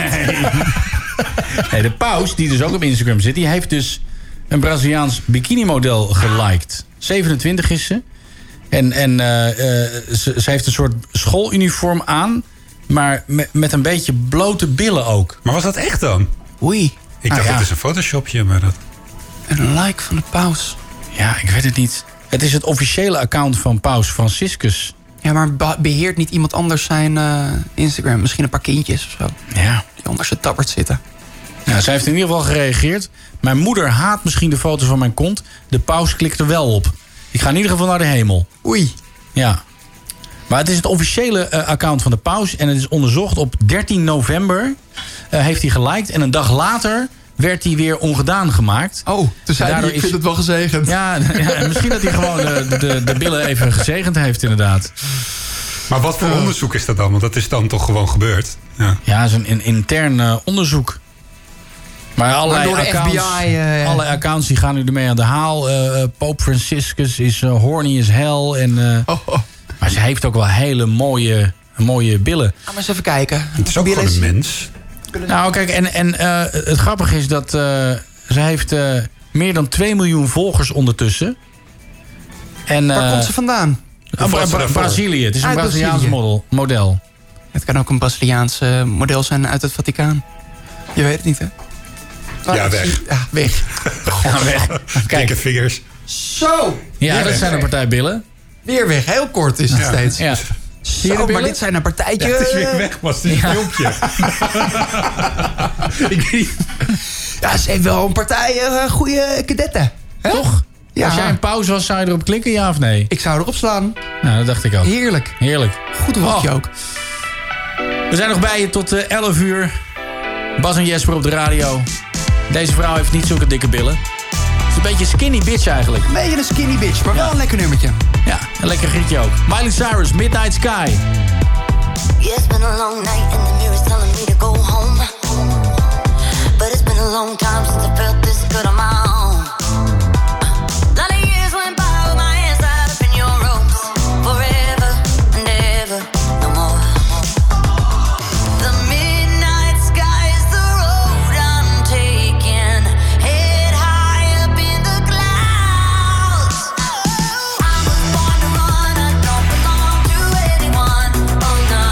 S7: Nee, de paus, die dus ook op Instagram zit, die heeft dus een Braziliaans bikinimodel geliked. 27 is ze. En, en eh, eh, ze, ze heeft een soort schooluniform aan. Maar me- met een beetje blote billen ook.
S13: Maar was dat echt dan?
S7: Oei. Nou
S13: Ik dacht, dat is een photoshopje, maar dat...
S7: Een like van de paus. Ja, ik weet het niet. Het is het officiële account van paus Franciscus.
S8: Ja, maar ba- beheert niet iemand anders zijn eh, Instagram? Misschien een paar kindjes of zo.
S7: Ja.
S8: Die onder zijn tabbert zitten.
S7: Nou, zij heeft in ieder geval gereageerd. Mijn moeder haat misschien de foto's van mijn kont. De paus klikt er wel op. Ik ga in ieder geval naar de hemel. Oei. Ja. Maar het is het officiële eh, account van de paus. En het is onderzocht op 13 november. eh, heeft hij geliked. En een dag later werd hij weer ongedaan gemaakt.
S24: Oh, toen zei hij, ik vind het wel gezegend.
S7: Ja, [LAUGHS] ja, misschien dat hij gewoon eh, de, de, de billen even gezegend heeft, inderdaad. Eh.
S13: Maar wat voor onderzoek is dat dan? Want dat is dan toch gewoon gebeurd? Ja,
S7: ja het is een, een intern eh, onderzoek. Maar allerlei,
S8: door de
S7: accounts,
S8: FBI, eh, ja.
S7: allerlei accounts die gaan nu ermee aan de haal. Eh eh, Pope Franciscus is eh, horny as hell. En, eh,
S8: Oh,
S7: Maar ze heeft ook wel hele mooie, mooie billen.
S8: Ga maar eens even kijken.
S13: Het is ook gewoon een mens.
S7: Nou, kijk, en, en eh, het grappige is dat eh, ze heeft eh, meer dan 2 miljoen volgers ondertussen. En,
S8: Waar
S7: eh,
S8: komt ze vandaan?
S7: Ah, Bra- Bra- Brazilië. Het is een
S8: Uit
S7: Braziliaans
S8: Brazilië.
S7: model. model.
S8: Het kan ook een Braziliaanse model zijn uit het Vaticaan. Je weet het niet, hè?
S13: Ja, weg.
S8: Ja, Ah, weg.
S7: Ga weg.
S13: [LAUGHS] Dikke vingers.
S8: Zo! Weer
S7: Ja, dat
S8: weg.
S7: zijn een partij billen.
S8: Weer weg. Heel kort is het
S7: Ja.
S8: steeds.
S7: Ja.
S8: Zo, maar dit zijn een partijtje.
S13: Ja, het is weer weg, was het is een
S7: [LAUGHS]
S13: filmpje.
S8: Ja, ze heeft wel een partij eh, goede kadetten. Hè?
S7: Toch?
S8: Ja.
S7: Als jij een pauze was, zou je erop klikken, ja of nee?
S8: Ik zou erop slaan.
S7: Nou, dat dacht ik ook.
S8: Heerlijk.
S7: Heerlijk. Oh.
S8: Goed woordje ook.
S7: We zijn nog bij je tot eh, 11 uur. Bas en Jesper op de radio. Deze vrouw heeft niet zulke dikke billen. Het is een beetje een skinny bitch eigenlijk.
S8: Een beetje een skinny bitch, maar wel een lekker nummertje.
S7: Ja, een lekker grietje ook. Miley Cyrus, Midnight Sky.
S2: Yeah, it's been a long night and the mirror's telling me to go home. But it's been a long time since I felt this good on my own. Lot of years went by with my hands tied up in your ropes. Forever and ever, no more. The midnight sky is the road I'm taking. Head high up in the clouds. I was born to run, I don't belong to anyone. Oh no.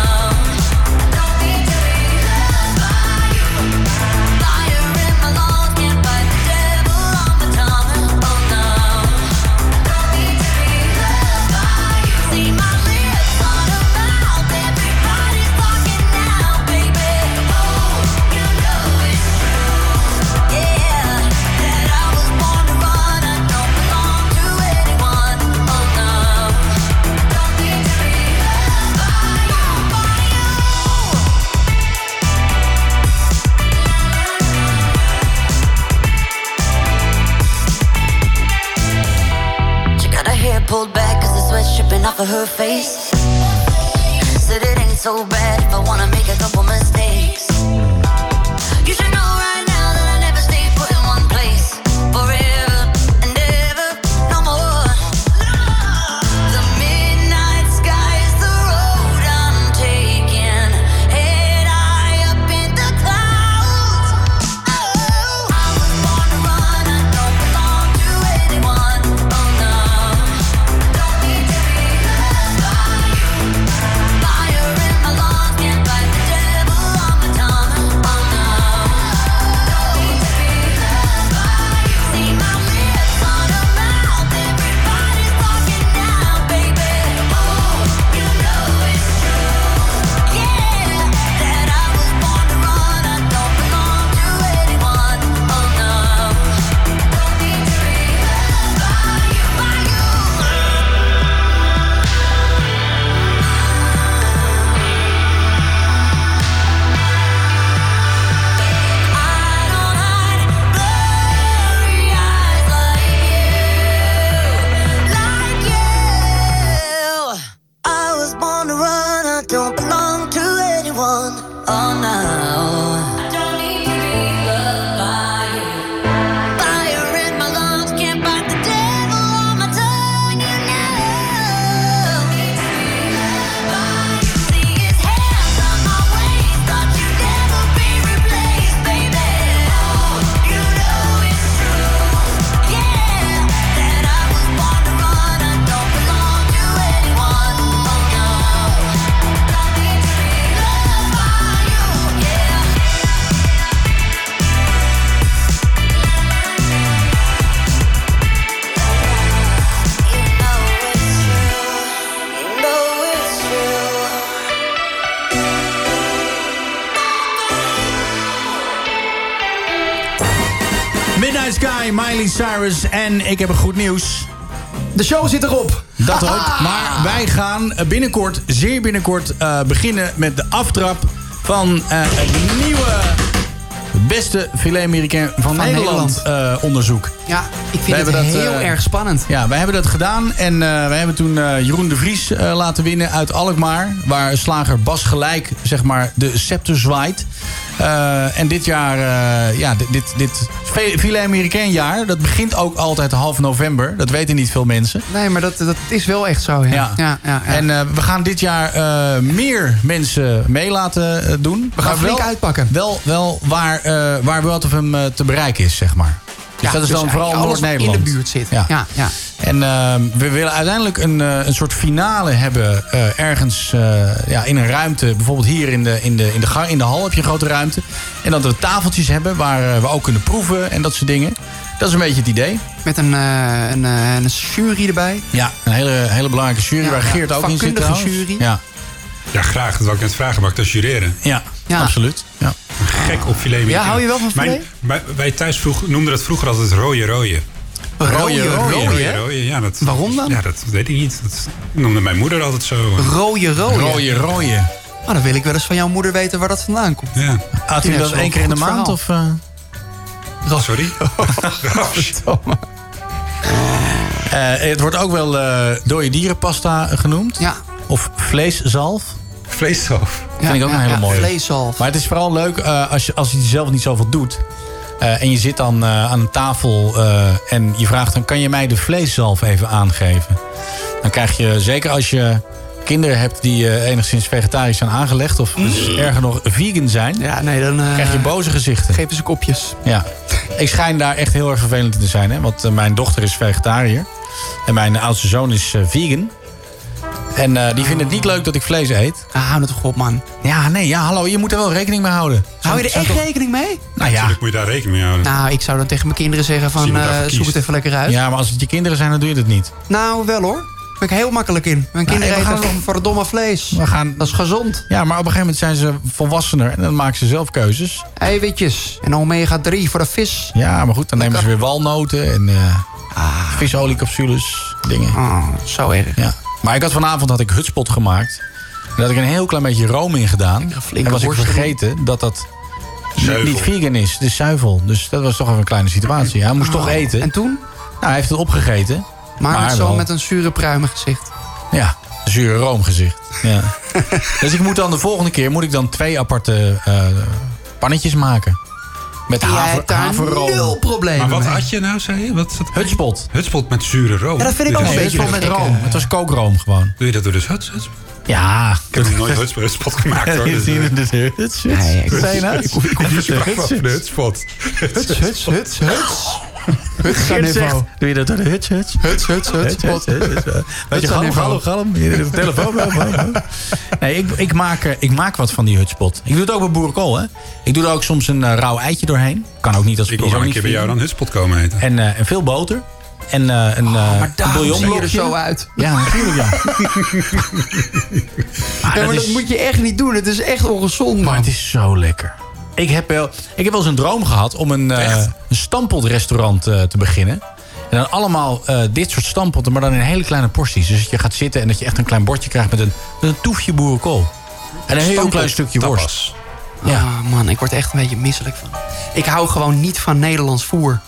S2: She got her hair pulled back cause the sweat's dripping off of her face. Said it ain't so bad if I wanna make a couple mistakes. You should know right now that I never stay put in one place forever and ever, no more. The midnight sky is the road I'm taking, head high up in the clouds. Oh. I was born to run, I don't belong to anyone. Oh no, don't need to be loved by you. Fire in my lungs, can't fight the devil on my tongue. Oh,
S7: Midnight Sky, Miley Cyrus en ik heb een goed nieuws.
S8: De show zit erop.
S7: Dat ook. Maar wij gaan binnenkort, zeer binnenkort, eh, beginnen met de aftrap van eh, het nieuwe beste filet americain van, Nederland, eh, onderzoek.
S8: Ja, ik vind het heel erg
S7: spannend. eh, Ja, wij hebben dat gedaan en eh, wij hebben toen eh, Jeroen de Vries eh, laten winnen uit Alkmaar. Waar slager Bas Gelijk, zeg maar, de scepter zwaait. Eh, en dit jaar, eh, ja, dit, dit, dit fi- filet americain jaar, dat begint ook altijd half november. Dat weten niet veel mensen.
S8: Nee, maar dat, dat is wel echt zo. Ja. Ja. Ja,
S7: En eh, we gaan dit jaar eh, meer mensen mee laten eh, doen.
S8: We gaan
S7: Maar
S8: flink
S7: wel,
S8: uitpakken.
S7: Wel, wel waar, eh waar World of Hem eh, te bereiken is, zeg maar. Dus
S8: Ja,
S7: dat is
S8: dus
S7: dan vooral
S8: eigenlijk alles wat
S7: Noord-Nederland.
S8: in de buurt zit. Ja, ja.
S7: En eh, we willen uiteindelijk een, eh, een soort finale hebben. eh, ergens eh, ja, in een ruimte. Bijvoorbeeld hier in de, in, de, in, de gang, in de hal heb je een grote ruimte. En dat we tafeltjes hebben waar eh, we ook kunnen proeven en dat soort dingen. Dat is een beetje het idee.
S8: Met een, eh, een, eh, een jury erbij.
S7: Ja, een hele, Eh, hele belangrijke jury
S8: Ja,
S7: waar
S8: ja.
S7: Geert ook in zit
S8: Vakkundige
S7: trouwens.
S8: jury.
S7: Ja.
S13: Ja, graag. Dat wou ik net vragen, mag ik dat jureren?
S7: Ja,
S8: Ja.
S7: absoluut. Ja.
S13: Gek op filet.
S8: Ja, hou je wel van
S13: Mijn-
S8: filet?
S13: Wij, wij thuis vroeg, noemden dat vroeger altijd rode rooien.
S8: Rooie, rooie, hè?
S13: rooie, ja, dat,
S8: Waarom dan?
S13: Ja, dat weet ik niet. Dat noemde mijn moeder altijd zo.
S8: Rooie, rooie.
S13: Rooie, rooie.
S8: Oh, dan wil ik wel eens van jouw moeder weten waar dat vandaan komt.
S13: Ja.
S7: Had u dat één keer in de maand? Of, eh?
S13: Oh, Sorry?
S7: [LAUGHS] Eh, het wordt ook wel eh dode dierenpasta genoemd.
S8: Ja.
S7: Of vleeszalf.
S13: Vleeszalf.
S7: Vind ik ook
S8: Ja,
S7: een hele
S8: ja,
S7: mooie.
S8: vleeszalf.
S7: Maar het is vooral leuk eh, als, je, als je zelf niet zoveel doet. Eh, en je zit dan eh, aan een tafel eh, en je vraagt dan... kan je mij de vleeszalf even aangeven? Dan krijg je, zeker als je kinderen hebt die eh, enigszins vegetarisch zijn aangelegd... of dus erger nog vegan zijn...
S8: Mm. Ja, nee, dan, eh,
S7: krijg je boze gezichten. Geven
S8: ze kopjes.
S7: Ja. Ik schijn daar echt heel erg vervelend in te zijn. Hè? Want eh, mijn dochter is vegetariër. En mijn oudste zoon is eh, vegan. En eh, die vinden het niet leuk dat ik vlees eet.
S8: Ah, hou het toch op, man.
S7: eh? Ja, nee, ja, hallo. Je moet er wel rekening mee houden.
S8: Hou je er echt rekening mee?
S7: Nou ja.
S13: Natuurlijk moet je daar rekening mee houden.
S8: Nou, ik zou dan tegen mijn kinderen zeggen
S7: Zie
S8: van
S7: wat daarvoor
S8: eh, zoek
S7: kiest.
S8: het even lekker uit.
S7: Ja, maar als het je kinderen zijn, dan doe je dat niet.
S8: Nou, wel hoor. Daar ben ik heel makkelijk in. Mijn Nou, kinderen
S7: Nou, we
S8: eten
S7: gaan-
S8: gewoon verdomme vlees.
S7: We gaan...
S8: Dat is gezond.
S7: Ja, maar op een gegeven moment zijn ze volwassener. En dan maken ze zelf keuzes.
S8: Eiwitjes en omega-3 voor de vis. Ah.
S7: Ja, maar goed, dan nemen ze weer walnoten en eh visoliecapsules, dingen.
S8: zo erg.
S7: Ja. Maar ik had vanavond had ik hutspot gemaakt. Daar had ik een heel klein beetje room in gedaan. En was ik
S8: worst erin.
S7: vergeten dat dat niet-
S8: Zuivel.
S7: niet vegan is. Het is zuivel. Dus dat was toch even een kleine situatie. Hij moest toch eten. En
S8: Ah. toen?
S7: Nou, hij heeft het opgegeten.
S8: Maar, met zo
S7: wel-
S8: met een zure pruimig gezicht.
S7: ja, zure roomgezicht. [LAUGHS] Ja. dus ik moet dan de volgende keer moet ik dan twee aparte eh, pannetjes maken. Met
S8: Jij
S7: haver,
S8: hebt daar
S7: haverroom.
S8: nul problemen
S13: Maar wat had je nou, zei je? Wat is dat?
S7: Hutspot.
S13: Hutspot met zure room.
S7: Ja, dat vind ik ook
S13: Dit
S7: een
S13: is-
S7: beetje Hutspot met room. Het was kookroom gewoon.
S13: Doe je dat door dus huts? huts?
S7: Ja.
S13: Ik heb nog nooit huts- hutspot gemaakt hoor.
S7: Ja,
S13: Dus,
S7: je
S13: eh,
S7: ziet het, het huts, huts.
S13: Nee,
S7: Wat zei je nou?
S13: ik hoef- ik hoef
S7: Even
S13: niet te
S7: de
S13: praten
S7: huts,
S13: over de
S7: huts.
S13: hutspot.
S8: Huts, huts, huts, [LAUGHS] huts. Huts aan
S7: Geert zegt,
S8: niveau.
S7: Doe je dat door de huts, huts?
S8: Huts, huts, huts.
S7: Huts, huts, huts. Weet je,
S8: aan
S7: galm,
S8: niveau.
S7: galm, galm. Je doet de telefoon wel, man. Nee, ik, ik, maak, eh, ik maak wat van die hutspot. Ik doe het ook bij boerenkool, hè. Ik doe er ook soms een eh, rauw eitje doorheen. Kan ook niet als
S13: Ik wil wel een keer bij jou dan hutspot komen eten.
S7: En, eh, en veel boter. En eh een, eh een
S8: Oh, zie je er
S7: bouillonblokje.
S8: zo uit.
S7: [LAUGHS]
S8: Ah,
S7: Ja, natuurlijk ja.
S8: Ja, maar
S7: dat
S8: dat,
S7: is-
S8: moet je echt niet doen. Het is echt ongezond, man.
S7: Maar het is zo lekker. Ik heb wel, ik heb wel eens een droom gehad om een, eh een stampeldrestaurant eh, te beginnen. En dan allemaal eh, dit soort stamppelten, maar dan in hele kleine porties. Dus dat je gaat zitten en dat je echt een klein bordje krijgt met een, met een toefje boerenkool. En een heel
S8: Stamppot
S7: klein stukje worst.
S8: Ja, Ah, man, ik word echt een beetje misselijk van. Ik hou gewoon niet van Nederlands voer.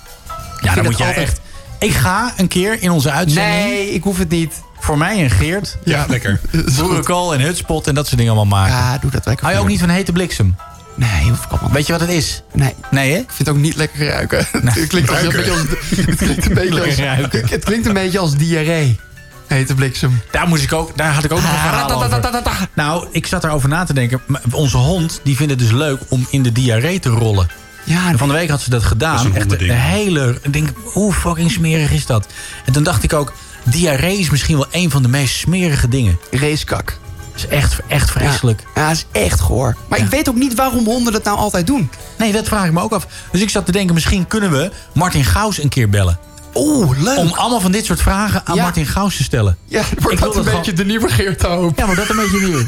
S7: Ja, dan moet jij echt... Ik ga een keer in onze uitzending...
S8: Nee, ik hoef het niet.
S7: Voor mij en Geert.
S13: Ja, lekker.
S7: [LAUGHS] Boerenkool en hutspot en dat soort dingen allemaal maken.
S8: Ja, doe dat lekker.
S7: Hou je ook niet van hete bliksem?
S8: Nee, hoef ik allemaal
S7: Weet je wat het is?
S8: Nee.
S7: Nee, hè? Ik
S8: vind het ook niet lekker ruiken. [LAUGHS] het, klinkt als,
S7: ruiken.
S8: een beetje als- het klinkt een beetje als...
S7: [LAUGHS] Lekker ruiken.
S8: Het klinkt een beetje als diarree. Hete bliksem.
S7: Daar, moest ik ook, daar had ik ook nog een verhaal over. Nou, ik zat erover na te denken. maar Onze hond, die vindt het dus leuk om in de diarree te rollen.
S8: Ja,
S7: en van de week had ze dat gedaan.
S25: Dat is een
S7: Echt een
S25: hondending.
S7: hele... Ik denk, hoe fucking smerig is dat? En toen dacht ik ook... Diarree is misschien wel een van de meest smerige dingen.
S8: Racekak.
S7: is echt, echt vreselijk.
S8: Ja, ja, is echt goor. Maar ik weet ook niet waarom honden dat nou altijd doen.
S7: Nee, dat vraag ik me ook af. Dus ik zat te denken, misschien kunnen we Martin Gaus een keer bellen. Oeh, leuk. Om allemaal van dit soort vragen aan Martin Gauws te stellen.
S8: Ja, wordt dat een beetje
S7: de nieuwe Geert Hoop. Ja, maar dat een beetje nieuw.
S26: [LAUGHS]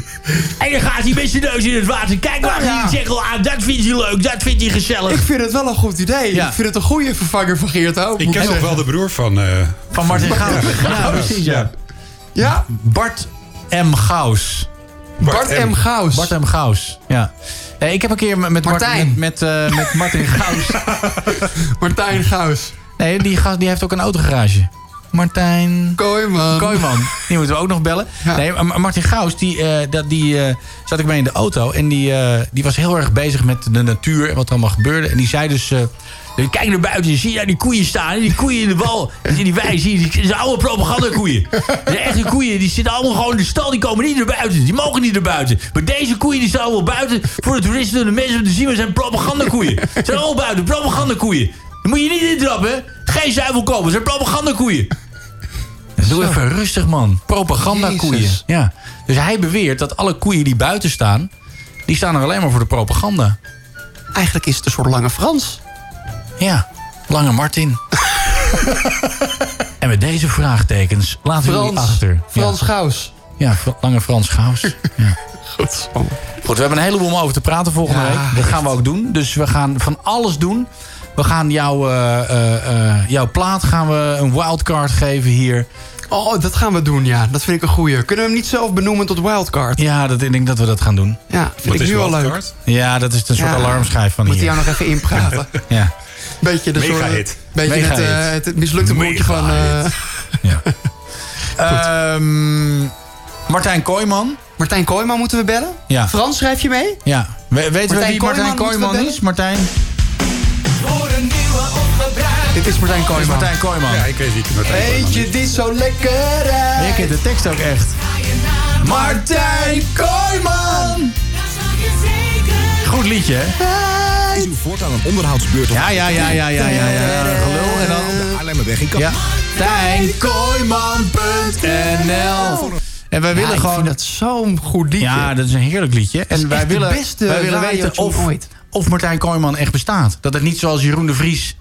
S26: En dan gaat hij met zijn neus in het water. Kijk waar hij het zegel aan. ah, Dat vindt hij leuk. Dat vindt hij gezellig.
S8: Ik vind het wel een goed idee. Ik vind het een goede vervanger van Geert Hoop.
S13: Ik ken nog wel de broer van... eh,
S7: Van Martin Gauws. Ja, precies, ja. Ja? Bart M. Gauws.
S8: Bart Bart M. M. Gauws.
S7: Bart M. Gauws, ja. Eh, ik heb een keer met, met
S8: Martijn.
S7: Mart- met, met, eh, met
S8: [LAUGHS]
S7: Martin Gauws. Martijn Gauws. Nee, die gast die heeft ook een autogarage. Martijn... Kooiman. Kooiman. Die moeten we ook nog bellen. Nee, maar Martin Gauws, die, eh, dat, die eh, zat ik mee in de auto. En die, eh, die was heel erg bezig met de natuur en wat er allemaal gebeurde. En die zei dus... eh, Kijk naar buiten, zie je daar die koeien staan? Die koeien in de wal, in die wei, zie je, die zijn oude propagandakoeien. De echte koeien, die zitten allemaal gewoon in de stal, die komen niet naar buiten. Die mogen niet naar buiten. Maar deze koeien, die staan allemaal buiten voor de toeristen en de mensen om te zien, maar zijn propagandakoeien. Ze zijn allemaal buiten, propagandakoeien. Dan moet je niet intrappen, hè? Geen zuivel komen, ze zijn propagandakoeien. Doe even rustig, man. Propagandakoeien.
S27: Jezus.
S7: Ja. Dus hij beweert dat alle koeien die buiten staan, die staan er alleen maar voor de propaganda. Eigenlijk is het een soort lange Frans. Ja, lange [LAUGHS] Martin. en met deze vraagtekens laten we jullie
S8: Frans.
S7: achter.
S8: Frans
S7: ja. Gauws. Ja, Fr- lange
S8: [LAUGHS]
S7: Frans Gauws. ja. Goed. Goed, we hebben een heleboel om over te praten volgende
S27: Ja,
S7: week. Dat gaan we ook doen. Dus we gaan van alles doen. We gaan jouw, eh, eh, eh, jouw plaat gaan we een wildcard geven hier.
S8: Oh, dat gaan we doen, ja. Dat vind ik een goeie. Kunnen we hem niet zelf benoemen tot wildcard?
S7: Ja, dat, ik denk dat we dat gaan doen.
S8: Ja, vind ik nu al leuk.
S7: Ja, dat is een soort
S8: Ja.
S7: alarmschijf van
S8: Moet
S7: hier.
S8: hij jou nog even
S7: [LAUGHS]
S8: inpraten.
S7: ja.
S8: Beetje de soort...
S7: Mega-hit.
S8: Beetje het, eh,
S7: Mega-hit.
S8: het, het mislukte broertje van... eh, [LAUGHS]
S7: Ehm, Martijn Kooijman.
S8: Martijn Kooijman moeten we bellen?
S7: Ja.
S8: Frans, schrijf je mee?
S7: Ja. We- weten we wie Martijn Kooijman is? Martijn?
S8: Dit is Martijn Kooijman.
S7: Martijn Kooijman. Ja, ik weet niet.
S8: Weet je, dit is zo lekker hè?
S7: Je kent de tekst ook echt.
S8: Martijn Kooijman!
S7: Goed liedje, hè?
S28: Is uw voortaan een onderhoudsbeurt?
S7: Ja, ja, ja, ja, ja, ja, ja. Gelul en dan...
S28: Haarlemmerweg in Kamp.
S7: Ja. Tijnkooiman.nl En wij willen
S8: ik
S7: gewoon...
S8: vind dat zo'n goed liedje.
S7: Ja, dat is een heerlijk liedje.
S8: is
S7: En wij
S8: echt de
S7: willen,
S8: beste
S7: wij willen
S8: radiotune
S7: weten of,
S8: ooit.
S7: of Martijn Kooijman echt bestaat. Dat het niet zoals Jeroen de Vries...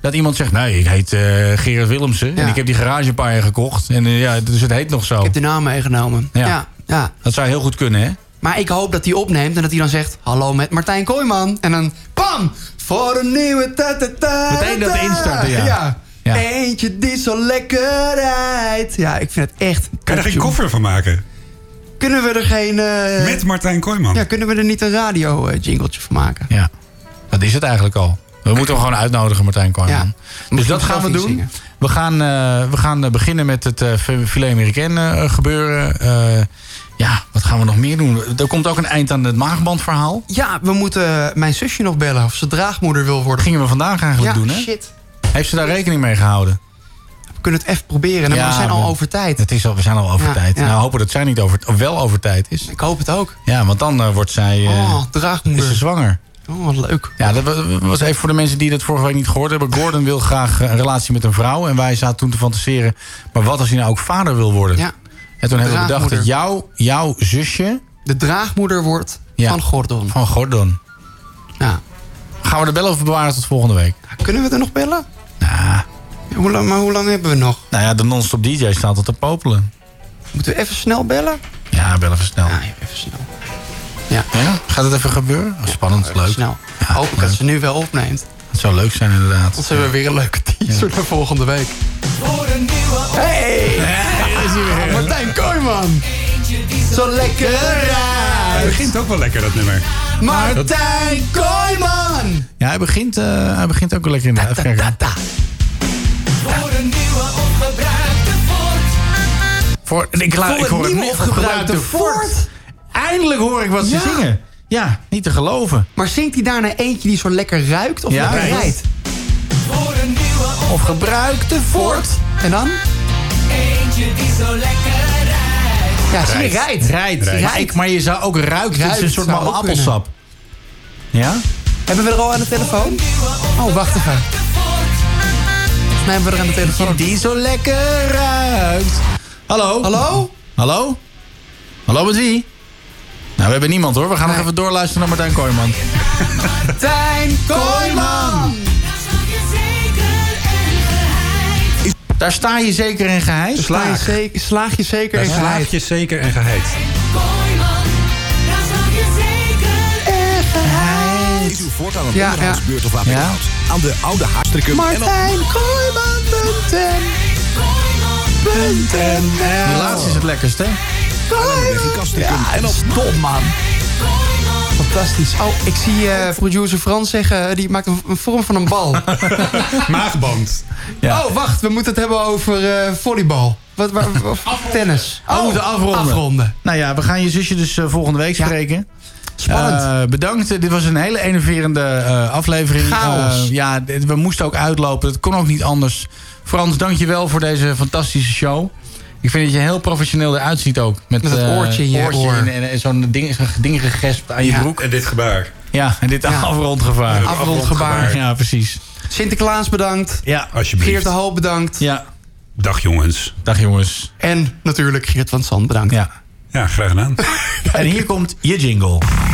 S7: Dat iemand zegt, nee, ik heet eh, Gerard Willemsen... en ik heb die garage een paar jaar gekocht. En eh, ja, dus het heet nog zo. Ik heb
S8: de naam meegenomen.
S7: Ja.
S8: Ja,
S7: Dat zou heel goed kunnen, hè?
S8: Maar ik hoop dat hij opneemt en dat hij dan zegt... Hallo met Martijn Kooijman. En dan bam! Voor een nieuwe ta ta ta
S7: Meteen dat instarten, ja.
S8: ja.
S7: Ja.
S8: Eentje die zo lekker rijdt. Ja, ik vind het echt...
S13: Kan je er geen koffer van maken?
S8: Kunnen we er geen... eh,
S13: Met Martijn Kooijman.
S8: Ja, kunnen we er niet een radio-jingletje van maken?
S7: Ja, dat is het eigenlijk al. We moeten hem gewoon uitnodigen, Martijn Kooijman. dus dat gaan we doen. We gaan, eh, we gaan eh, beginnen met het eh, filet américain eh, gebeuren. Eh, ja, wat gaan we nog meer doen? Er komt ook een eind aan het maagbandverhaal.
S8: Ja, we moeten eh, mijn zusje nog bellen of ze draagmoeder wil worden.
S7: Gingen we vandaag eigenlijk
S8: ja,
S7: doen, hè?
S8: shit.
S7: Heeft ze daar rekening mee gehouden?
S8: We kunnen het even proberen, hè, maar we zijn al over tijd.
S7: Het is al, we zijn al over
S8: Ja,
S7: tijd.
S8: ja.
S7: Nou, hopen dat zij niet over, of wel over tijd is. Ik
S8: hoop het ook.
S7: Ja, want dan eh, wordt zij... eh,
S8: Oh, draagmoeder.
S7: Is ze zwanger.
S8: Oh, wat leuk.
S7: Ja, dat wa- was even voor de mensen die dat vorige week niet gehoord hebben. Gordon wil graag eh, een relatie met een vrouw. En wij zaten toen te fantaseren. Maar wat als hij nou ook vader wil worden?
S8: Ja.
S7: En toen hebben we bedacht
S8: Draagmoeder.
S7: dat jouw, jouw zusje...
S8: De draagmoeder wordt van Gordon.
S7: Van Gordon.
S8: Ja.
S7: Gaan we de bellen of bewaren tot volgende week?
S8: Kunnen we er nog bellen? Ja. Hoe lang, maar hoe lang hebben we nog?
S7: Nou ja, de non-stop DJ staat al te popelen.
S8: Moeten we even snel bellen?
S7: Ja, bel even snel. Ja,
S8: even snel.
S7: Ja. Gaat het even gebeuren? Oh, spannend, leuk.
S8: Snel. Hoop ik dat ze nu wel opneemt.
S7: Het zou leuk zijn inderdaad.
S8: Dan hebben we weer een leuke teaser voor volgende week. Hey! Martijn Kooijman! Zo lekker
S13: Hij
S8: uit!
S13: begint ook wel lekker, dat nummer.
S8: Martijn Kooijman!
S7: Ja, hij begint, eh, hij begint ook wel lekker in de Even kijken.
S3: Voor een nieuwe ongebruikte voort.
S7: Voor, ik, la,
S3: Voor
S7: ik
S3: het
S7: hoor het
S3: nieuwe
S7: niet gebruikte fort. Eindelijk hoor ik wat ze zingen. Ja, niet te geloven.
S8: Maar zingt hij daarna eentje die zo lekker ruikt of
S7: Ja,
S8: lekker
S7: rijdt.
S8: rijdt?
S3: Voor een nieuwe
S7: Of gebruikte
S8: voort. En dan?
S3: Eentje die zo lekker rijdt.
S8: Ja, zie je, rijdt.
S7: Rijdt. Maar, ik, maar je zou ook ruiken. Het is een
S8: Ruikt
S7: soort
S8: zou
S7: malle
S8: ook kunnen.
S7: appelsap. Ja?
S8: Hebben we er al aan de telefoon? Oh, wacht even. Volgens mij hebben we er aan de telefoon.
S7: Die zo lekker ruikt. Hallo? Hallo? Hallo? Hallo met wie? Nou, we hebben niemand hoor. We gaan nog even doorluisteren naar Martijn Kooijman.
S8: Tijn Kooijman!
S3: Dat zal je zeker en geheid.
S7: Daar sta je zeker en geheid.
S8: Sla je zeker, slaag je zeker
S7: Daar
S8: en
S7: slaag
S8: geheid.
S13: je zeker en geheid.
S3: Is uw voortaan een
S8: Ja, ja.
S3: onderhoudsbeurt of APK
S8: Ja.
S3: aan de oude Haarstrickum en op
S8: Martijn Kooijman punten.
S7: Die laatste is het lekkerst, hè?
S8: Ja, en op dom, man. Fantastisch. Oh, ik zie eh, producer Frans zeggen, eh, die maakt een, een vorm van een bal.
S13: Maagband.
S8: Oh, wacht, we moeten het hebben over eh volleybal. Wat, waar, of tennis.
S7: Oh, we moeten afronden.
S8: afronden.
S7: Nou ja, we gaan je zusje dus eh, volgende week spreken.
S8: Spannend.
S7: Eh, bedankt. Dit was een hele enerverende eh, aflevering.
S8: Chaos.
S7: Eh, ja, dit- we moesten ook uitlopen. Het kon ook niet anders. Frans, dankjewel voor deze fantastische show. Ik vind dat je heel professioneel eruit ziet ook. Met,
S8: Met dat
S7: eh,
S8: oortje in je oor.
S7: en, en, en zo'n ding, zo'n ding gegespt aan je broek.
S13: En dit gebaar.
S7: Ja, en dit
S8: Ja.
S7: afrondgevaar.
S8: Afrondgebaar.
S7: Ja, precies.
S8: Sinterklaas bedankt.
S7: Ja,
S13: alsjeblieft.
S8: Geert de Hoop bedankt.
S7: Ja.
S13: Dag jongens.
S7: Dag jongens.
S8: En natuurlijk Geert van Zand bedankt.
S7: Ja. [LAUGHS]
S13: Ja, graag gedaan.
S7: En hier komt je jingle.